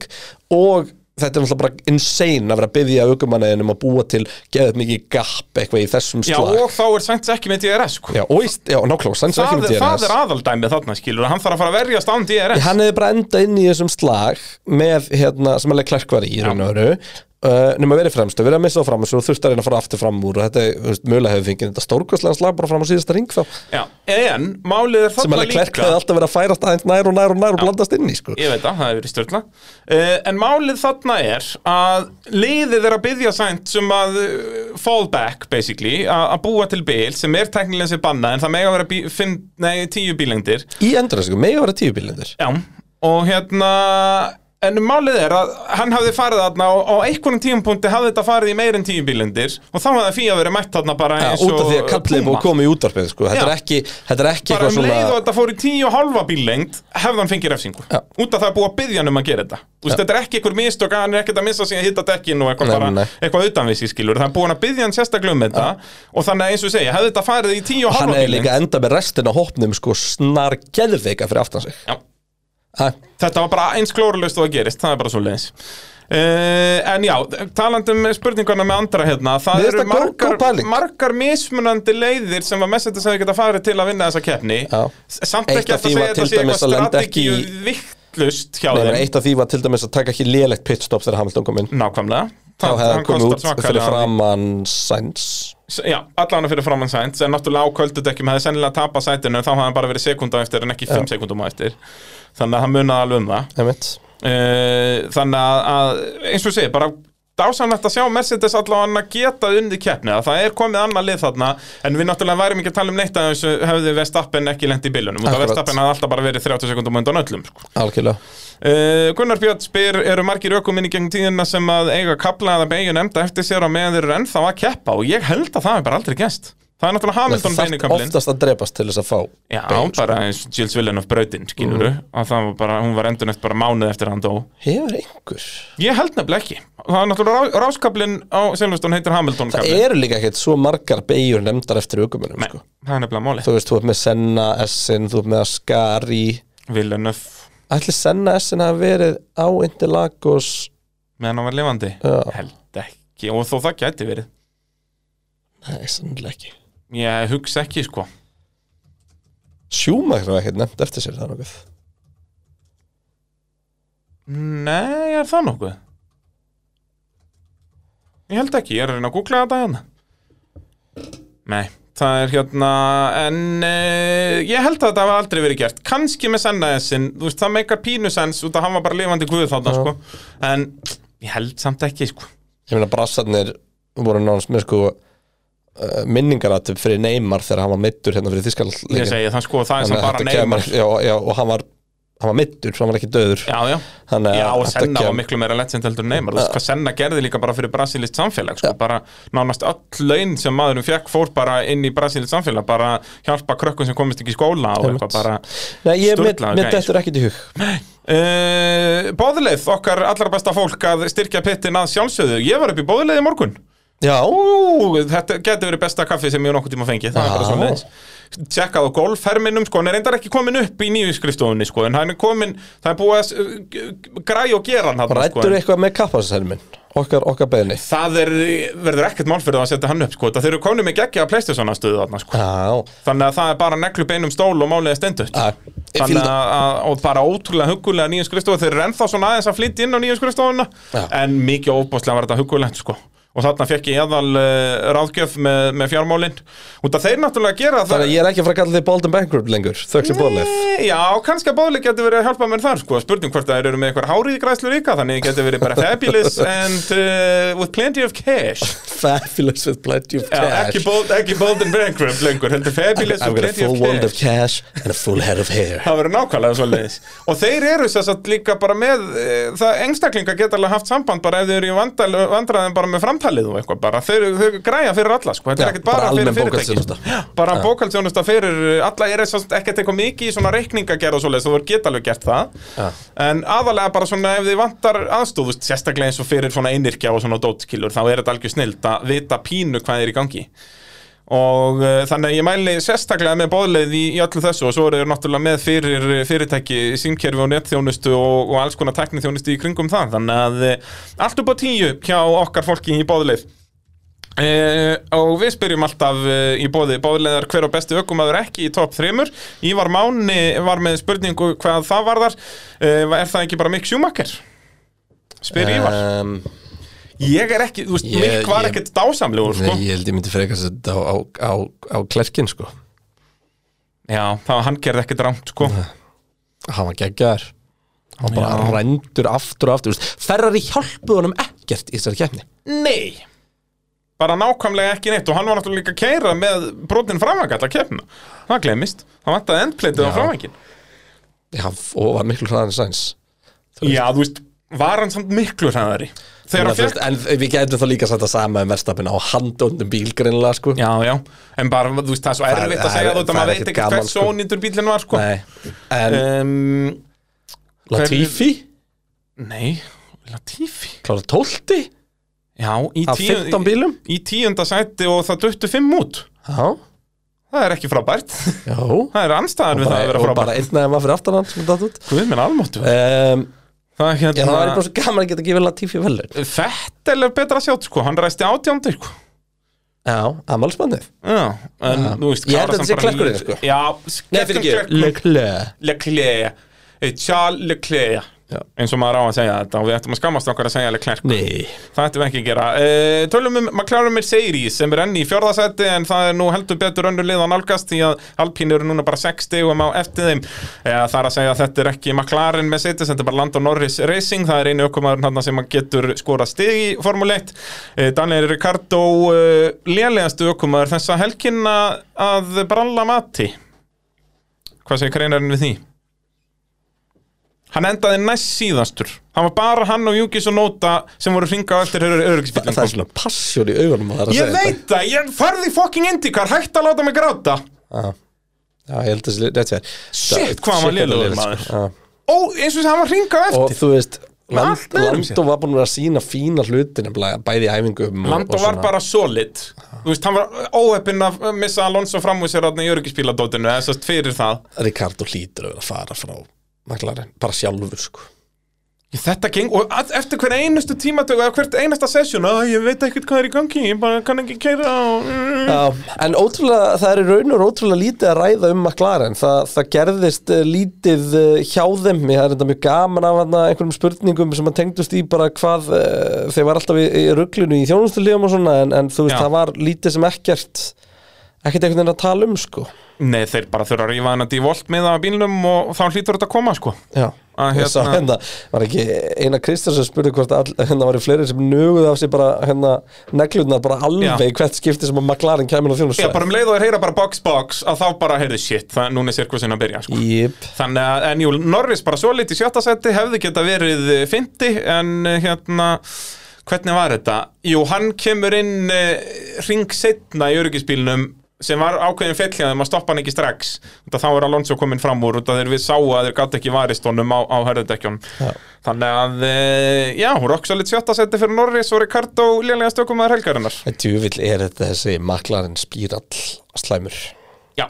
og þetta er náttúrulega bara insane að vera að byggja aukumanniðinum að búa til geðið mikið gap eitthvað í þessum
Já,
slag
og þá er Sainz ekki með DRS, sko.
Já, og í, já, nákvæmlega, Sainz er ekki um
Það,
með
er, það
DRS
er aðaldæmið þarna, skilur, að hann þarf að fara að verjast án DRS.
Hann hefði bara endað inn í þessum slag með, hérna, sem alveg klærk var í í raun og veru Uh, nema verið fremstu, verið að missa á fram og þurfti að reyna að fara aftur fram úr og þetta, þú veist, mögulega hefði fengið þetta stórkostlega slag bara fram á síðasta ring þá sem
Já, en málið er þarna
alveg
líka.
klærk hefði alltaf verið að færast aðeins nær og nær og nær og blandast inn í sko.
Ég veit það, það hefur verið stjórna uh, En málið þarna er að liðið er að byggja sænt sem að uh, fall back basically a- að búa til bíl sem er teknilega sér banna en það mega vera bí, fimm, nei, tíu bílengdir
Í endurins, sko, mega verið tíu bílindir
Já, og hérna En málið er að hann hafði farið þarna og á einhvern tímapunkti hafði þetta farið í meir en tíu bílendir og þá hafði fíja verið mætt þarna bara
ja,
eins
Út af
og
því að kallið og
Puma.
komið í útvarpið sko. þetta,
Já.
er ekki, þetta er ekki
Bara um
eitthvað svona
leið og þetta fór í tíu og halva bíllengd hefði hann fengið refsingu
Já.
Út af það er búið að byggja hann um að gera þetta Þú veist, Þetta er ekki einhver mistök að hann er ekkert að missa sig að hitta dekkin og eitthvað,
Nei,
bara,
nei.
eitthvað utanvísi skilur Það er búið að byggja hann sérstaklega um þetta Og þannig að eins og ég segja, hefði þetta farið í tíu og
Hann
halva
hefði
bíllengd
líka endað með restina af hópnum sko, snar geðveika fyrir aftan sig
Já.
ha,
Þetta var bara eins glórulaust og það gerist, það er bara svo leiðis en já, talandi um spurninguna með andra hérna
Mér
Það
finnst
eru
það góð-
margar,
góð pæling.
margar mismunandi leiðir sem að messendis hefði geta farið til að vinna þessa keppni
Já.
Samt
Eitt
ekki
af
hægt að
því
segja
var
þetta
til
sé
dæmis að
eitthvað
lenda ekki í-
strategíu vittlust hjá
Nei,
þeim
menn, eitt af því var til dæmis að taka ekki lélegt pitstop þegar Hamilton kom inn
Nákvæmlega
þá
Mm, Það-
hefði hann komið
kostar
út
svakalega
fyrir framann Sainz
S- Já, allan fyrir framann Sainz En náttúrulega á kvöldudekjum hefði sennilega tapað sætinu En þá hafði hann bara verið sekunda eftir en ekki fimm sekundum á eftir Þannig að hann munaði alveg um það
einmitt.
Eh, þannig að, að eins og ég segi, bara dásamlegt að sjá Mercedes allavega að geta undi keppni að það er komið annað lið þarna en við náttúrulega værum ekki að tala um neitt að þessu hefði Vestappen ekki lent í bilunum og það
Akkurat.
Vestappen hafði alltaf bara verið 30 sekundum undan öllum sko.
algjörlega
Uh, Gunnar Björn spyr, eru margir ökuminn í gegnum tíðina sem að eiga kapla eða beigju nefnda eftir sér á meðan þeir eru ennþá að keppa og ég held að það er bara aldrei gæst það er náttúrulega Hamilton
Það
meini
þarf
kamlin
oftast að drepast til þess að fá
Já,
bein, sko. Mm.
bara eins og Jill Villeneuve brautin, skilur að það var bara, hún var endurneft bara mánuð eftir að hann dó
Hefur einhver
Ég held nefnilega ekki, það er náttúrulega rá, ráskablin á Silveston heitir Hamilton
Það
kablin
eru líka ekkert svo margar beigjur nefndar eftir aukumunum sko.
það er nefnilega máli
Þú veist, þú ert með Senna S-in, þú ert með Ascari
Villeneuve,
Ætli Senna S-in hafi verið á Interlagos
meðan hann var lifandi
Já.
Held ekki, og þó það gæti verið
Nei, sannlega ekki
Ég hugsa ekki, sko
Sjúmakur var ekkert nefnd eftir sér það er nokkuð
Nei, er það nokkuð? Ég held ekki, ég er að reyna að googla þetta hérna Nei, það er hérna En uh, ég held að þetta hafa aldrei verið gert Kanski með sennaðessin, þú veist, það meikar pínusens Út að hann var bara lifandi guð þarna,
Já.
sko En ég held samt ekki, sko
Ég meina brassarnir voru nánast með sko uh, minningaratöp fyrir Neymar þegar hann var meittur hérna fyrir
Ég
Þískarleik
segi það, sko, það er sem bara neymar
já, já, og hann var, hann var meittur, hann var ekki döður
Já, já,
Þannig að
já, og
þetta
Senna var
kem-
miklu meira legend heldur en Neymar, þú veist hvað Senna gerði líka bara fyrir brasilist samfélag, sko, bara nánast öll laun sem maðurum fekk fór bara inn í brasilist samfélag, bara hjálpa krökkum sem komist ekki í skóla og
Einmitt.
eitthvað bara
Nei, ég mitt
Sturlaður gæi, sko.
dettur ekkert í hug
uh, Bóðleið, okkar allra besta fólk að styrkja pittin að sjálfsögðu, ég var upp í bóðleið í morgun
Já,
Ú, þetta getur verið besta kaffi sem ég nokkuð tíma fengið, það er bara
Já.
svona leins Tjekkað á golfherminum, sko, hann er reyndar ekki komin upp í nýju skrifstofunni, sko, en hann er komin, það er búið að s- g- g- græja og gera hann hann, sko,
rættur
en-
eitthvað með kappaðshermin Okkar, okkar beðni
það er, verður ekkert mál fyrir það að setja hann upp sko. það þeir eru konum með geggja að playstation stöðu þarna sko.
Já,
þannig að það er bara neglu beinum stól og málið er stendur
já, ég fíl
þannig
það
að, að, og bara ótrúlega hugulega nýjum skrifstofu þeir eru ennþá svona aðeins að flytja inn á nýjum skrifstofuna
Já.
en mikið óbáslega var þetta hugulegt sko. og þarna fekk ég eðal uh, ráðgjöf með, með fjármálinn út að þeir náttúrulega gera það
Þannig að ég er ekki að fara að kalla þig Bolden Bankrupt lengur Þöks er bóðleif
Nei, Já, kannski að bóðleik getur verið að hjálpa mér þar sko. spurning hvort það eru með eitthvað hárið græslu líka þannig getur verið bara fabulous and uh, with plenty of cash
Fabulous with plenty of
Já,
cash
ekki, bold, ekki bold and bankrupt lengur heldur fabulous
I've
og
got a
plenty
full
of
wand of
cash
cash and a full head of hair
það verður nákvæmlega svo leiðis og þeir eru þess að líka bara með e, það engstaklinga geta alveg haft samband bara ef þeir eru í vandal, vandræðin bara með framtalið og eitthvað bara, þeir, þeir græja fyrir alla sko.
Já,
þetta er ekkert
bara
bara,
almenn
fyrir fyrirtæki
bókhaldsþjónusta.
Já, bara bókaldsjónusta fyrir eh, alla er þess að ekkert eitthvað mikið í svona reikningagerð og svo leiðis þú verður geta alveg gert það
Já.
en aðalega bara svona ef þið vantar aðstóðust sérstaklega eins og fyrir svona einirkja og svona dótskilur þá er þetta algjör snilt að vita pínu hvað er í gangi og uh, þannig að ég mæli sérstaklega með bóðleið í, í öllu þessu og svo eru þeir náttúrulega með fyrir uh, fyrirtæki símkerfi og netþjónustu og, og alls konar tekniþjónustu í kringum það þannig að uh, allt upp á tíu hjá okkar fólki í bóðleið Uh, og við spyrjum alltaf uh, í bóði bóðleðar hver á besti ökumæður ekki í top 3 Ívar Máni var með spurningu hvað það varðar uh, er það ekki bara Mick Schumacher? spyr Ívar
um,
ég er ekki, þú veist,
ég-
Mick var
ég-
ekkert dásamlegur sko.
Nei, ég held ég myndi frekast þetta á, á, á, á klerkin sko
já, það var hann gerði ekkert rámt sko.
Eh. Hann var geggjaður Hann var bara rændur aftur og aftur þú veist. Ferrari hjálpuð honum ekkert í þessari keppni
Nei Bara nákvæmlega ekki neitt og hann var náttúrulega líka að keira með brotin framvægat að keppna Það glemist, hann vantaði endpleitið á
Já.
framvægin
Já, og var miklu hraðan sæns
Já, þú veist, var hann samt miklu hræðari Þegar
en,
hann fekk
en við gætum þá líka satt að sama um verstafin á handóndum bíl greinlega sko
Já, já, en bara, þú veist, það er svo
er-
erfitt að
það er-
segja þú þetta
það er
maður
ekkert
veit ekki
gaman,
hvert
sko.
sónindur bílinn var sko
Nei, en
um,
Latifi
Nei, Latifi
klára tólti
Já, í,
af
tíu,
15 bílum
í tíunda sæti og það duttu fimm út
Já,
Það er ekki frábært
já
Það er anstæðan við það að
bara,
vera
og bara
frábært
einn aðeins fyrir aftan hann sem datt út
Guð minn almáttu
um,
Það
Já, það
er
væri
hérna
bara svo gaman að geta gefið Latifi velur
Fettel er betra sjátt sko, hann ræsti átjándu sko.
Já, amalspannið
Já, en þú veist
Ég held
klárar
að
samt
sé
bara
klerkurinn,
líf-
sko.
Já,
Nei, fyrir ekki, Leclerc
Leclerc Eh, Charles Leclerc
Já.
eins og maður á að segja þetta og við ættum að skammast okkar að segja Leclerc
Nei
það ættum við ekki að gera uh, tölum um, maður klárum Mercedes sem er enni í fjórðasæti en það er nú heldur betur önnur lið á nálgast því að Alpine eru núna bara 60 og má eftir þeim eða það er að segja að þetta er ekki McLaren Mercedes, þetta er bara Lando Norris Racing það er einu ökumæður hann sem að getur skora stig í Formule 1 uh, Daniel Ricardo uh, lélegastu ökumæður þessa helgina að bralla mati hvað segir kreinarinn við því? Hann endaði næst síðastur Það var bara hann og Júkis og Nóta sem voru hringað eftir öryggisbílum
það er svona passjón í augunum að það er að
Ég
segja
veit það, ég farði fucking indikar, hætt að láta mig gráta
þetta. Já, Já, ég held að þessi rétt sér
Shit, hvað hann var
hérna
lélegur, maður.
Já.
Ó, eins og þess að hann var hringað
Og
eftir
þú veist,
Með
Land,
allt öðrum sér.
Landó var búin að vera að sína fína hluti nefnilega bæði í æfingum og-
Landó
og
var
svona.
bara solid Þú veist, hann var óheppinn að missa Alonso fram úr sér þarna í öryggisbíladótinu eða sérst fyrir það
Ricardo hlýtur að vera að fara frá McLaren, bara sjálfur sko
Ég, Þetta geng, og að- eftir hver einustu tímatöku eða hvert einasta sesjón, að ég veit ekkert hvað er í gangi ég bara kann ekki mm, keira og...
Já, en ótrúlega, það er í raun og ótrúlega lítið að ræða um McLaren það, það gerðist uh, lítið uh, hjá þeim, ég er þetta mjög gaman af hana, einhverjum spurningum sem að tengdust í bara hvað, uh, þeir var alltaf í, í ruglunu í þjónustulíðum og svona en, en þú veist,
Já.
það var lítið sem ekkert ekkert einhvern veginn að tala um, sko
Nei, þeir bara þurfa að rífa hann að dívolt með það bílnum og þá hlýtur þetta að koma, sko
Já,
Að
ég sá
hérna-
hérna, var ekki eina Kristján sem spurði hvort all, hérna var í fleiri sem nöguð af sér bara hérna neglutna bara alveg
Já.
í hvert skipti sem að McLaren kemur á
Já,
þjónustulíðum
bara um leið og þeir heyra bara box box að þá bara heyrðu shit, það, núna er sirkusin að byrja, sko
Jip,
Þannig að, en jú, Norris bara svo lítið sjötta seti, hefði geta verið eh, fimmti, en eh, hérna, hvernig var þetta? Jú, hann kemur inn uh, ring setna í öryggisbílnum sem var ákveðin felljaðum að stoppa hann ekki strax Þetta þá er Alonso komin fram úr út að þeir við sáu að þeir gátt ekki varist honum á, á hörðudekkjum Þannig að, uh, já, Roxalit sjötta seti fyrir Norris og Ricardo lélega stökum að helgarinnar
djúvill er þetta þessi McLaren spírall slæmur
Já,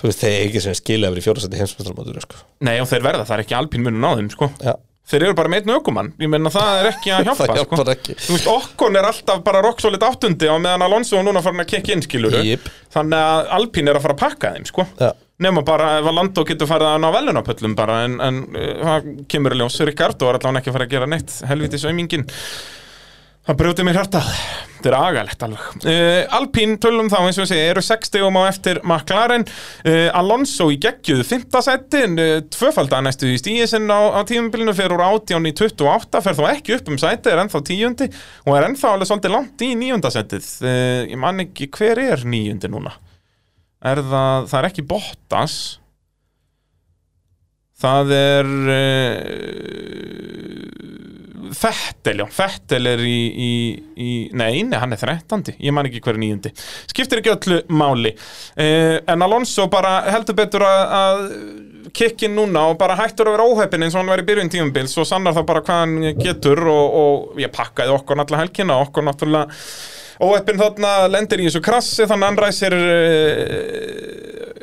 þú veist, þeir eru ekki sem skilja að vera í fjórasætti heimsmyndarmótur sko.
nei og þeir verða, það er ekki alpín munun á þeim, sko
Já.
Þeir eru bara með einn ökumann, ég menna það er ekki að hjálpa
Það
sko.
hjálpar ekki.
Þú veist, Okkon er alltaf bara rock solid áttundi á meðan Alonso er núna farin að kekka inn skiluru
Jep.
Þannig að Alpín er að fara að pakka þeim sko.
Já.
Nefna bara ef að Lando getur farið að ná velunapöllum bara en, en eh, það kemur í ljós Ricardo er allan ekki að fara að gera neitt helviti saumingin Það brjóti mér hjartað Þetta er agalegt alveg uh, Alpín, tölum þá eins og sé, eru 60 um á eftir McLaren uh, Alonso í geggjuðu 5. settin uh, Tvöfalda næstu í stíði sinn á, á tímumbilinu Fer úr 18 í 28 Fer þá ekki upp um sæti, er ennþá 10 Og er ennþá alveg svolítið langt í 9. settið uh, Ég man ekki, hver er 9. núna? Er það, það er ekki Bottas Það er uh, Fettel, já, Fettel er í, í, í nei, nei, hann er 13. Ég man ekki hverju nýjundi. Skiptir ekki öllu máli. Uh, en Alonso bara heldur betur að, að kikkin núna og bara hættur að vera óheppin eins og hann var í byrjun tímumbil svo sannar það bara hvað hann getur og, og ég pakkaði okkur náttúrulega helgina okkur náttúrulega óheppin þarna lendir í þessu krassi þannig að hann ræsir uh,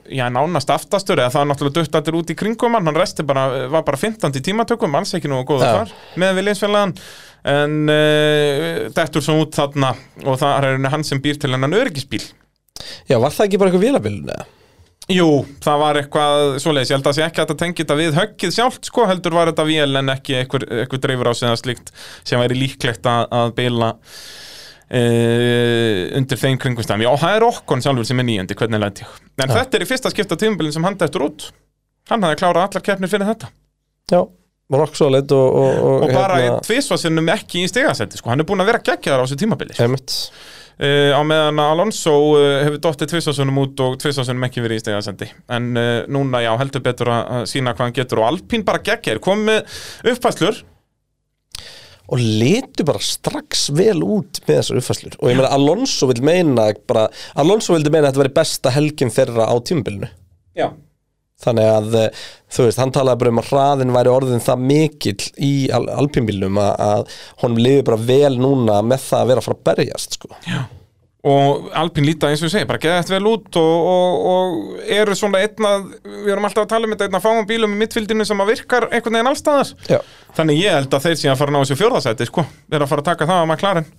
já, nánast aftastur eða það er náttúrulega dutt allir út í kringum hann hann resti bara, eh, var bara 15 í tímatökum alls ekki nú að góða
Já.
þar með viljensfélagan en uh, dettur svo út þarna og það er hann sem býr til hennan öryggisbíl
já, var það ekki bara eitthvað vélabilun eða?
Jú, það var eitthvað svoleiðis, ég held að sé ekki að þetta tengi þetta við höggið sjálft sko, heldur var þetta vél en ekki eitthvað, eitthvað dreifur á sig eða slíkt sem væri líklegt að, að beila uh, undir þeim kringumstæðum. Já, það er okkon sjálfur sem er nýjandi, hvernig læt ég. En þetta er í fyrsta skipta tímubilin sem hann dættur út. Hann hafði klárað allar keppnir fyrir þetta.
já, rock solid og, og, og,
Og bara
hérna,
hérna... tvisvarsinnum ekki í stegasetti, sko. Hann er búin að vera geggjaðar á þessu tímabili. Sko.
einmitt.
Uh, á meðan að Alonso uh, hefur dottið tvisasunum út og tvisasunum ekki verið í stegasendi en uh, núna já heldur betur að, að sína hvað hann getur og Alpín bara geggir kom með uppfæslur
og litu bara strax vel út með þessar uppfæslur og ég meina Alonso vil meina bara, Alonso vildi meina að þetta veri besta helgin þeirra á tímabilinu
já.
Þannig að, eh, þú veist, hann talaði bara um að hraðin væri orðin það mikill í al alpínbílnum að, að honum liði bara vel núna með það að vera að fara að berjast, sko.
og Alpín líta eins og ég segi bara geðið vel út og, og, og eru svona einna, við erum alltaf að tala um þetta einna fáum bílum í mittfildinu sem að virkar einhvern veginn allstaðar
Já.
þannig ég held að þeir síðan fara að ná þessu fjórðasæti sko, er að fara að taka það að maður klarin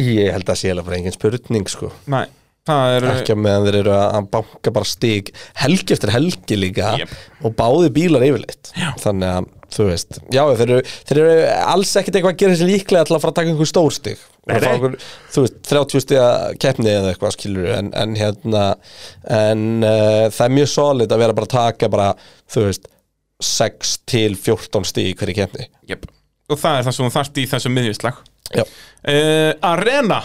Ég held að sé alveg bara engin spurning, sko.
Nei, það er
Ekki að meðan þeir eru að að banka bara stig helgi eftir helgi líka
Jep.
og báði bílar yfirleitt. Já. Þannig að, þú veist, já, þeir eru, þeir eru alls ekkit eitthvað að gera þessi líklega til að fara að taka einhver stór stig. Og
Nei,
fá
nei.
einhver, þú veist, 30 stiga keppni eða eitthvað skilur en, en hérna, en uh, það er mjög solid að vera bara að taka bara, þú veist, 6 til 14 stig í hverju keppni.
yep. og það er það sem þú þarft í þessu miðjuslag
Já.
uh, Arena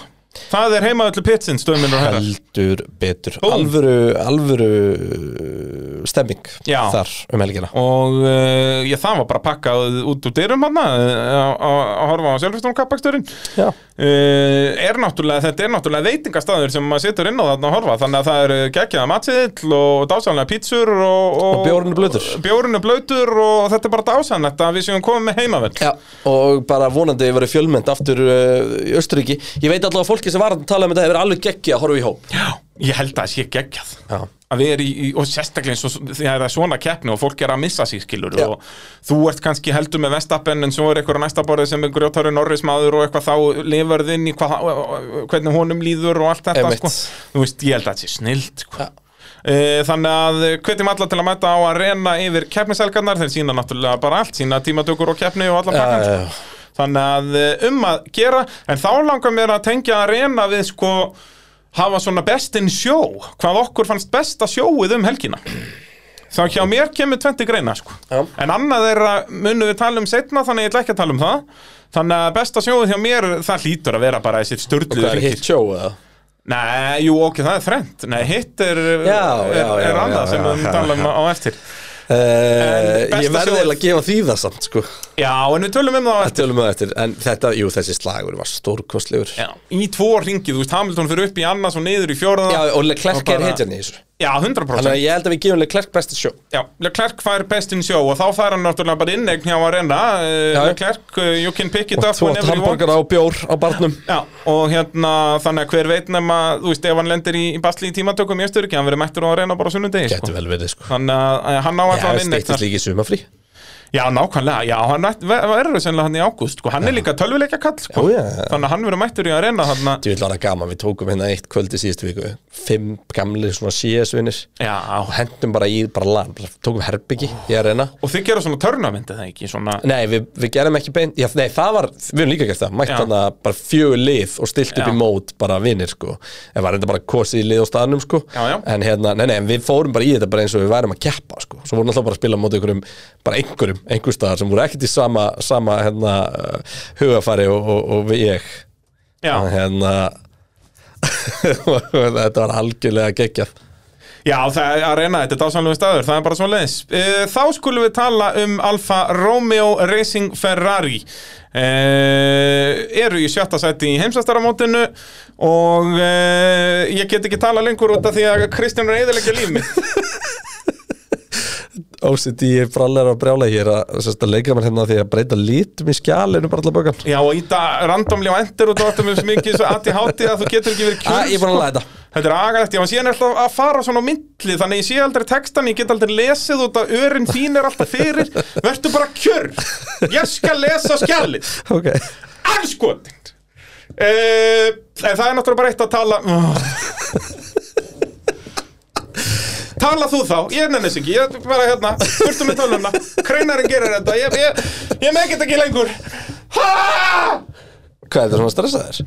Það er heimaðallu pitsin, stöðminnur og herrar
heldur betur
Búm.
alvöru, alvöru uh, stemming
Já.
þar um helgina
og uh, ég, það var bara pakkað út úr dyrum hann að horfa á sjálfstofnum kappaksturinn
Já.
uh, er náttúrulega, þetta er náttúrulega veitingastadur sem maður situr inn á þarna að horfa þannig að það er geggjaða matsiðill og dásanlega pítsur og, og,
Og bjórinn er blautur.
bjórinn er blautur og þetta er bara dásanlegt að við séum komið með heimavöll
Já, og bara vonandi hefur verið fjölmynd aftur uh, í Östuríki Ég veit allavega að fólki sem var að tala um þetta hefur alveg geggi að horfa í hóp
Já, ég held að það sé geggjað
Já.
að við erum í, í, og sérstaklega eins og þegar það er svona keppni og fólk er að missa sig skilur
Já.
og þú ert kannski heldur með vestappen en svo er eitthvað á næsta borðið sem er grjótari Norris maður og eitthvað þá lifar þinn í hvað, hvernig honum líður og allt þetta
Einmitt.
sko. þú veist, ég held að þetta sé snilt sko. Eh, Þannig að hvetjum alla til að mæta á að reyna yfir keppniselgarnar þeir sína náttúrulega bara allt, sína tímatökur og keppni og allan pakkan
já, já.
sko. Þannig að eh, um að gera, en þá langar mér að tengja að reyna við sko hafa svona bestin sjó, hvað okkur fannst besta sjóið um helgina þá hjá mér kemur 20 greina sko.
Já.
en annað er að munum við tala um setna þannig ég ætla ekki að tala um það þannig að besta sjóið hjá mér, það hlýtur að vera bara þessi
Hvað
störtluður
er hitt sjó eða?
Nei, jú, ok, það er þrennt Nei, hitt er,
Já,
er,
já, já,
er annað
já,
sem
já, já,
við munum tala um á eftir
Uh,
En besta
ég verði
sjóið-
eiginlega að gefa því það samt sko.
Já, en við tölum um það á
að
eftir
tölum við eftir En þetta, jú, þessi slagur var stórkostlegur
já. Í tvo ringi, þú veist, Hamilton fyrir upp í annars og niður í fjórða
Já, og Leclerc
Og bara-
er hetjan í þessu
já
Þannig
100%
að ég held að við gefum Leclerc besta sjó
Já, Leclerc fær bestin sjó og þá fær hann náttúrulega bara innegn hjá að reyna
Já.
Leclerc, uh, you can pick it
Og
up
þú átt
whenever you want.
hambúrgar á bjór á barnum
Já, og hérna, þannig að hver veit nema, þú veist, ef hann lendir í, í basli í tímatökum í Östuríki, hann verið mættur á að reyna bara á sunnudegi sko.
Gæti vel verið sko
Þannig að eh, hann á
Já,
alltaf innegn
steytist líka í sumafrí
Já, nákvæmlega, já, hann ætti- ver- verður sennilega hann í ágúst, sko, hann er líka tölvuleikja kall, sko,
Já, já, já.
þannig að hann verður mættur í að reyna hann
Þú vil vara gaman, við tókum hérna eitt kvöldi síðustu viku Fimm gamlir svona CS-vinir
Já,
Og hendum bara í, bara lan bara Tókum herbyggi í að reyna
og þið gera svona törnavindi það ekki, svona,
Nei, við, við gerum ekki beint já, Nei, það var, við höfum líka gert það Mætt
Já.
hann að bara fjögur lið og stilt upp
Já.
í mót bara vinir, sko En var þetta bara kosið í lið á staðnum, sko
Já, já.
En hérna, nei, nei, en við fórum bara í þetta bara eins og við værum að keppa, sko Svo vorum alltaf bara að spila á móti einhverjum bara einhverjum, einhver staðar sem voru ekkert í sama, sama hérna, uh, hugafari og, og, og við ég
já,
En hérna Þetta var algjörlega geggjað
já, það er að reyna þetta er dásanlega staður, það er bara svona leins. Þá skulum við tala um Alfa Romeo Racing Ferrari, Uh, eru í sjötta sæti í heimsastaramótinu og uh, ég get ekki tala lengur út af því að Kristján er eðilegja líf mitt
OCD er brallar að brjála hér að, sérst, að leika mér hérna því að breyta lítum í skjalinu bara allar bökan
Já, og íta randomli á endur og þú áttum eins mikið svo aðti háti að þú getur ekki verið kjur
Ah, ég er búin að laga þetta.
Þetta er agalegt, já, og síðan er alltaf að fara svona á myndli Þannig ég sé aldrei textan, ég get aldrei lesið út að örin þín er alltaf fyrir Vertu bara kjur Ég skal lesa skjalið
okay.
Anskotin uh, Það er náttúrulega bara eitt að tala oh. Tala þú þá, ég nennis ekki, ég bara hérna, burtu með töluna, kreinarinn gerir þetta, ég, ég, ég megget ekki lengur. Ha!
Hvað er þetta svona stressaður?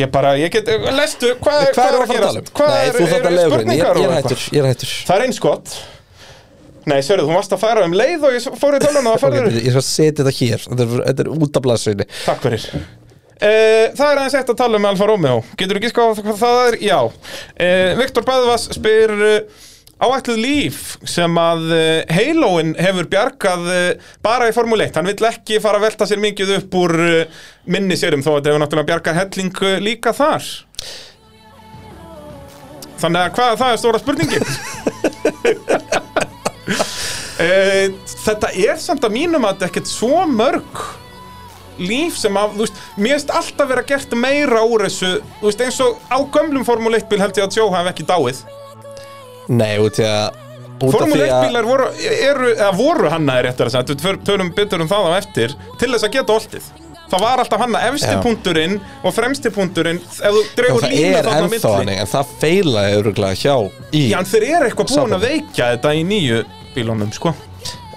Ég bara, ég get, lestu,
Hvað
hvað,
er að fara að tala um?
Hvað
Nei,
er,
þú þarf að
eru
leiða hvernig,
spurningar
ég, ég
og
er
eitthvað?
hættur, ég er hættur
Það er einskott Nei, sérðu, þú varst að færa um leið og ég fór í töluna og það
Ok,
færður
byrju, Ég skal setja þetta hér, þetta er, þetta er út af blaðsveini
Takk fyrir Uh, það er aðeins eitt að tala um Alfa Romeo Getur ekki skáð hvað það er? Já uh, Viktor Bæðvas spyr uh, Áætluð líf sem að uh, Haloin hefur bjargað uh, bara í Formule 1, hann vill ekki fara að velta sér mikið upp úr uh, minni sérum þó að þetta hefur náttúrulega bjargað helling uh, líka þar Þannig að hvað það er stóra spurningin uh, Þetta er samt að mínum að þetta er ekkert svo mörg líf sem að, þú veist, mér finnst alltaf vera gert meira úr þessu, þú veist, eins og á gömlum Formule 1 bíl held ég að sjó hafi ekki dáið.
Nei, út í að út af
Formule
því
1
að
bílar voru, eru, eða voru hannaði réttar að segja, við tölum betur um það á eftir, til þess að geta oltið. Það var alltaf hanna efsti
Já.
punkturinn og fremsti punkturinn, ef þú
Já,
dregur
Það
línu
er
þarna á
ennþá
milli.
hannig, en það feilaði öruglega hjá í
Já, en þeir eru eitthvað búin að veikja þetta í nýju bílunum, sko.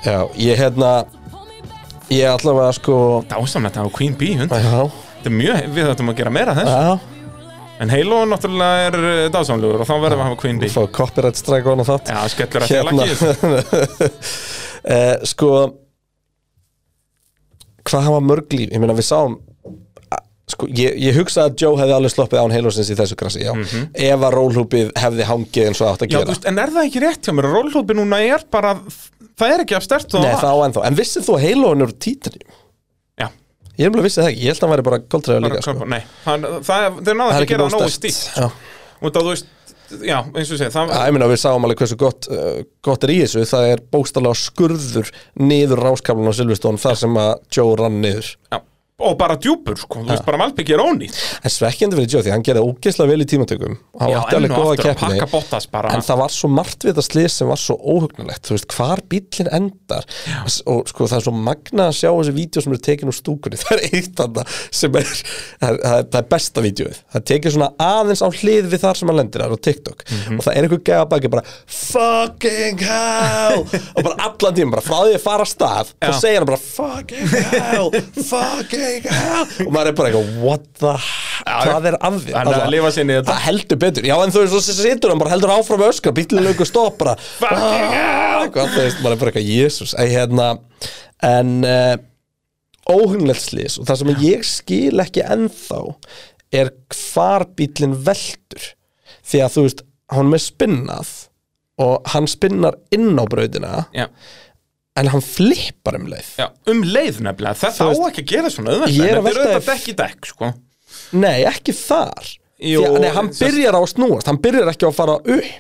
Já, ég hérna Ég allavega sko
Dásamlegt að hafa Queen Bee, hund.
Já,
Þetta er mjög, við þáttum að gera meira af þess.
já
En Halo náttúrulega er eh, dásamlegur og þá verðum við að hafa Queen Bee.
Fá copyright strike on og þátt
Já, skellur ekki að
Hérna.
lakið.
Eh, sko hvað hafa mörg líf ég meina við sáum sko, ég, ég hugsa að Joe hefði alveg sloppið án heilósins í þessu grassi, já ef að rólhúpið hefði hangið eins og það átt að
Mhm. Já, þú
gera
veist, en er það ekki rétt hjá mér? Rólhópi núna er bara, það er ekki af stert og
Nei, þá ennþá, en vissið þú að heilóin eru títri?
Já,
Ég hefði vissið það ekki, ég held að hann væri bara goldræður
bara
líka sko.
körpa, nei það, það, Þeir náðu
Það
ekki
er
að
ekki
gera það
nóg
nógu
stert
stíft
Já.
Út af þú veist, já, eins og ég segi það,
Já, ég meina við sáum alveg hversu gott, uh, gott er í þessu það er bókstallega skurður niður ráskablan á Silvestón þar sem að Joe rann niður
já, Og bara djúpur, sko, þú veist, bara Malbygg er ónýtt
en svekkjandi fyrir Joe því að hann gerði ógeðslega vel í tímatökum og hann
Já,
átti
enn
alveg
og
góða
aftur að
keppni
pakka Bottas bara.
en það var svo margt við þetta slið sem var svo óhugnulegt þú veist hvar bíllinn endar S- og sko það er svo magna að sjá þessi vídeo sem eru tekin úr stúkunni það er eitt þarna sem er það, það, það er besta vídeoið það tekið svona aðeins á hlið við þar sem hann lendir það er á TikTok
Mhm.
og það er einhver gæða baki bara fucking hell og bara allan tíma bara frá því að fara af stað þá
Já.
segir hann bara fucking hell fucking hell og maður er bara eitthvað what the hvað er af því
Hann er að lifa sinni í þetta.
Það heldur betur, já en þú veist, svo situr hann bara heldur áfram að öskra, bíllinn lögur stopp bara
Fucking hell!
Eitthvað, þú veist, maður er bara eitthvað, jésus En hérna, en uh, óhugnlegt slís og það sem ég skil ekki ennþá er hvar bíllinn veldur því að þú veist, hann er með spinnað og hann spinnar inn á brautina
Já,
en hann flippar um leið
já, um leið nefnilega, þetta á
veist-
ekki að gera svona auðvelt
Ég er að
Þetta er
velta
auðvitað
ef-
dekk í dekk, sko
Nei, ekki þar
Jú,
Því að, nei, hann
sest-
byrjar á að snúast, hann byrjar ekki á að fara upp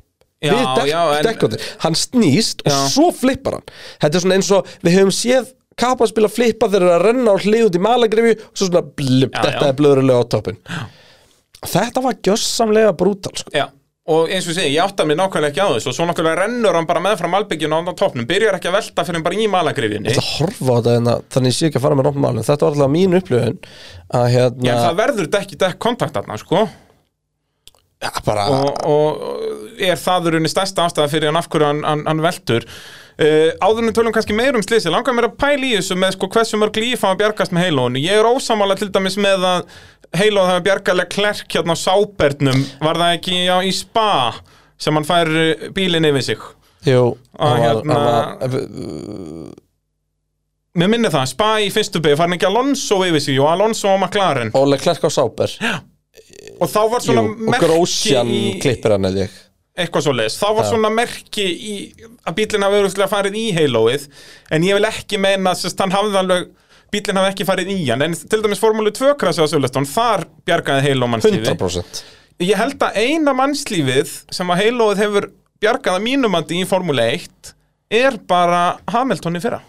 Já,
við dekk,
já, en-
dekkjóttir hann snýst og
Já.
svo flippar hann þetta er svona eins og við höfum séð kapaspila flippa þegar þeir eru að renna á hlið út í malagrifju og svo svona blip,
Já,
þetta
já.
er blöðrulega á toppin þetta var gjössamlega brútal sko.
Já, og eins og ég segi, ég átta mig nákvæmlega ekki á þessu og svo nákvæmlega rennur hann bara meðfram malbygginu á topnum, byrjar ekki að velta fyrir hann bara í malagrifinni
Ég ætla að horfa á þetta hérna, þannig ég sé ekki að fara með nokkuð málum þetta var alltaf mín upplöfun að hérna,
Já, en það verður dekk í dekk kontakt þarna, sko
ja, bara,
og, og er það runni stærsta ástæða fyrir hann af hverju hann, hann, hann veldur uh, áður en við tölum kannski meir um slisi langar mér að pæla í þessu með sko hversu mörg líf hann bjargast með heilónu, ég er ósamála til dæmis með að heilóð hafa bjargalega klerk hérna á sábernum var það ekki já, í spa sem hann fær eh, bílinn yfir sig
jú,
og
hann var,
hérna-
hann var,
Mér minni það, Spa í fyrstu beig farin ekki Alonso yfir sig, jú, Alonso og McLaren
Óle Klerk á Sáber
og þá var
Jú,
svona
og
merki
Grósjan
í
klippir hann eða ég
eitthvað svo leis, þá var svona merki í að bílinn hafi auðvitað farið í heilóið en ég vil ekki meina sérst, hann hafði alveg, bílinn hafi ekki farið í hann en til dæmis Formúlu 2 krasi á Sjöldastón þar bjargaði heiló mannslífi
100%
ég held að eina mannslífið sem að heilóið hefur bjargaði mínumandi í Formúlu 1 er bara Hamilton í fyrra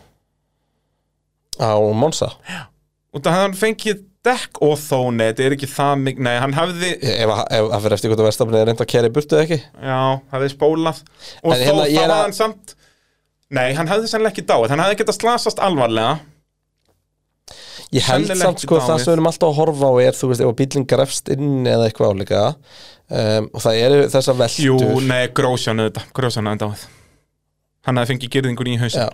á Monsa
og það hann fengið dekk og þó, nei, þetta er ekki það mikið, nei, hann hafði
ef að- ef- það fyrir eftir hvort að verðstafnið er reynd að kæra í burtu eða ekki
Já, hafði spólað Og
En
þó,
hérna, ég
það
er
var
að-
hann samt Nei, hann hafði sannlega ekki dáið Hann hafði getað slasast alvarlega
ég held
Sennilega
samt
ekki
sko það
dáið.
sem við erum alltaf að horfa á er þú veist ef að bílinn grefst inn eða eitthvað álíka um, og það eru þessa veldur
Jú, nei, grósjan auðvitað Grósjan hafði dáið Hann hafði fengið gyrðingur í hausin
Já.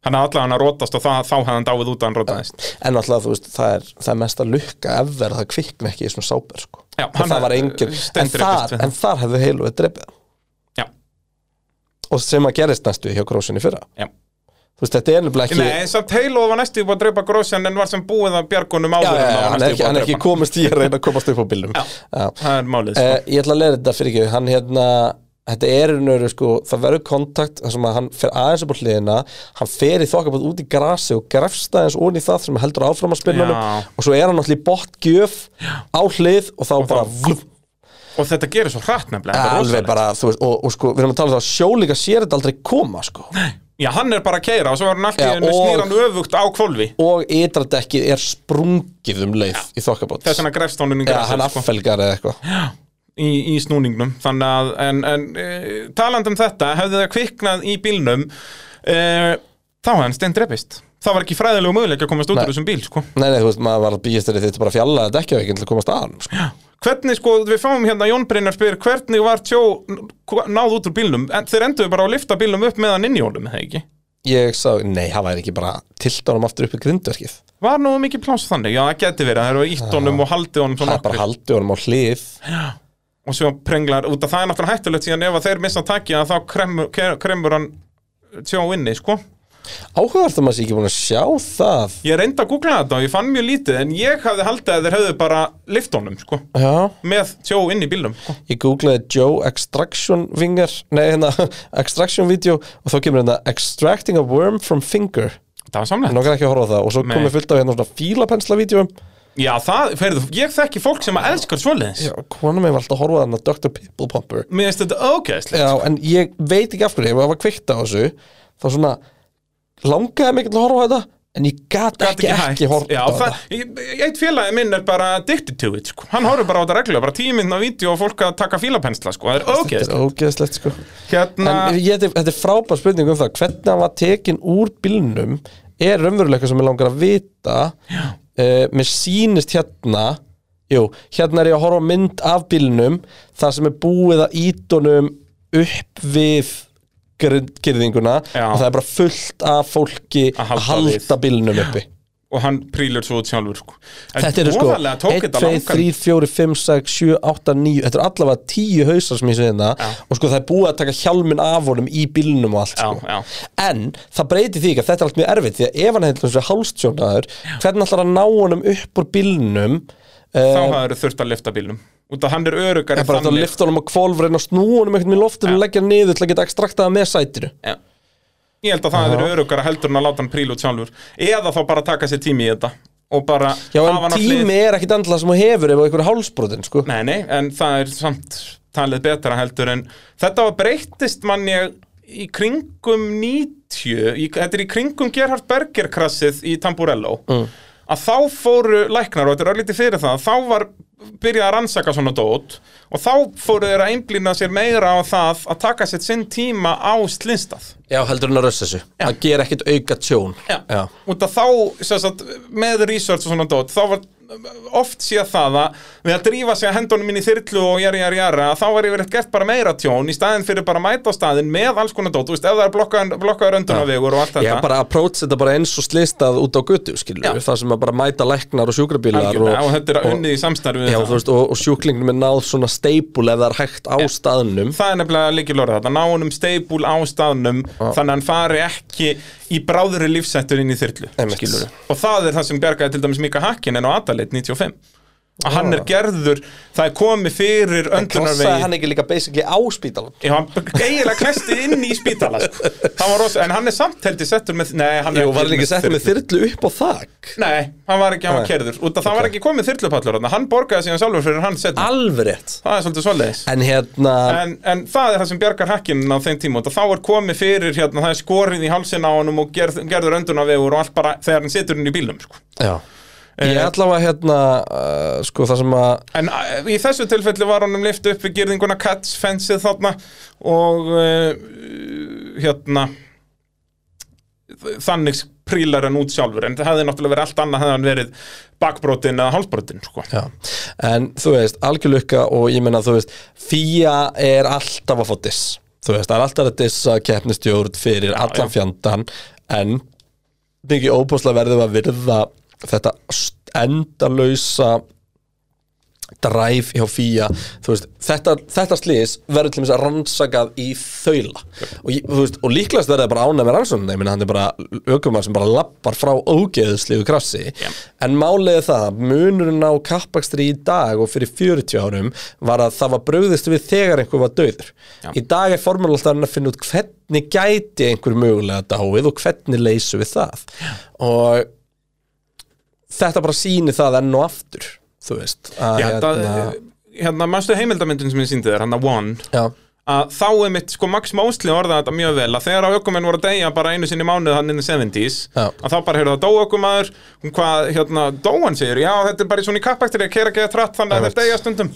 Hann hafði allavega hann að rótast og það, þá hafði hann dáið út að hann rótaðist
en alltaf þú veist það er, það er mesta lukka ef verð það kvikna ekki í svona sáber sko
Já,
Og það var engin en þar,
sko.
en þar hefðu heilu við dreipið
Já,
og sem að gerist næstu hjá grósunni fyrra
já
þú veist þetta er nefnilega ekki
Nei, samt Heilo var næstu upp að dreipa grósjan en var sem búið að bjargunum áður
já, já,
en
já,
var
hann
næstum
er ekki, hann
því búinn að
er ekki
drepa.
komist í að reyna að komast upp á bílum
Já.
já.
Það er málið, sko
Eh, ég ætla að leiða þetta fyrir ekki hann hérna, þetta er unnur sko, það verður kontakt þar sem að hann fer aðeins upp á hliðina hann fer í þokkabótt út í grasi og grefst aðeins ón í það sem heldur áfram að spilna
Já.
og svo er hann náttúrulega í botgjöf á hlið og þá bara
þá-
vlup,
Og þetta gerir svo hratt nefnilega þetta er
alveg
rosalegt.
bara, þú veist, og, og sko, við erum að tala um það að sjólíka sér þetta aldrei koma sko.
Já, hann er bara að keira og svo er hann allt í
Já,
hennu
og-
snýran öfugt á kvolfi
og ytradekkið er sprungið um leið í þokkabótt
Þess vegna grefst hann inn í
ja, hann
grasið sko,
affelgar eða eitthvað
í, í snúningnum Þannig að, en, en e, taland um þetta hefði það kviknað í bílnum e, þá hefði hann stein drepist Það var ekki fræðilegu möguleik að komast út
Nei.
úr þessum bíl sko.
Nei, nei, þú veist, maður var að býjast þeirri þetta bara fjallaði dekkjaðu ekki til að komast að hann sko.
Hvernig sko, við fáum hérna Jón Brynjar spyr hvernig var tjó hva- náð út úr bílnum En Þeir enduðu bara á að lifta bílnum upp meðan inn í honum, eða ekki?
Ég sá, nei, hann væri ekki bara tiltanum aftur upp í grindverkið
Var nú mikið pláns þannig? Já, það geti verið, það eru ítt honum og haldið honum svo
Það er bara
nokkuð.
haldið honum á hlið
og svo prenglar út að það er náttúrulega hættulegt síðan ef að þeir missa takja þá kremur, kremur hann tjó inni sko
Áhugavert að maður sé ekki búin að sjá það
Ég reyndi að googla þetta og ég fann mjög lítið en ég hafði haldið að þeir höfðu bara lift honum sko,
Já,
með sjó inn í bílnum sko.
ég googlaði Joe Extraction Finger Nei, hérna, Extraction Video Og þá kemur hérna Extracting a Worm from Finger
Það var samlega
Nókar ekki að horfa á það Og svo
Nei.
komið fullt af hérna svona fílapensla-vídeóum
Já, það, ferðu, ég þekki fólk sem að elskar svoleiðis
Já, konum ég var alltaf að horfa á þarna Dr. Pimple Popper
Mér finnst þetta ógeðslega
Já, en ég veit ekki af hverju, ef ég var kveikt á þessu þá svona langaði mig ekki til að horfa á þetta en ég gat
Gat
ekki ekki,
hætt.
horfa
Já,
á þetta
það, ég- Eitt félagi minn er bara addicted to it sko. Hann horfður bara á þetta reglulega, bara tíu myndna vídeo og fólk að taka fílapensla sko. Það er
Þetta
ógeðslega
er ógeðslegt sko
Hérna,
En ég, þetta er- þetta er frábær spurning um það hvernig hann var tekin úr bílnum er raunveruleika sem ég langar að vita uh, mér sýnist hérna jú, hérna er ég að horfa á mynd af bílnum þar sem er búið að ítunum upp við gyrð- girðinguna
Já.
og það er bara fullt af fólki
Að
að
halda
halda, bílnum uppi
og hann prílur svo út sjálfur sko. En
Þetta eru sko
voðalega tók
1,
þetta
2,
langan-
3, 4, 5, 6, 7, 8, 9 Þetta eru allavega 10 hausar sem ég sé hérna Og sko það er búið að taka hjálminn af honum í bílnum og allt
Já,
sko.
já.
En það breyti því ekki að þetta er allt mjög erfitt Því að ef hann hefði þessu hálstjónaður Hvernig ætlar að ná honum upp úr bílnum
Þá hafður þurft að lifta bílnum Út að hann er örugari
En eh, bara þetta að lifta honum á kvolf Reina að snú honum einhvern veginn í loftinu og Leggja hann niður til að geta ekstraktaða með sætinu
Já. Ég held að það hefur örugara heldur en að láta hann príla út sjálfur Eða þá bara taka sér tími í þetta Og bara
Já
hafa hann
en
á hlið.
tími er ekkit andla sem hún hefur Ef á einhverju hálsbrotin sko
Nei, nei, en það er samt talið betra heldur en þetta var breyttist manni í kringum 90, í, þetta er í kringum Gerhard Berger krassið í Tamburello
Mm.
að þá fóru læknar og þetta er örlítið fyrir það, þá var byrjað að rannsaka svona dót og þá fóru þeir að einblýna sér meira á það að taka sér sinn tíma á slinstað
Já heldur hann að rössa þessu Það ger ekkit auka tjón Já.
út að þá sem sagt, með research og svona dót þá var oft síða það að við að drífa sig að hendunum mín í þyrlu og jari, jari, jari að þá var ég verið gert bara meira tjón í staðin fyrir bara að mæta á staðin með alls konar dót þú veist, ef það er blokkaður blokkaður öndunarvegur og allt
Já,
þetta
bara approach þetta bara eins og slistað út á götu, skilur
Já.
við, þar sem að bara mæta læknar og sjúkrabílar og,
Algjörlega, og þetta er
og-
unnið í samstarfi
Já, þú veist, og, og sjúklingnum er náð svona steipul ef það er hægt á staðnum
það er nefnilega líkilorðið þetta ná honum steipúl á staðnum þannig að hann fari ekki í bráðuri lífsættur inn í þyrlu
Einmitt.
skilurðu. og það er það sem bjargaði til dæmis Mika Hakkinen og Adalid 95 að hann er gerður, það er komið fyrir
Krossaði
öndunarvegi
hann ekki líka basically á spítalan
Já, hann eiginlega klesti inn í spítala sko. Það var rosa, en hann er samt heldur settur með Nei, hann er
Jú, var hann ekki sett með þyrlu upp á þak
Nei, hann var ekki, hann var kerður Út af það var ekki komið þyrlupallur þarna. Hann borgaði síðan sjálfur fyrir hann setna
Alveg rétt
Það er svolítið svoleiðis
En hérna,
en, en það er það sem bjargar hakkinin á þeim tíma og þá er komið fyrir hérna, það er skorið í hálsin á honum og gerð, gerður öndunavegur og allt bara þegar hann situr inn í bílnum sko.
já Ég
Eh,
allavega hérna, uh, sko, það sem að
En eh, í þessu tilfelli var honum lift upp við gerðinguna Cats fensið þarna og uh, hérna þannig prílar hann út sjálfur en það hefði náttúrulega verið allt annað hefði hann verið bakbrotin eða hálsbrotin sko.
Já, en þú veist, algjörlukka og ég menna, þú veist, fía er alltaf að fá diss Þú veist, það er alltaf að dissa keppnistjórn fyrir allan
já.
fjandan En mikið óbúslega verðum að virða þetta st- endalausa dræf hjá fía þú veist, þetta, þetta slís verður til þess að rannsakað í þaula og, ég- þú veist, og líklegast verður það bara ánæg með rannsóknina, ég minna hann er bara aukumar sem bara lappar frá ógeðuslegu krassi en málið er það, að munurinn á kappakstri í dag og fyrir 40 árum var að það var brugðist við þegar einhver var döður í dag er formúla alltaf hann að finna út hvernig gæti einhver mögulega dáið og hvernig leysum við það og þetta bara sýni það enn og aftur þú veist að,
Já, það, hérna, mástu heimildamyndin sem ég síndi þér, hann að One
já,
að þá er mitt, sko Max Mosley orðaði þetta mjög vel að þegar að ökumenn voru að deyja bara einu sinni í mánuð hann inn í 70s
Já.
að þá bara heyrðu það dó ökumaður hún hvað, hérna, dóan segir já, þetta er bara í svona í kappaktri að kera geða tratt þannig að
Einmitt.
þeir deyja stundum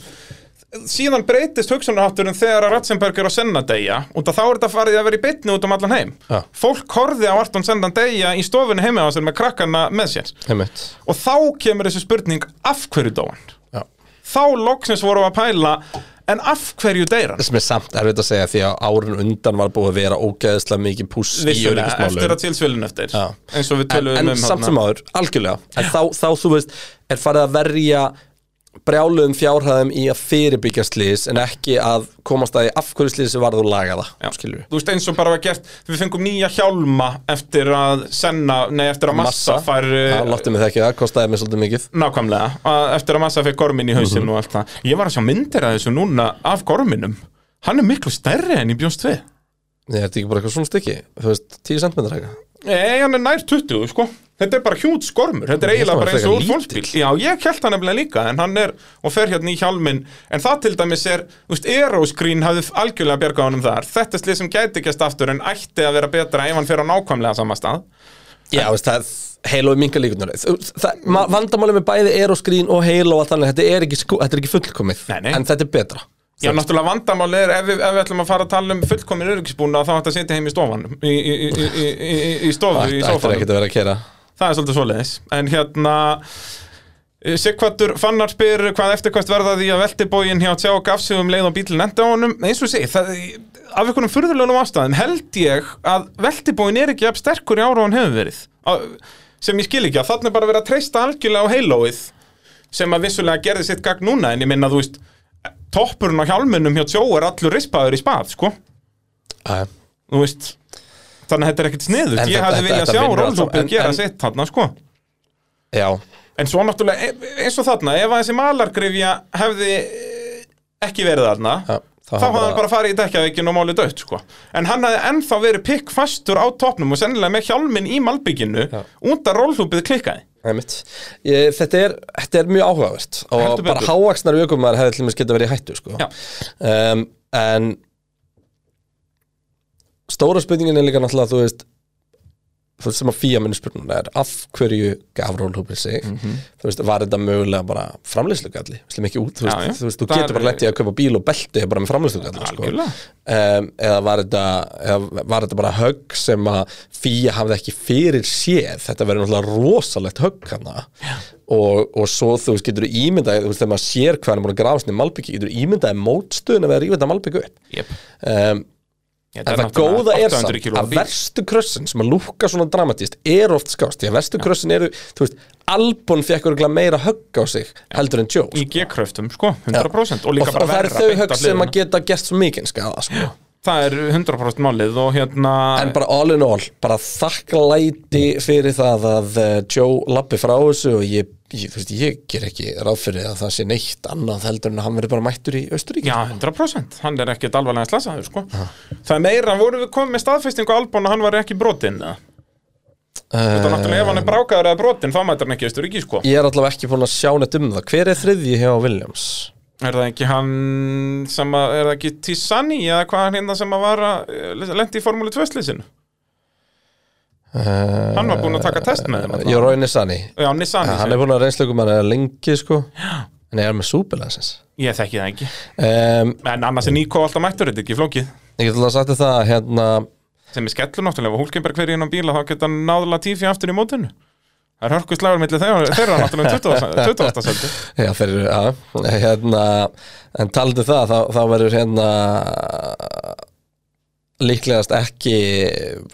síðan breytist hugsunarhátturinn þegar að Ratzenberger og Senna deyja út að þá er þetta farið að vera í bytni út um allan heim
Já.
fólk horfði á Arton Senna deyja í stofunni heima á sér með krakkana með sér
einmitt
og þá kemur þessi spurning af hverju dóan
já.
þá loksins voru að pæla en af hverju deyran
sem er samt erfitt að segja því að árun undan var búið að vera ógeðislega mikið púss í
Vissulega, eftir
öryggismálum
að tilsvölin eftir
Já.
eins og við
en,
töluðum
en
um
samt
þarna.
sem áður, algjörlega en þá, þá, þú veist, er farið að verja brjáluðum fjárhæðum í að fyrirbyggja slís en ekki að komast að því af hverju slísi varð og laga það,
Já.
skilur við
Þú veist eins og bara var gert, við fengum nýja hjálma eftir að senna, nei eftir að massa, fær
Já,
uh,
láttu mig það ekki, það kostaði mig svolítið mikið
nákvæmlega, að- eftir að massa fekk gormin í
Mhm.
hausinn og allt það. Ég var að sjá myndir af þessu núna af gorminum, hann er miklu stærri enn í bjónst við.
Nei, er þetta ekki bara eitthvað svona stykki? Þú veist, 10 cm eitthvað
Nei, hann er nær 20, sko Þetta er bara hjút skormur, þetta er
Ég held
eiginlega
hann
bara
var
eins og úr
frekar
fólkbíl Já, ég kelt hann nefnilega líka, en hann er og fer hérna í hjálmin, en það til dæmis er þú veist, Aeroscreen hafði algjörlega bjargað honum þar, þetta er slið sem gæti ekki að staftur en ætti að vera betra ef hann fer á nákvæmlega sama stað
Já, veist, það er heil og minga líkunar Vandamáli með bæði aeroskrín og heil og allt þannig Þetta er ekki, sku- þetta er ekki fullkomið
Nei, nei.
En þetta er betra
Já, náttúrulega vandamál er ef við, ef við ætlum að fara að tala um fullkomin öryggisbúna þá ætti að setja heim í stofanum í, í, í, í, í, í- í stofu, í
Þetta er
sofanum
ekkert að vera að kera
það er svolítið svoleiðis en hérna Sigvartur Fannar spyr hvað eftirkvæst verða því að veltibógin hjá Tjá gaf sig um leið og bílinn enda á honum eins og ég segi, það, af einhvernum furðulegum ástæðum held ég að veltibógin er ekki jafn sterkur í ára og hann hefur verið að, sem ég skil ekki að þarna er bara verið að treysta algjörlega á heilóið sem að vissulega gerði sitt gagn núna en ég minna þú veist toppurinn á hjálmunum hjá Tjó er allur rispaður í spað sko,
Æ.
þú veist þannig að þetta er ekkert sniðut,
En
ég
þetta-
hefði
þetta-
viljað
þetta
sjá
vinnur allt saman. En-
rólhópið gera
en-
sitt þarna sko
Já,
En svo náttúrulega, e- eins og þarna, ef að þessi malargrifja hefði eh, ekki verið þarna,
Já, þá
þá
hafði
hafði hann
bara-
bara farið í dekkjaveikin og málið dött, sko. En hann hafði ennþá verið pikk fastur á topnum og sennilega með hjálminn í malbygginu, út að rólhúpið klikkaði.
einmitt ég, þetta, er, þetta er mjög áhugavert Og
Heldur
bara
betur.
hávaksnar ökumar hefði til mér geta verið í hættu sko.
Já.
um, En Stóra spurningin er líka náttúrulega Þú veist þú veist, sem að fíja minni spurninga er af hverju gaf rólhúpið sig
Mhm.
þú veist, var þetta mögulega bara framleyslugalli slum ekki út, þú veist,
Já, já.
Þú, veist þú
Það
getur bara
er-
lett í að kaupa bíl og belti bara með framleyslugalli sko.
Algjörlega.
um, eða, var þetta, eða var þetta bara högg sem að fíja hafði ekki fyrir séð þetta verður náttúrulega rosalegt högg hana og, og svo þú veist, getur ímyndaði þú veist, þegar maður sér hvað hann er búin að grafast niður malbyggi, getur ímyndaði mótstöðuna við að rífa þetta malbyggi upp
Yep.
um, En það góða er samt að verstu krössin sem að lúka svona dramatíst er oft skást því að verstu krössin eru, þú veist, Albon fekk örgulega meira högg á sig heldur en Joe
Í G-kröftum, sko, 100%. Og
og, og
líka bara
það eru
verra
þau
beint
högg
af
sem
hliðina.
að geta gert svo mikið skada sko.
Það er 100% málið og hérna...
en bara all in all, bara þakklæti fyrir það að eh, Joe lappi frá þessu og ég, ég, þú veist, ég ger ekki ráð fyrir að það sé neitt annað heldur en að hann verið bara mættur í Austuríki
Já, 100%, hann er ekkert alvarlega slasaður sko. Það er meira, voru við komið með staðfestingu á Albon og hann var ekki brotinn eða? Þetta er náttúrulega, ef hann er brákaður eða brotinn þá mætir hann ekki austur ekki sko.
Eh, Ég er allavega ekki búin að sjá neitt um það Hver er þriðji hjá Williams?
Er það ekki hann sem að, er það ekki Tissani eða hvað hann hérna sem að var að lendi í Formúli 2 slísinu? Hann var búinn að taka test með
Ég
þeim allavega.
er Rói Nissani
Já, Nissani,
Ja, Eh, hann er búin að reynsleikum hann er lengi sko en ég er með súbilansins
ég þekki það ekki
um,
En annars er Nico alltaf mættur, þetta er ekki flókið
ég get alveg að sagt þér það hérna,
sem er skellur náttúrulega, ef Hulkenberg fyrir inn á bíla þá geta hann náðulega tífi aftur í mótinu Það er hörkuslægur milli þeirra, þeirra náttúrulega um 20. 20. sendi
já, fyrir, ja, hérna en taldi það þá, þá verður hérna líklegast ekki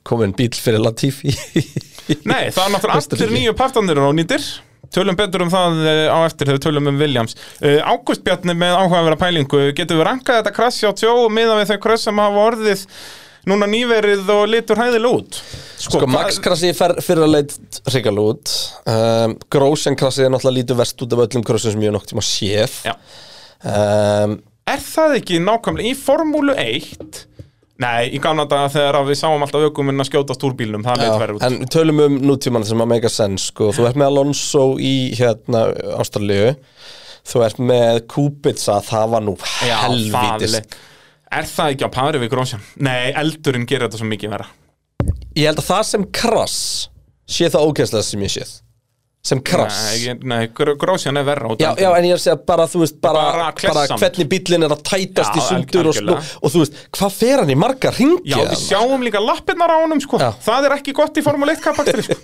komin bíl fyrir Latifi
Nei, það er náttúrulega allir
Austurríki.
nýju partanir ónýtir Tölum betur um það eh, á eftir þegar við tölum um Williams Eh, Ágúst Bjarni með áhugaverða pælingu Getum við rankað þetta krass hjá tjó miða við þau krass sem hafa orðið núna nýverið og litur hæðilega út
sko, Max krassi fer, fyrir að leit hrigalút um, Grósen krassi er náttúrulega lítið verst út af öllum krossum sem ég hef nokkuð tíma séð
Já.
um,
Er það ekki nákvæmlega í Formúlu 1? Nei, í gamla daga þegar að við sáum alltaf aukuminn að skjótast úr bílnum Það leit verið út
en tölum um nútíman sem að mega sens sko. þú ert með Alonso í hérna Ástralíu þú ert með Kubica, það var nú helvítis
það er- Er það ekki á pari við Grósjan? Nei, eldurinn gerir þetta svo mikið vera
ég held að það sem krass sé það ógeðslega sem ég séð sem krass
Nei, ég- nei Grósjan er verra út
Já,
af
já, en ég er að segja bara, þú veist, bara, bara,
Bara klessan.
hvernig bíllinn er að tætast
Já,
í sundur og,
algjörlega.
snú- og þú veist, hvað fer hann í marga hérna? ringi?
Já, við sjáum líka lappirnar á honum sko.
Já.
Það er ekki gott í Formule 1 kappakstri sko.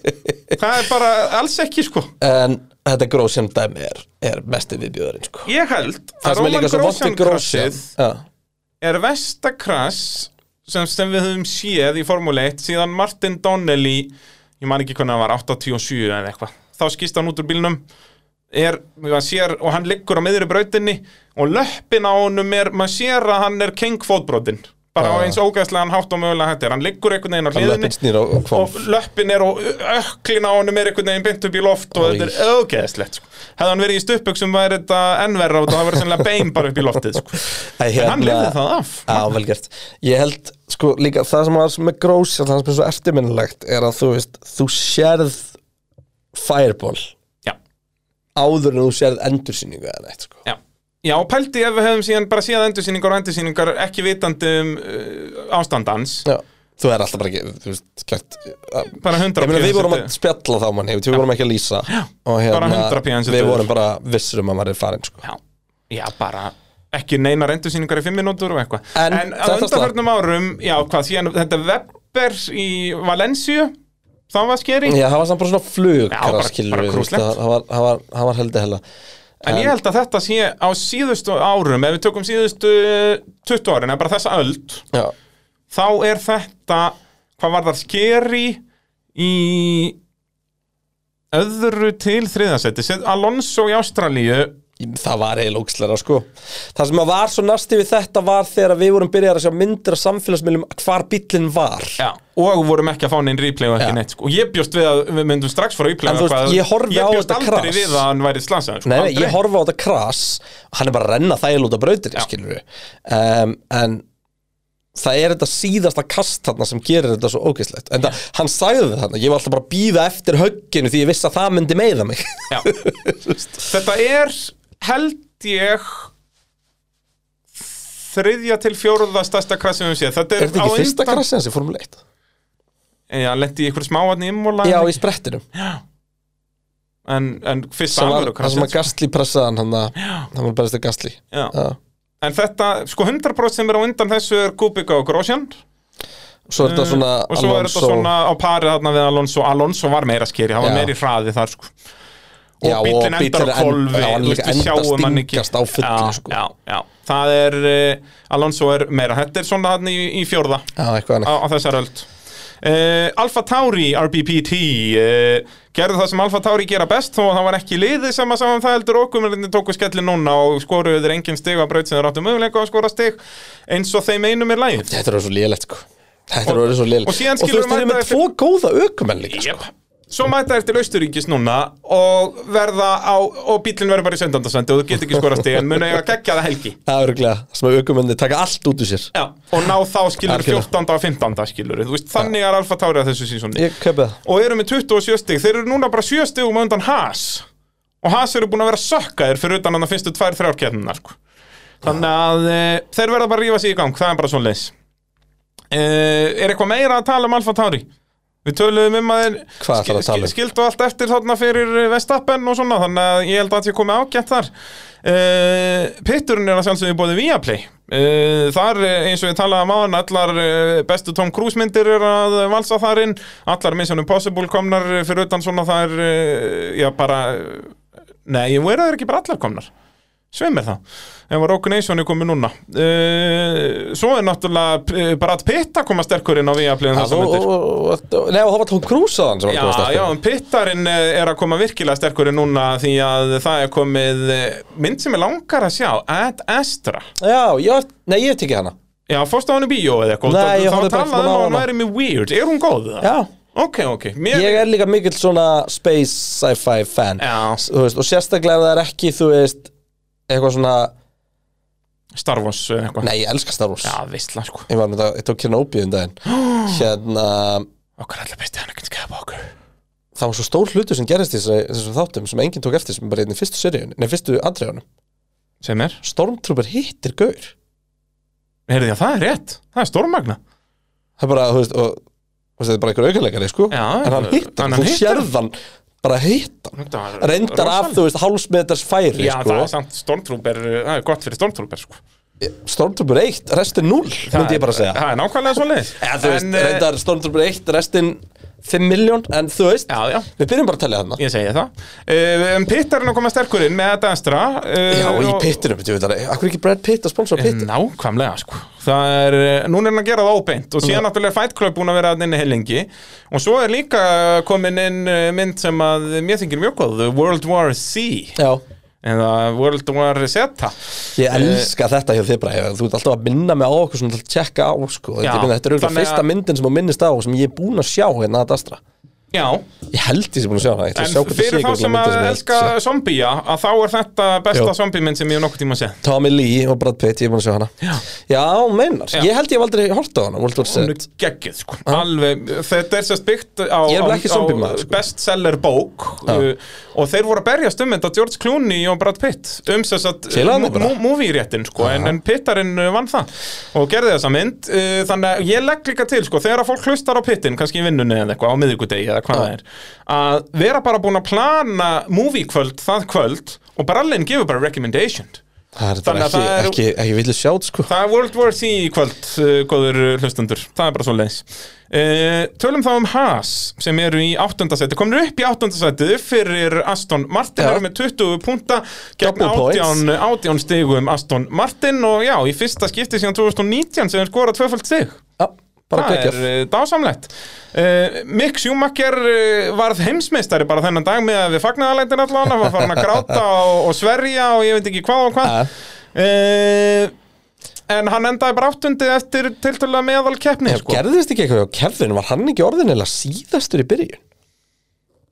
Það er bara alls ekki sko.
En þetta grósjum dæmi er, er mesti viðbjöðurinn, sko.
Ég held
Það
að
sem er
Roman
líka svo vonti grósjum.
Grosjan-krassið
Já,
er versta krass sem, sem við höfum séð í Formule 1 síðan Martin Donnelly ég man ekki hvernig hann var, 87 eða eitthvað þá skýst hann út úr bílnum er, maður sér, og hann liggur á miðri brautinni og löppin á honum er, maður sér að hann er king fótbrotin bara
Já.
á eins ógæðslegan hátt og mögulega hættir hann liggur einhvern veginn á
Ah.
hliðinni
löppin snýr á hvolf.
og löppin er og öklin á honum er einhvern veginn beint upp í loft og
Æ.
þetta er ógæðslegt sko. hefði hann verið í stupuksum væri þetta ennverra og það væri sennilega bein bara upp í loftið sko.
Æ,
en hann
hérna-
lifði það af
Já, vel gert Ég held, sko, líka það sem var með grós það sem er svo eftirminnilegt er að þú veist þú sérð fireball
Já.
áður en þú sérð endursýningu eða neitt, sko
Já, já og pældi ef við hefum síðan bara séð endursýningar og endursýningar ekki vitandi um uh, ástandans
Já Þú er alltaf bara ekki, þú veist, gert
bara
Ég
100
meina, við vorum að spjalla þá manni, við vorum ekki að lýsa Já,
bara
Við
100% döður.
vorum bara vissir um að maður er farin, sko
já, já, bara ekki neinar endursýningar í 5 minútur og eitthvað
En
En á
þetta
undanförnum árum, já, hvað síðan þetta Webber í Valenciu það var skeri
Já, það var samt bara svona flug
Já, bara- bara krúslegt.
það, það, var, það, var, það var heldig hella
En ég held að þetta sé á síðustu árum, ef við tökum síðustu 20 árin, eða bara þessa öld,
Já,
þá er þetta, hvað var það, skeri í öðru til þriðasæti. Alonso í Ástralíu,
það var eiginlega ógslera, sko Það sem að var svo næsti við þetta var þegar við vorum byrjar að sjá myndir af samfélagsmiðlum hvar bíllinn var
já. og vorum ekki að fá neinn replay og ekki
Já.
neitt. Sko. Og ég bjóst við að við myndum strax fara að replay
En þú veist,
eitthvað.
ég horfi á
bjóst
þetta
aldrei
crash.
við að hann væri slansað. Sko.
Nei, nei,
aldrei.
ég horfa á þetta krass Hann er bara að renna þægjul út af brautinni, skilur við um, En það er þetta síðasta kast þarna sem gerir þetta svo ógæslegt En það, hann sagði það þarna, ég var alltaf bara að býða eftir högginu Því ég vissi að það myndi meiða mig
Já. Þetta er held ég þriðja til fjórða stærsta krass sem við séð Þetta er,
Er þetta
á
ekki fyrsta
undan-
krassið hans í Formule 1?
Já, lendi í ykkur smáarni immóla
Já, í sprettinum
en, en fyrsta
sem var,
alvöru
það sem að
krass
Gastli pressaðan hann að hann var berist að Gastli
sko. Já.
Já.
En þetta, sko 100% sem er á undan þessu er Kubica og Grosjan
svo er þetta svona
Mm. og svo er þetta svona á pari þarna við Alonso Alonso var meira skeri, hann var
Já.
meira í hraði þar sko. og
Já, og
bíllinn endar á
bíllinn en- já,
kolfi
hann
þú
líka
veist, við
endar
sjáum hann ekki.
stingast á fullu,
já,
sko.
já, já. það er, uh, Alonso er meira þetta er svona hann í, í fjórða
já, eitthvað
á,
annað
á þessar öld uh, Alfa Tauri RBPT uh, gerðu það sem Alfa Tauri gera best þó að það var ekki liði sem að saman það heldur okkur menn tóku skelli núna og skoruðu þeir engin stig að braut sem þeir áttu möguleika á að skora stig eins og þeim einum er lægð
þetta er orðið svo lélegt sko þetta er orðið svo lélegt
og síðan
þú
skilur
veist
við
þeir eru með
mæta
tvo góða aukumenn líka sko.
yep. Svo mæta þér til Austuríkis núna og verða á, og bílinn verður bara í söndandasendi og þú getur ekki skora stig en muni að gegja það helgi
það er örglega sem að aukumenni taka allt út úr sér
Já, og ná þá skilur
Algjörlega.
14. og 15. skilur veist, þannig er Alfa Tauri að þessu sísóni
ég kaupi það
og eru með 27 stig þeir eru núna bara 7 stigum á undan Haas og Haas eru búin að vera sökkaðir fyrir utan hann að fyrstu 2-3 kjarnina sko. þannig að e, þeir verða bara að rífa sig í gang það er bara svo leis e, er eitthvað meira að tala um Alfa Tauri? Við töluðum um að þeir
Hvað ætlarðu að tala um?
skildu allt eftir þarna fyrir Vestappen og svona þannig að ég held að ég komið ágætt þar uh, Pitturinn er að sjálfsögðu bóði Viaplay uh, Þar eh, eins og ég talaði um áðan allar eh, bestu Tom Cruise myndir er að valsa þar inn allar Mission Impossible komnar eh, fyrir utan svona þar uh, já bara eh, nei, ég verður ekki bara allar komnar Sveimir það En var Rock Nation er komið núna uh, Svo er náttúrulega eh, Brad Pitt að koma sterkur inn á Viaplay um
Já,
þessar
og-
myndir.
og- og- og- nei og það var Tom Cruise að hann sem var góða
Já, já,
sterkur
en pittarinn eh, er að koma virkilega sterkur en núna því að það er komið eh, mynd sem ég langar að sjá Ad Astra
já, já, nei ég tekið hana
Já, fórstu á hann í bíó eða eitthvað
Nei, ég
Það- það var
horfði bara
talað um
svona á
að hún
hana.
væri mjög weird Er hún góð? það?
já
Ok, ok Mér,
Ég er líka mikill svona space sci-fi fan
Já.
S- þú veist, og sérstaklega ef það er ekki þú veist eitthvað svona,
Star Wars eða eitthvað
nei ég elska Star Wars
Já, veistla, sko
ég var með það, ég tók Kenobi um daginn hérna,
Okkar allir besti hann ekkert skæða bókur
það var svo stór hlutu sem gerist í þessari- þessum þáttum sem enginn tók eftir sem er bara einn í fyrstu seríun, nei fyrstu andriðunum
Sem er?
Stormtrooper hittir gaur
Heyrði, já, það er rétt Það er stórmagna
það er bara, þú veist, og þú veist, þetta er bara einhver aukalegari, sko
Já,
en hann hittir,
en
hann
hann
þú
hittir.
sérð hann bara hittar,
Þetta var
reyndar af,
rosalegt.
þú veist, hálfsmetars færi,
Já, það er
sko
samt Stormtrooper eh, Það er gott fyrir Stormtrooper, sko
Stormtrooper 1, restin 0 myndi ég bara segja
Það eh, er nákvæmlega svo leið
Já, þú veist, reyndar Stormtrooper 1, restin 5 miljón, en þú veist,
Já, já
við byrjum bara að tellja þarna.
Ég segi það uh, um, Pittarinn að koma sterkur inn með Adastra uh, Mm.
Já, og í pittinum, þú veit, akkur ekki Brad Pitt að sponsora pitt?
Nákvæmlega sko Það er, eh, núna er hann að gera það óbeint og síðan náttúrulega er Fight Club búin að vera þarna inni heilengi og svo er líka komin inn eh, mynd sem að mér þingir mjög góð The World War C
Já,
eða World War Z
ég
Eh,
elska þetta hjá þið bara, þú ert alltaf að minna mig á okkur svona til að tjekka á, sko
Já,
Þetta, þetta er auðvitað
þannig að-
fyrsta myndin sem að minnist á sem ég er búin að sjá hérna að Dastra
Já,
Ég held ég sem búin að sjá hana, ég ætla að sjá
en
hvort það sé
fyrir þá
einhver
sem
myndin
að
ég held
elska
sé.
zombía að þá er þetta
Jú.
besta zombie-mynd sem ég hef nokkuð tíma að segja
Tommy Lee og Brad Pitt, ég er búin að sjá hana Já, meinar,
Já.
ég held ég hef aldrei hort á hana World War
Hún
Z
er geggjöð, sko, alveg Þetta er sérst byggt
Ég
á,
er
á,
nefnilega ekki zombie maður, sko.
bestseller bók uh, og þeir voru að berjast um þetta George Clooney og Brad Pitt um sérst
Til hann bara.
að múvíréttin, sko, en, en Pittarinn uh, vann það og gerði þessa mynd uh, þannig að ég legg líka til, sko, þegar að fólk hlustar á Pittin, kannski í vinnunni eða eitthvað á miðvikudegi eða hvað það er, að vera bara búin að plana múvíkvöld það kvöld og bara alveg gefur bara recommendation
Það er
Þannig
bara
að
ekki,
það er-
ekki, ekki villu sjátt, sko
Það er World War C í kvöld, uh, góður uh, hlustendur. Það er bara svo leis. Uh, tölum þá um Haas sem eru í áttundasæti. Komnir upp í áttundasæti fyrir Aston Martin.
Já.
Það eru með 20 punta gegn
Double points.
18, 18 stigum Aston Martin og já, í fyrsta skipti síðan 2019 sem er skorað tvöfald stig.
Já, bara
Það er
geggjað
uh, dásamlegt uh, Mick Schumacher uh, varð heimsmeistari bara þennan dag með að við fagnaðalætin allan hann var farin að gráta og, og sverja og ég veit ekki hvað og
Ja.
hvað uh, En hann endaði bara áttundi eftir tiltölulega meðal keppni
Já,
sko.
Gerðist ekki eitthvað hjá Kevin, var hann ekki orðinilega síðastur í byrjun?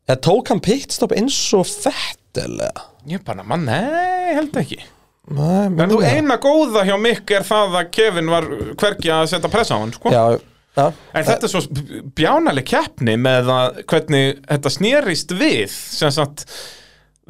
Eða tók hann pitstop eins og fettel eða?
Ég bara, mann, nei, held ekki
Nei,
En
mér
þú
minnir það.
eina góða hjá Mick er það að Kevin var hvergi að setja pressa á hann sko.
Já, já
En þetta er svo bjánaleg keppni með að hvernig þetta snerist við sem sagt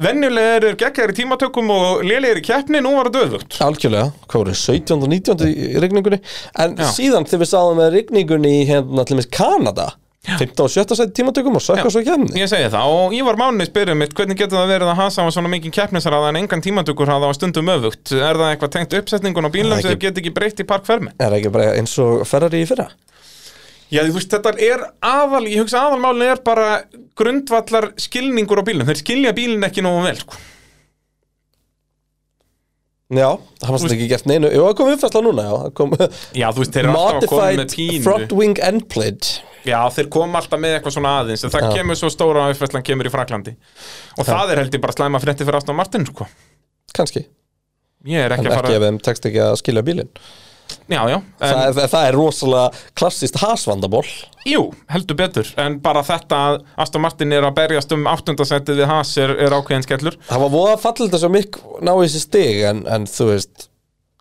venjulega eru geggjæri tímatökum og lélegir í keppni, nú var það döðugt
Algjörlega, hvað voru 17. og 19. í í rigningunni En
Já.
síðan þegar við sáðum með rigningunni í hérna til með Kanada 15. og 17. sæti tímatökum og sökka svo kemni
Ég segi það og Ívar Máni spyrir mitt hvernig getur það verið að hasa á svona mikið keppnisraða en engan tímatökur hafa á stundum öfugt er það eitthvað tengt uppsetningun á bílum
Það er
sem
ekki-
get ekki breytt í parkfermi
Er það ekki bara eins og Ferrari í fyrra?
Já, þú veist, þetta er aðal, ég hugsa aðalmálin er bara grundvallar skilningur á bílum þeir skilja bílinn ekki nógu vel sko.
Já, það var svolítið ekki gert neinu Jú, það kom uppfærsla núna, já það kom,
Já, þú veist, þeir eru alltaf að koma með
Modified
pínu
front wing end plate
Já, þeir koma alltaf með eitthvað svona aðeins en það
Já.
kemur svo stóra uppfæslan kemur í Fraklandi og það er held ég bara slæma frétti fyrir Aston Martin sko.
Kanski,
ég er
en
ekki að
ekki
fara
ef þeim tekst ekki að skilja bílinn
Já, já, en,
það, er, það er rosalega klassist hasvandaból
jú, heldur betur en bara þetta að Aston Martin er að berjast um áttundasætið við Haas er, er ákveðin skellur
Það var voða fallið þess að mikk ná í þessi stig en, en þú veist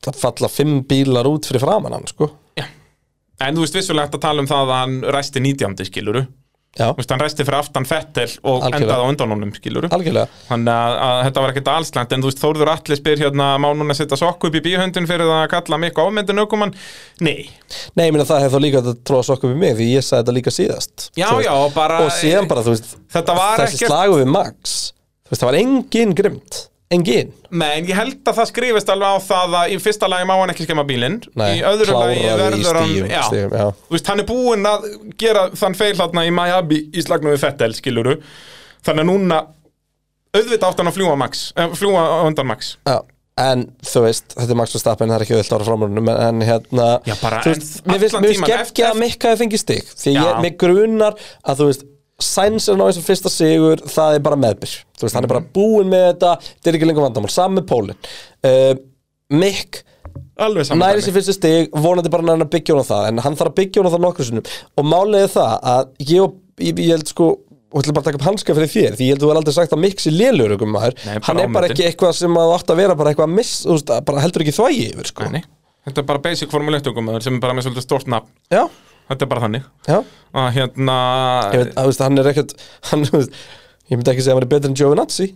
það falla fimm bílar út fyrir framan hann sko
en þú veist vissulega hægt að tala um það að hann ræsti 19. skiluru þú
Já,
veist, hann ræsti fyrir aftan Fettel og
Algjörlega.
endaði á undanónum skiluru
algjörlega
Þannig að, að þetta var ekkert allslæmt en þú veist Þórður Alli spyr hérna má núna setja sokku upp í bíhöndin fyrir það að kalla mig ofmyndin aukumann? Nei,
Nei, ég meina það hefði þá líka að tróða sokka við mig því ég sagði þetta líka síðast
Já,
þú veist.
já, og bara-
Og síðan bara, þú veist
Þetta var
Þessi
ekkert-
slagu við Max Þú veist, það var engin grimt Engin
Nei, en ég held að það skrifist alveg á það að í fyrsta lagi má hann ekki skemma bílinn
Nei,
í öðru
kláraði
lagi verður
í
hann
stígum- stígum, já.
Þú veist, hann er búinn að gera þann feil hérna í Miami í slagnum við Fettel, skiluru þannig að núna auðvitað átt hann að fljúa Max eh, fljúa á undan Max
Já En þú veist, þetta er Max Verstappen, það er ekki auðvitað að ára framrunum en, en hérna,
Já, bara,
þú veist,
en
mér finnst,
allan
mér finnst
tímann
geggja að
eftir-
Mikka hefði fengið stig því að ég,
Já.
mig grunar að þú veist Sainz er náðið sem fyrsta sigur, það er bara meðbyr þú veist, hann er
Mhm.
bara búinn með þetta þetta er ekki lengur vandamál, saman með Pólin uh, Mikk
Alveg
næri sér fyrsta stig, vonandi bara hann að byggja hún á það en hann þarf að byggja hún á það nokkru sinnum og málið er það að ég, og- ég, ég held sko og ætla bara að taka upp hanska fyrir þér því ég held þú er aldrei sagt að miksi lélur ykkur maður
Nei, bara
hann er bara
ofmetinn.
ekki eitthvað sem að þú átt að vera bara eitthvað að miss, þú veist, að bara heldur ekki þvægi yfir sko.
Nei, Þetta er bara basic formuleittökum sem er bara með svolítið stort nafn
já,
Þetta er bara þannig
já,
að hérna
ég veit, að, þú veist, hann er ekkert hann, þú veist, ég myndi ekki segja að hann er betur en Giovinazzi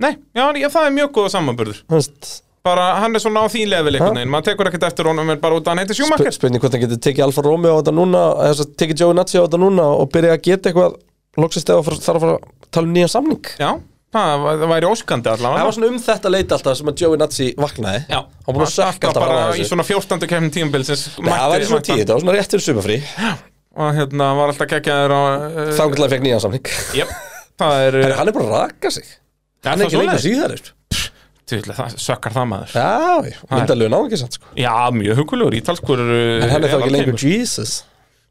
Nei, já, já, það er mjög góða samanburður
Þú veist,
bara hann er svona á því level
Ha?
einhvern veginn maður tekur ekkert eftir honum en bara út að hann heitir
sp-
sjúmakar
spurning hvort hann getur tekið Alfa Romeo á þetta núna eða þess að tekið Giovinazzi á þetta núna og byrja að geta eitthvað loksist eða þarf að fara að tala um nýjan samning
Já, það væ- það væri óskandi allavega
Það var svona um þetta leita alltaf sem að Joey Nazi vaknaði
Já,
Hann búin að sökka alltaf
bara
fram að
í
þessu.
svona 14. kemni tímabilsins
Nei, Það var í svona tíu, það var svona rétt fyrir sumafrí
Og hérna var alltaf geggjaður á uh,
Þá gætlaði fekk nýjan samning
Jep, það er eh,
Herri, Hann er bara að raka sig Hann er ekki lengur síðar
Tjóðlega, það sökkar það maður
sko. Já, já, myndalegu náðingisand sko
Já, mjög hugulegur, ítalskur eh,
En hann er þá ekki lengur Jesus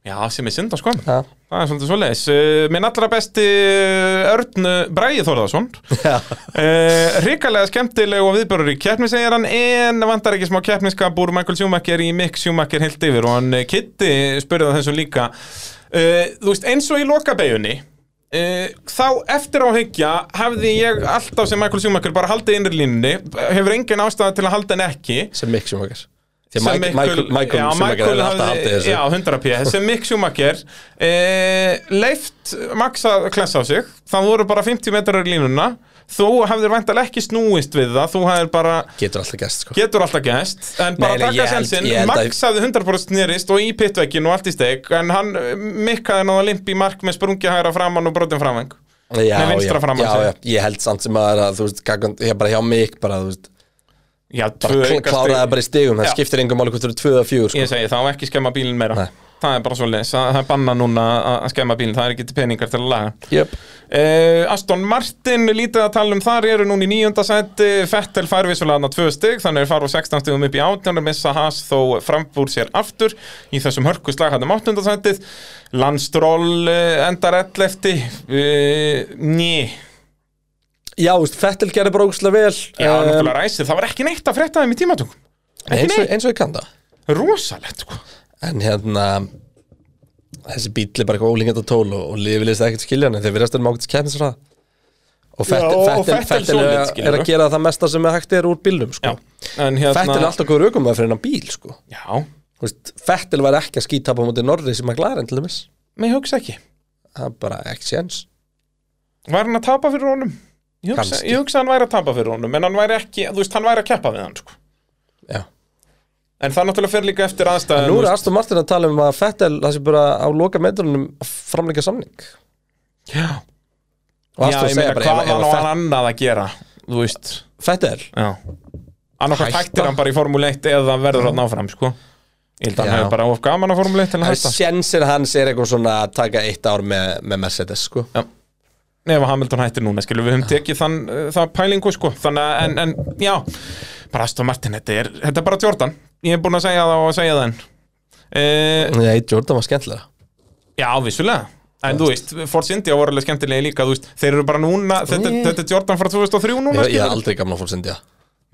Já, sem er synda sko
Já,
Það er svolítið svoleiðis Eh, Minn allra besti eh, Örn Bræði Þórðarsson
já,
uh, Ríkalega skemmtileg og viðbörur í keppni segir hann En vantar ekki smá keppniskap úr Michael Schumacher í Mick Schumacher heilt yfir Og hann eh, Kiddi spurði það þessum líka uh, Þú veist, eins og í lokabeginni Uh, þá eftir á higgja hefði ég alltaf sem Michael Schumacher bara haldið innri línunni hefur engin ástæða til að halda henni ekki
sem Mick Schumacher Því
sem
að Michael, Michael, Michael
já,
Schumacher hefði alltaf
hafði-
haldið þessu
Já, 100 p sem Mick Schumacher e, leift Max að klessa á sig það voru bara 50 metrar í línuna þú hefðir væntalega ekki snúist við það þú hefðir bara,
Getur alltaf gæst sko
getur alltaf gæst en bara
Nei, nei, ég
taka
held-
sensin,
ég held að-
Max hafði 100% nýrist og í pitvekkin og allt í steik en hann mikkaði náða limp í mark með sprungi hægra framann og brotin framveng
Já,
Nei, vinstra
já,
framan,
já,
segi
já, ég held samt sem að, að þú veist, kakkan, ég bara hjá Mick bara, þú veist,
Já,
bara kl-
tvö aukastig.
kláraði það bara í stigum, það
Já.
skiptir engum máli hvort þú eru tvöða fjúr, sko.
Ég segi það á ekki skemma bílinn meira
Nei.
Það er bara svolítið, það er banna núna að- að skemma bílinn, það er ekki til peningar til að laga
Jöp.
Uh, Aston Martin, lítið að tala um þar eru núna í nýjunda seti, Fettel fær vissulega hann að tvö stygg, þannig er fara á 16 stegum upp í 18, missa Haas þó frambúr sér aftur í þessum hörku slag hann um 8. setið, Landstról uh, endar 11 uh, ný,
Já, þú veist, Fettel gerði bara ógustlega vel.
já
um,
náttúrulega ræsir það var ekki neitt að frétta þeim í tímatökum, ekki
eins og,
neitt,
eins og ég kann það.
rosalegt sko.
En hérna, þessi bíl er bara eitthvað ólingat að tól og, og lifi list ekkert skilja hann, en þeir virðast þeir mákvæmt keppins frá það. Og Fettel,
og- og
Fettel,
Vettel
Fettel
solid,
er,
skilur
er að
þú?
gera það mesta sem er hægt er úr bílnum,
Já,
sko.
en
Fettel er
hérna,
alltaf góður aukum að fyrir hennan bíl, sko.
já,
Þú veist, Fettel var ekki að skýta á móti Norris í McLaren, til dæmis.
mig hugsa ekki,
Það er bara ekki séns.
var hann að tapa fyrir honum? Ég hugsa,
Kannski.
ég hugsa hann væri að tapa fyrir honum, en hann væri ekki, þú veist, hann væri að keppa við hann sko.
Já.
En það náttúrulega fer líka eftir aðstæðan
Nú er Aston Martin að tala um að Fettel það sé bara á loka metrunum að framleika samning
Já,
og
já
Aston
ég
segja
meina
bara ef,
hvað hann
ef
á
Fett-
annað að gera Þú veist
Fettel
Já Annarkvæmt
Hætta.
hættir hann bara í Formule 1 eða hann verður hann áfram sko Ég held að hann
Já.
hefur bara of gaman að Formule 1 til að hætta
Sjensin hans er eitthvað svona að taka eitt ár með, með Mercedes sko
Nei, ef Hamilton hættir núna, skilur við höfum tekið þann, uh, það pælingu sko Þannig að, en, en, já Bara Aston Martin, þetta er, þetta er bara Jordan Ég hef búin að segja það og að segja það en uh,
Nei, Jordan var skemmtilega
Já, vissulega En þú veist, Force India voru alveg skemmtilegi líka, þú veist, þeir eru bara núna, þetta,
Nei.
þetta er Jordan frá 2003
Ég,
núna,
ég er
skilurðu.
aldrei gamla fólksindi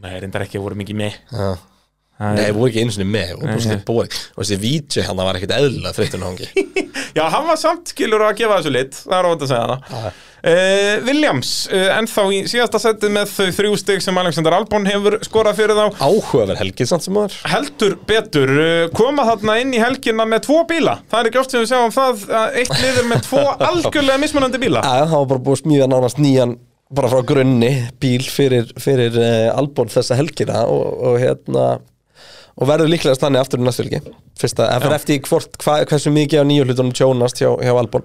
Nei, reyndar ekki, voru mikið með
Nei,
Það er-
voru ekki einu sinni með og búin
Nei.
þetta bóri og þessi VJ hann var ekkit eðlilega þreytun á hangi
Já, hann var samt skilur að gefa þessu lit Það er ofant að segja það
Já.
uh, Williams, uh, ennþá í síðasta seti með þau þrjú stig sem Alexander Albon hefur skorað fyrir þá
Áhugaver helgið samt sem var
heldur betur uh, koma þarna inn í helgina með tvo bíla það er ekki oft sem við sjáum það að eitt liður með tvo algjörlega mismunandi bíla
Já, það var bara búið að smíða nánast nýjan bara frá grunni bíl fyrir, fyrir uh, albón þessa helgina og, og hérna og verður líklega stannig aftur í næstu helgi fyrsta, ef það er eftir í hvort hva, hversu mikið á nýju hlutunum tjónast hjá, hjá albón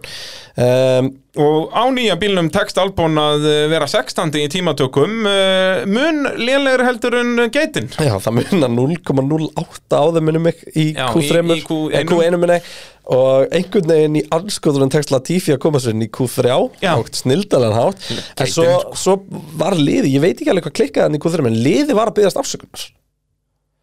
um,
og á nýja bílnum tekst Albon að uh, vera sextandi í tímatökum uh, mun lélegur heldur en geitin
Já, það munar 0,08 á þeim minnum mig í
Já,
Q3
í- í Q1.
eh, Q1 minni og einhvern veginn í anskoðunum tekst Latifi að koma sér inn í Q3
Já. sko.
hátt, snildalega hátt en
Geitin,
svo, svo var liði, ég veit ekki alveg hvað klikkaði hann í Q3 en liði var að byggast afsökunar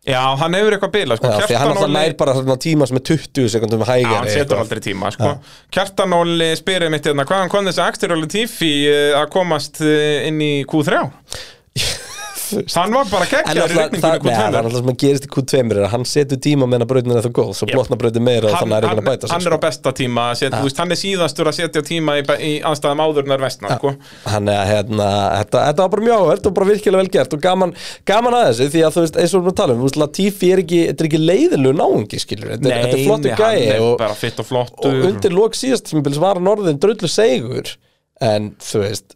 Já, hann hefur eitthvað bíla sko.
Já, því hann
Kjartan
alltaf
Óli-
nær bara svona tíma sem er 20 sekundum
Já, hann
hægari
setur
eitthvað.
aldrei tíma sko. Kjartanóli spyrir mitt hérna hvaðan kom þessi Axtirjóli Tífi eh, að komast eh, inn í Q3 Hann var bara
En
geggjar í
alltaf,
rigningunni
það,
Q2
neða, það er alltaf sem að gerist í Q2 er að hann setur tíma meðan að brautin er það góð svo
Jep.
blotna brautin meira og
hann,
þannig er ekki
hann,
að bæta
hann
sig sko.
er á besta tíma að setja, þú veist, hann er síðastur að setja tíma í, be- í anstæðum áðurnar vestna sko.
Hann er, hérna, þetta, þetta var bara mjög áhvert og bara virkilega vel gert og gaman, gaman að þessu því að þú veist, eins og við erum að tala um, þú veist, Latifi er ekki, þetta er ekki leiðinlegu náungi, skilur þetta, er- þetta er flottu
hann
gæi
er
og,
bara fitt og flottur
og undir lók síðast tímabils var hann orðin drullu segur en þú veist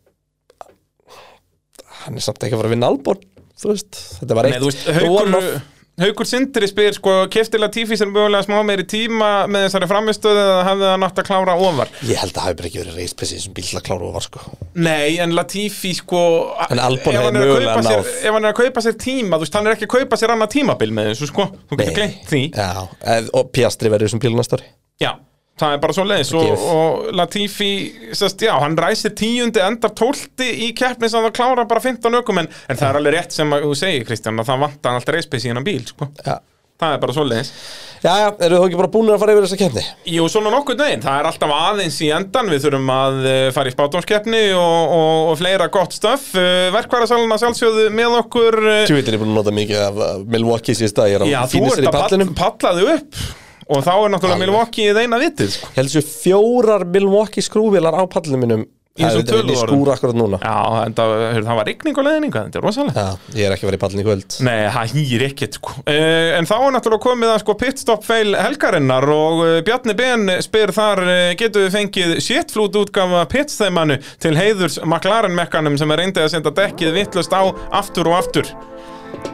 hann er samt ekki að fara að vinna albor þú veist, þetta var
Nei,
eitt
þú veist,
one-off.
haukur, haukur Sindri spyr sko, keftilega Tífi sem mögulega smá meiri tíma með þessari framistöðu eða hafði hann átt að klára ofar
Ég held að það hefur bara ekki verið reispessi sem bíl til að klára ofar sko
Nei, en Latifi sko
En Albon
ef
hefði
hann er að
mögulega
kaupa sér-
náð.
Ef hann er að kaupa sér tíma, þú veist, hann er ekki að kaupa sér annað tímabil með þessu sko Þú getur gleymt því
Já, eð- og Piastri verður sem bíl næstari
Já, það er bara svo leiðis og,
Gefið.
og Latifi, sest, já, hann ræsir tíundi endar tólti í keppni sem það klára bara 15 ökum en, en það er alveg rétt sem að þú segir Kristján að það vantar hann alltaf reispeis í hennan bíl sko.
Já,
það er bara svo leiðis
já, já eru þú ekki bara búinir að fara yfir þessa kemni?
Jú, svona nokkuð neginn, það er alltaf aðeins í endan Við þurfum að eh, fara í spátumskeppni og, og, og fleira gott stöf Verkværasalina sjálfsögðu með okkur eh,
Tjúvitir er búin að nota mikið af uh, Milwaukee síðust að ég er
Já,
að
þú
fínu
ert
sér í
að
pallinum
pall- palla þig upp Og þá er náttúrulega
Alveg.
Milwaukee í þeina vitið sko.
Heldur þessu fjórar Milwaukee skrúvélar á pallinum mínum
Í þessum
hefðu verið í
töluorðum.
skúra akkurat núna
Já, enda, heyrðu, það var rigning og leðninga, þetta er rosalega
Já, ég er ekki að vera í pallin í kvöld
Nei, það hýr ekkert sko. uh, En þá er náttúrulega komið að sko pitstop fail helgarinnar og uh, Bjarni Ben spyr þar uh, getum við fengið shitflút útgafa pitstæmanu til heiðurs McLaren mekkanum sem er reyndið að senda dekkið vittlust á aftur og aftur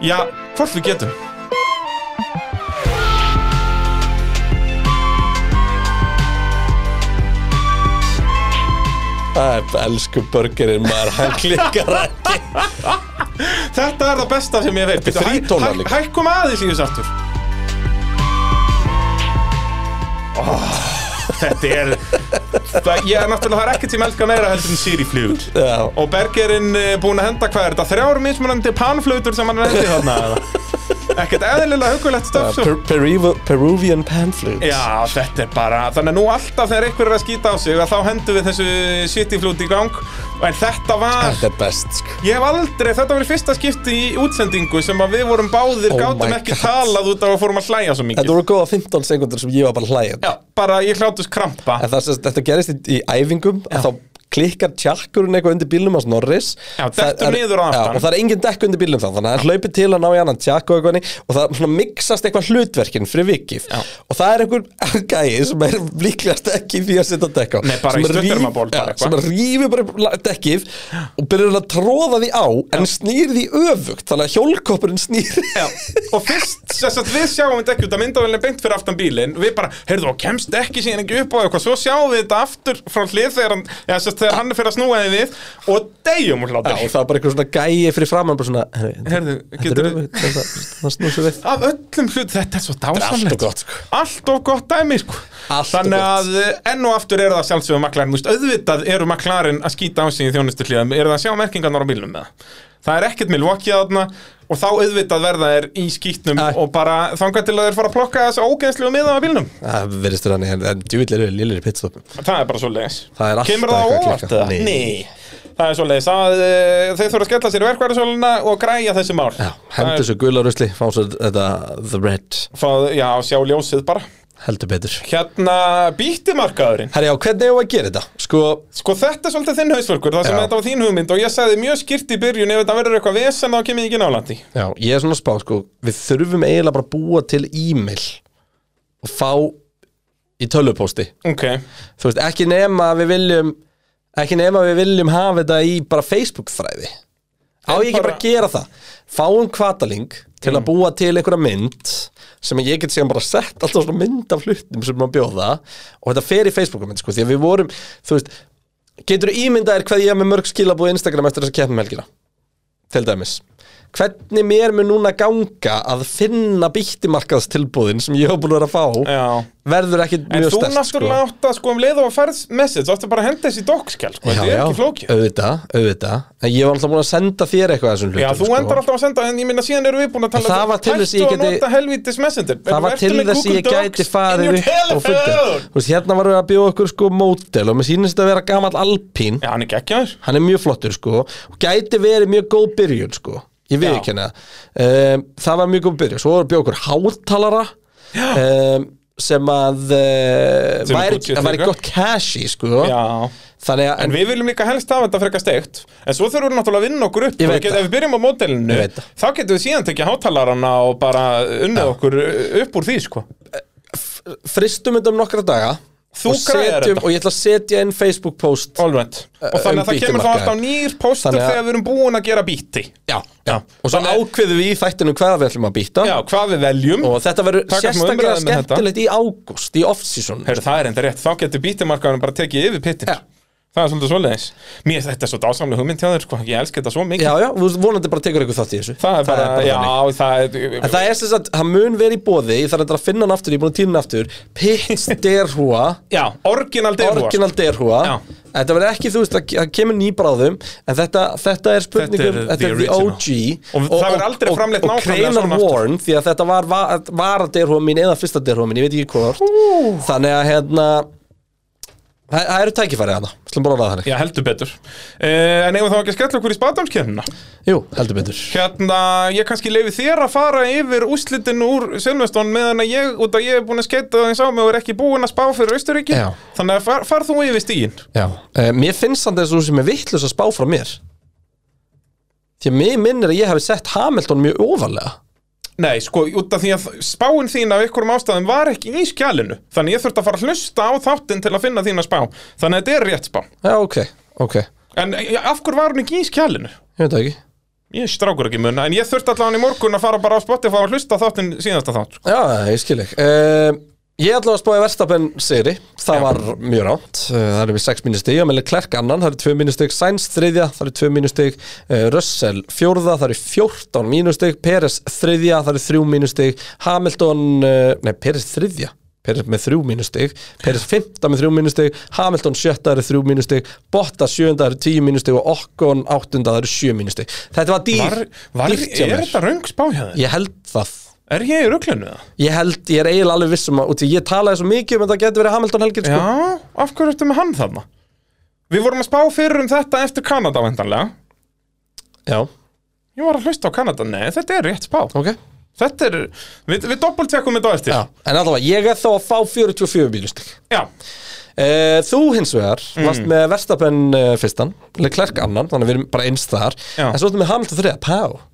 Já, hvort við getum
Það er elsku burgerinn maður, hann klikkar ekki
Þetta er það besta sem ég veit
Þetta er
Bíddu,
þrítónar
hæ-
líka.
hæ- Hækkum aðeins í þessu aftur
Ah.
oh, Þetta er það, Ég er náttúrulega það er ekkert sem ég elska meira heldur en Siri flugur
Já.
Og Bergerinn eh, búinn að henda hvað er þetta? Þrjár mismunandi panflutur sem hann er hendi þarna eða? Ekkert eðlilega hugulegt
Uh,
stöf
per Peruv- Peruvian panflutes
Já, þetta er bara, þannig að nú alltaf þegar einhver er að skýta á sig að þá hendum við þessu shitty flút í gang en þetta var,
Þetta er best sko
ég hef aldrei, þetta var í fyrsta skipti í útsendingu sem að við vorum báðir,
Oh
gátum
my
ekki
God.
talað út af að fórum að hlæja svo
Þetta
mikið
voru góða 15 sekundur sem ég var bara hlægjum
Já, bara ég hlátust krampa
En það sem sagt, þetta gerist í, í æfingum að þá klikkar tjakkurinn eitthvað undir bílnum hans Norris
Já,
Það
dettur
er-
niður á
já,
aftan.
og það er engin dekk undir bílnum þá þannig að hann hlaupir til að ná í annan tjakk og eitthvað þannig, og það svona, mixast eitthvað hlutverkin fyrir vikið
Já.
og það er einhver gæi sem er líklegast ekki í því að setja dekk á
Nei, bara
Sem
í
er ríf-
stuttermaból, bara
já,
eitthvað.
sem rýfur bara upp la- dekkið og byrjar að tróða því á en snýr því öfugt þannig að hjólkoppurinn snýr
Já, og fyrst, þess að við sjáum þetta ekki út að myndavélni beint fyrir aftan bílinn við bara, heyrðu, og kemst ekki síðan ekki upp á eitthvað svo sjáum við þetta aftur frá hlið þegar hann, ja, sérst, þegar hann er fyrir að snúa þið við og deyjum úr
Já,
hlátur
og það er bara einhver svona gæi fyrir framann bara svona, "Heyrðu,
Heyrðu,
þetta er
geturðu-
öfugt, þetta- það snúr sér við
af öllum hlut, þetta er svo dásamlegt
allt of gott, sko.
Allt of gott dæmi sko.
Allt of
þannig
gott.
að eh, enn og aftur er það sjálfsögum maklarinn, þú veist, auðvitað eru maklarinn að skýta á sig í þjónustu hlíðum, eru það að sjá merkingarnar á bílum með það það er ekkert Milwaukee þarna og þá auðvitað verða er í skýtnum
Æ.
og bara þangað til að þeir fara að plokka þessu ógeðslegu miðan á bílnum,
Það verðist þannig, en, en djúvillir eru lillir í pitstopum
það er bara svo leiðis
Það er alltaf
kemur það á
eitthvað að
óvart
klikka.
eða?
Nei.
Nei, það er svo leiðis þeir þurfa að skella sér í verkværisöluna og græja þessi mál
Já,
Það er-
hendur svo gularusli, fá svo þetta The Red,
Fá- já, sjá ljósið bara
heldur betur
Hérna, bítimarkaðurinn
Herri, já, hvernig hefur að gera þetta? Sko,
Sko þetta er svolítið þinn hausverkur, það sem
Já.
þetta var þín hugmynd og ég sagði mjög skýrt í byrjun ef þetta verður eitthvað vesen þá kem ég ekki nálandi
já, ég er svona að spá, sko Við þurfum eiginlega bara að búa til e-mail og fá í tölvupósti
Ok,
Þú veist, ekki nema að við viljum ekki nema að við viljum hafa þetta í bara Facebook-þræði Á
En
ég ekki bara
bara- Mm.
að gera það Fáum kvataling til að búa til einhverja mynd sem ég get síðan bara sett alltaf svona mynd af hlutnum sem maður bjóða og þetta fer í Facebook-mynd, sko, því að við vorum þú veist, getur þú ímyndaðir hvað ég hef með mörg skilabúið Instagram eftir þess að keppnum helgina til dæmis hvernig mér mun núna ganga að finna bíktimarkaðstilbúðin sem ég hef búin að vera að fá
já
verður ekki
En
mjög
þú
sterk
náttúrulega átt að sko um leið og að færð message, þú átt að bara að henda þessi dokkskjál sko, þetta er ekki flókið
auðvitað, auðvitað En ég var alltaf búin að senda þér eitthvað af þessum hlutum
Já, þú endar alltaf að senda, en ég minna síðan erum við búin að
En
tala
sko. það var til þess
að
ég
Hættu að
geti-
nota helvítis messenger
Það var til þess að ég gæti farið upp og fundið Þú veist, hérna varum við að bjóða okkur sko mótel og mér sýnist þetta að vera gamall alpín
Já, hann er geggjaður
Hann er mjög flottur sko og gæti verið mjög góð byrjun sko Ég við ekki hérna um, Það var mjög góð byrjun, svo varum við bjóða okkur hátalara um, sem að uh,
Sem er
væri,
gott kjöt
það væri
líka.
gott cash í sko
Já
Þannig að
En við viljum líka helst hafa þetta frekar steikt En svo þurfum við náttúrulega að vinna okkur upp
Ég
Og
veit
get,
það.
Ef við byrjum á mótelinu
Ég veit það.
Þá getum við síðan tekið hátalarana og bara unnið okkur upp úr því sko.
fristum þetta um nokkra daga
Þú
og,
græjar
setjum,
þetta.
og ég ætla að setja inn Facebook post
All right. Og
Um
þannig að það kemur þá
bítimarkaðinn.
alltaf nýr póstur
Þannig að-
Þegar við erum búin að gera bíti
já,
Já.
og svo
Þannig-
ákveðum við í þættinu hvað við ætlum að býta
Já, hvað við veljum
og þetta verður
Taka smá
sérstaklega
umræðu með þetta.
skemmtilegt í ágúst í off-season
Heyrðu, það er enda rétt, þá getur bítimarkaðunum bara tekið yfir pittin
Já.
það er svolítið svoleiðis Mér þetta er svo dásamlega hugmynd hjá þér, sko, ég elska þetta svo mikið
Já, já, þú veist, vonandi bara tekur eitthvað þátt í þessu
Það er bara,
þannig.
já, það
En
er
það er sem sagt, hann mun verið í bóði Ég þarf þetta að finna hann aftur, ég er búin að týna hann aftur Pitt derhúa
Já, orginal derhúa
Orginal derhúa
Já.
Þetta verður ekki, þú veist, það það kemur nýbráðum En þetta, þetta er spurningum,
Þetta er
þetta
the
er the
original.
OG
Og það verður aldrei
og-
framleitt
Og
nákvæmlega
Kreinar
svona aftur.
Warren, því að þetta var, var, var derhúa mín Eða fyrsta derhúa mín, ég veit ekki hvort Þannig að, hérna Það það eru tækifærið hana, slum bara að ræða þannig
Já, heldur betur uh, En eigum þá ekki að skella okkur í spátumskjöfnina
Jú, heldur betur
Hérna, ég kannski leifi þér að fara yfir úslitin úr Silveston meðan að ég, út að ég er búin að skeita það eins á mig og er ekki búin að spá fyrir Austuríki
Já.
Þannig að far, far þú yfir stígin
Já, uh, mér finnst samt þessu sem er vittlust að spá frá mér Því að mér minnir að ég hefði sett Hamilton mjög ofarlega
Nei, sko, út af því að spáin þín af einhverjum ástæðum var ekki í skjælinu Þannig ég þurfti að fara að hlusta á þáttinn til að finna þína spá Þannig að þetta er rétt spá
Já, ok, ok, ég
En eh, af hverju var hún ekki í skjælinu?
veit það ekki
Ég strákur ekki muna, en ég þurfti allan í morgun að fara bara á Spotify og hlusta á þáttinn síðasta þátt sko.
Já, ég skil ekki uh, Ég ætla að spá í verstapenn sigri Það var mjög ránt uh, Það eru við 6 mínustig, ég meðlega Klerk annan Það eru 2 mínustig, Sainz þriðja Það eru 2 mínustig, uh, Russell fjórða Það eru 14 mínustig, Peres þriðja Það eru 3 mínustig, Hamilton uh, Nei, Peres þriðja Peres með 3 mínustig, Peres fymta með 3 mínustig Hamilton sjötta það eru 3 mínustig Botta sjönda það eru 10 mínustig og Okkon áttunda það eru 7 mínustig Þetta var dýr,
Var, var,
dýrt hjá
er
mér
þetta röng spá hjá þér?
Ég held það
Er ég í rugglinu það?
Ég held, ég er eiginlega alveg vissum að, út í ég talaði svo mikið um að það getur verið Hamilton helgir sko.
Já, af hverju ertu með hann þarna? Við vorum að spá fyrir um þetta eftir Kanada vendanlega
Já,
Ég var að hlusta á Kanada, nei, þetta er rétt spá
ok
Þetta er, við, við doppeltvekum þetta á eftir
Já. En allavega, ég er þá að fá 44 bílustík
Já,
e, Þú hins vegar
Mm.
varst með Verstapen uh, fyrstan, Leclerc annan þannig að við erum bara eins þar
Já.
en svo ertu með Hamilton þriða, pá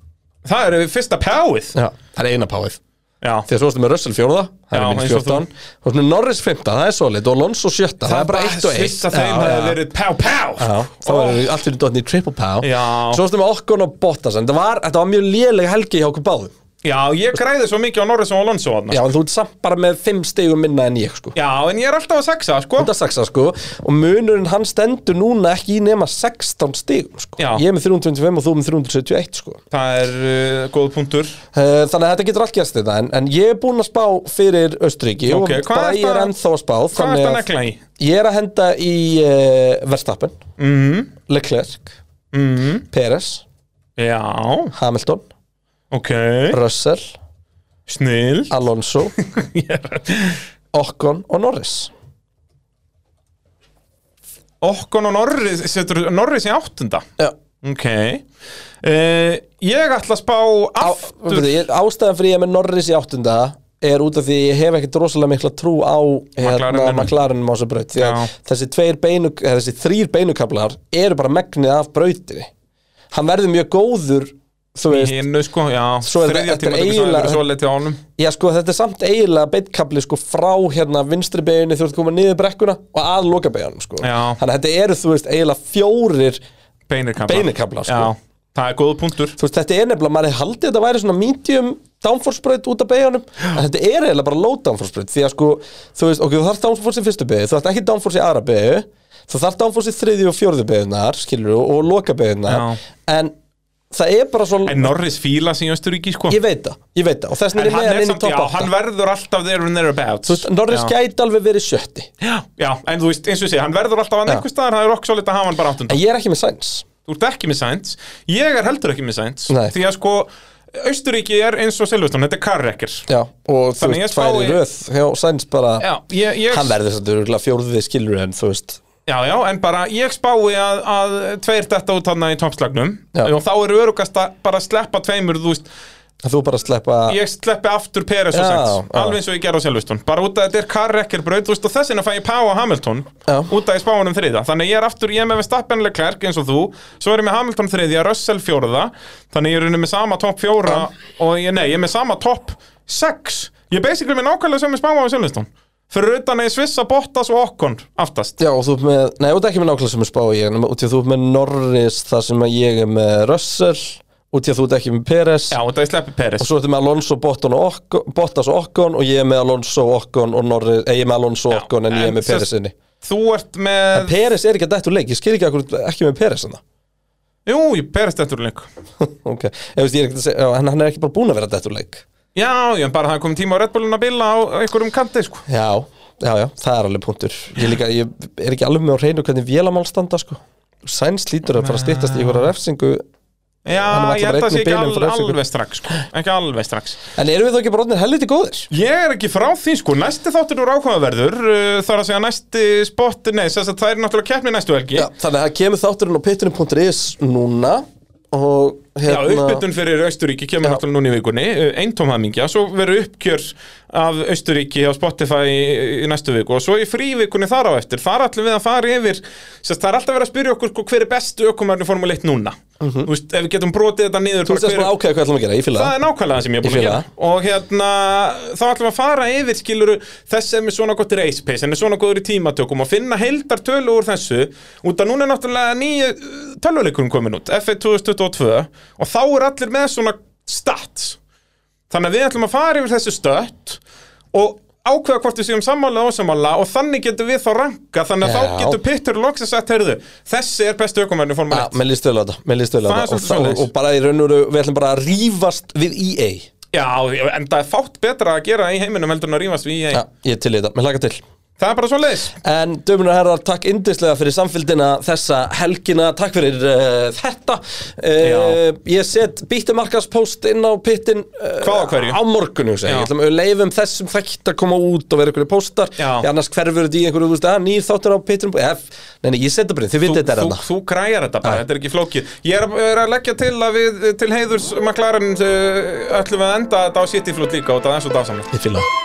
það eru fyrsta páið
Já. Það er eina páið
Já,
Því að svo ertu með Russell fjórða, það
Já,
er mínus
eins og
14 Þú ertu með Norris fymta, það er solid og Alonso sjötta, það, er bara eitt og eitt
Fyrsta þeim
Já,
hefði
já.
verið pá pá
Já, þá
Ó.
erum við allt fyrir dotni í triple pá
Já.
Svo ertu með Okkon og Bottas en þetta var, þetta var mjög léleg helgi hjá okkur báðum
Já, ég græði svo mikið á Norris og Alonso þarna
Já, en þú ert samt bara með 5 stegum minna en ég, sko
Já, en ég er alltaf að sexa, sko
Hundasaksa, sko Og munurinn hann stendur núna ekki í nema 16 stegum, sko
Já.
Ég er með 325 og þú með 371, sko
Það er uh, góð punktur
Eh, Þannig að þetta getur allt gerst þetta en, en ég er búinn að spá fyrir Östuríki
Ok,
Og
hvað
bara
ertu
ég er
að-
ennþá að spá
Hvað er
þannig
þetta
að
negla í?
Ég er að henda í uh, Verstappen mm.
Mhm.
Leclerc mm. Peres,
Já,
Hamilton
ok
Russell,
Snill
Alonso Okkon og Norris
Okkon og Norris, setur Norris í áttunda
Já
Ok uh, Ég ætla að spá
á,
aftur
veitu, ég, ástæðan fyrir ég er með Norris í áttunda er út af því ég hef ekkert rosalega mikla trú á hérna,
McLareninum.
McLarenum á þessu braut því að
Já.
þessi, tveir beinu, eða þessi þrýr beinukablar eru bara megnið af brautinni hann verður mjög góður þú
Í
veist,
hinnu sko, já
Svo er
Þriðja
þetta- þetta er
tímatökum, það
eiginlega-
hefur svo leið til ánum
já sko þetta er samt eiginlega beinkabli sko frá hérna vinstri beinu þú ert koma niður brekkuna og að loka beinunum sko
Já.
þannig að þetta eru þú veist eiginlega fjórir þú
Beinir kabla
Beinir kaflar, sko.
Já, það er góð punktur
veist þetta er nefnilega, maður hefði haldið að þetta væri svona medium downforce braut út af beigunum en þetta er eiginlega bara low downforce braut því að sko, þú veist, ok, þú þarf downforce í fyrstu beigu þú þarf ekki downforce í aðra beigu þú þarf downforce í þriðju og fjórðu beigunar skilur og, og loka beigunar en það er bara svo,
En Norris fíla sig í Östuríki sko
ég veit það ég veit það, og þess
En
vegna er ég
hann
með
er
hann inn í
samt, já,
top 8
hann verður alltaf there and thereabouts
þú veist, Norris
Já.
gæti alveg verið sjötti
Já, já, en þú veist, eins og ég segi, hann verður alltaf
Já.
að einhver staðar Það er okk svo að hafa hann bara áttunda
en ég er ekki með sæns
Þú ert ekki með Sainz Ég er heldur ekki með Sainz
Nei.
Því að sko, Austuríki er eins og Silveston, þetta er karrekkir
já, og þú
Þannig ég
veist,
spái-
færi röð hjá sæns bara,
Já, ég, ég
hann verður þetta fjórði skilur en þú veist
Já, já, en bara ég spái að, að tveir þetta út þarna í toppslagnum
Já.
og þá eru örugast að bara sleppa tveimur, þú veist,
að þú bara sleppa
ég sleppi aftur Peres og
Já,
Sainz,
já.
alveg eins og ég gerði á Selvistón bara út að þetta er karrekkir braut, þú veist, og þess vegna fæ ég Pá og Hamilton
Já.
út að ég spá honum þriða, þannig ég er aftur, ég er með Verstappen Leclerc eins og þú, svo er ég með Hamilton þriðja, Russell fjórða, þannig ég er unni með sama topp fjóra og ég, nei, ég er með sama topp sex, ég er basically með nákvæmlega sem ég spá á Selvistón, fyrir utan að ég svissa Bottas og Okkon aftast
Já, og þú ert með, nei, út ekki með nákvæmlega sem ég spá ég, nema út í að þú ert með Norris þar sem að ég er með Russell, út í að þú ert ekki með Peres,
Já, út að ég sleppi Peres
og svo ertu með Alonso, Botton og Okkon, Bottas og Okkon og ég er með Alonso, Okkon og Norris, eh, ég er með Alonso,
Já,
Okkon en ég
en
er með
sest-
Peresinni.
þú ert með
Peres er ekki að dættu leik, ég skil ekki akkur ekki með Peres hann
Jú, ég perist þetta úr leik
Ok, ég veist, ég er ekki að segja, hann, hann er ekki bara búin að vera að dættu leik
Já, ég en bara það er komið tíma á Red Bullin að bila á einhverjum kanti, sko
Já, já, já, það er alveg punktur Ég, líka, ég er ekki alveg með á reynu hvernig vélamál standa sko. Sæns lítur að fara að stýttast í einhverja refsingu
Já,
Hann var alltaf
ég held að
bara
það sé
einn í
ekki
bilum
al,
fyrir refsingu.
alveg strax, sko Ekki alveg strax
En erum við þá ekki brotnir helviti góðir?
Ég er ekki frá því, sko, næsti þáttur úr áhugaverður uh, Það er að segja næsti spot, nei, þess að það er náttúrulega keppni næstu helgi
Já, þannig að það kemur þátturinn á pittunum.is núna og
Já,
hérna
uppbytun fyrir Austuríki kemur náttúrulega núna í vikunni, eintómhamingja, svo verður uppgjör af Austuríki á Spotify í- í næstu viku og svo í frívikunni þar á eftir, þar ætlum við að fara yfir, sérst það er alltaf verið að spyrja okkur sko, hver er bestu ökumærni formule 1 núna, þú veist, ef við getum brotið þetta niður
Mhm. Þú
bara
veist að
hver-
svona ákveða hvað ætlum að gera, ég fylg
Það er nákvæmlega það sem ég er
Ég
búin að
fíla
gera Og hérna, þá ætlum við að fara yfir skiluru Þess sem er svona gott race pace En er svona góður í tímatökum Og finna heildar tölu úr þessu Út að núna er náttúrulega nýju töluleikurinn komin út F1 2022 Og þá er allir með svona stats Þannig að við ætlum að fara yfir þessu stött Og ákveða hvort við séum sammála og ósammála og þannig getum við þá ranka þannig að
Já.
þá getur Peter loksins sagt, heyrðu, þessi er bestu ökumæðinu formule
Já,
1
mér líst vel á þetta, mér líst vel á
Það er
þetta og,
svolítið
það- og,
svoleiðis.
og bara í raun og veru, við ætlum bara að rífast við E EA
Já, en það er fátt betra að gera í heiminum heldur en að rífast við í einn
Já, ég til í þetta, mér laka til
Það er bara svo leiðis
En dömunar herrar, takk indislega fyrir samfélgina þessa helgina, takk fyrir uh, þetta uh, Ég set býttumarkaspóst inn á pittin uh,
Hvað á hverju?
Á morgun, hugsa ég.
Já.
ég ætlum að leifum þessum þætt að koma út og vera ykkur póstar
Já.
Ég annars hverfur þetta í einhverju, þú veist, að nýr þáttur á pittin Nei, nei, ég setja bara inn, þið vitið þetta er
þú,
hérna
þú græjar þetta bara, þetta er ekki flókið Ég er, er að leggja til eh, að við til heiðurs McLaren uh, ætlum við að enda þetta á Cityflut líka og það er svo dásamlega
Ég fíla það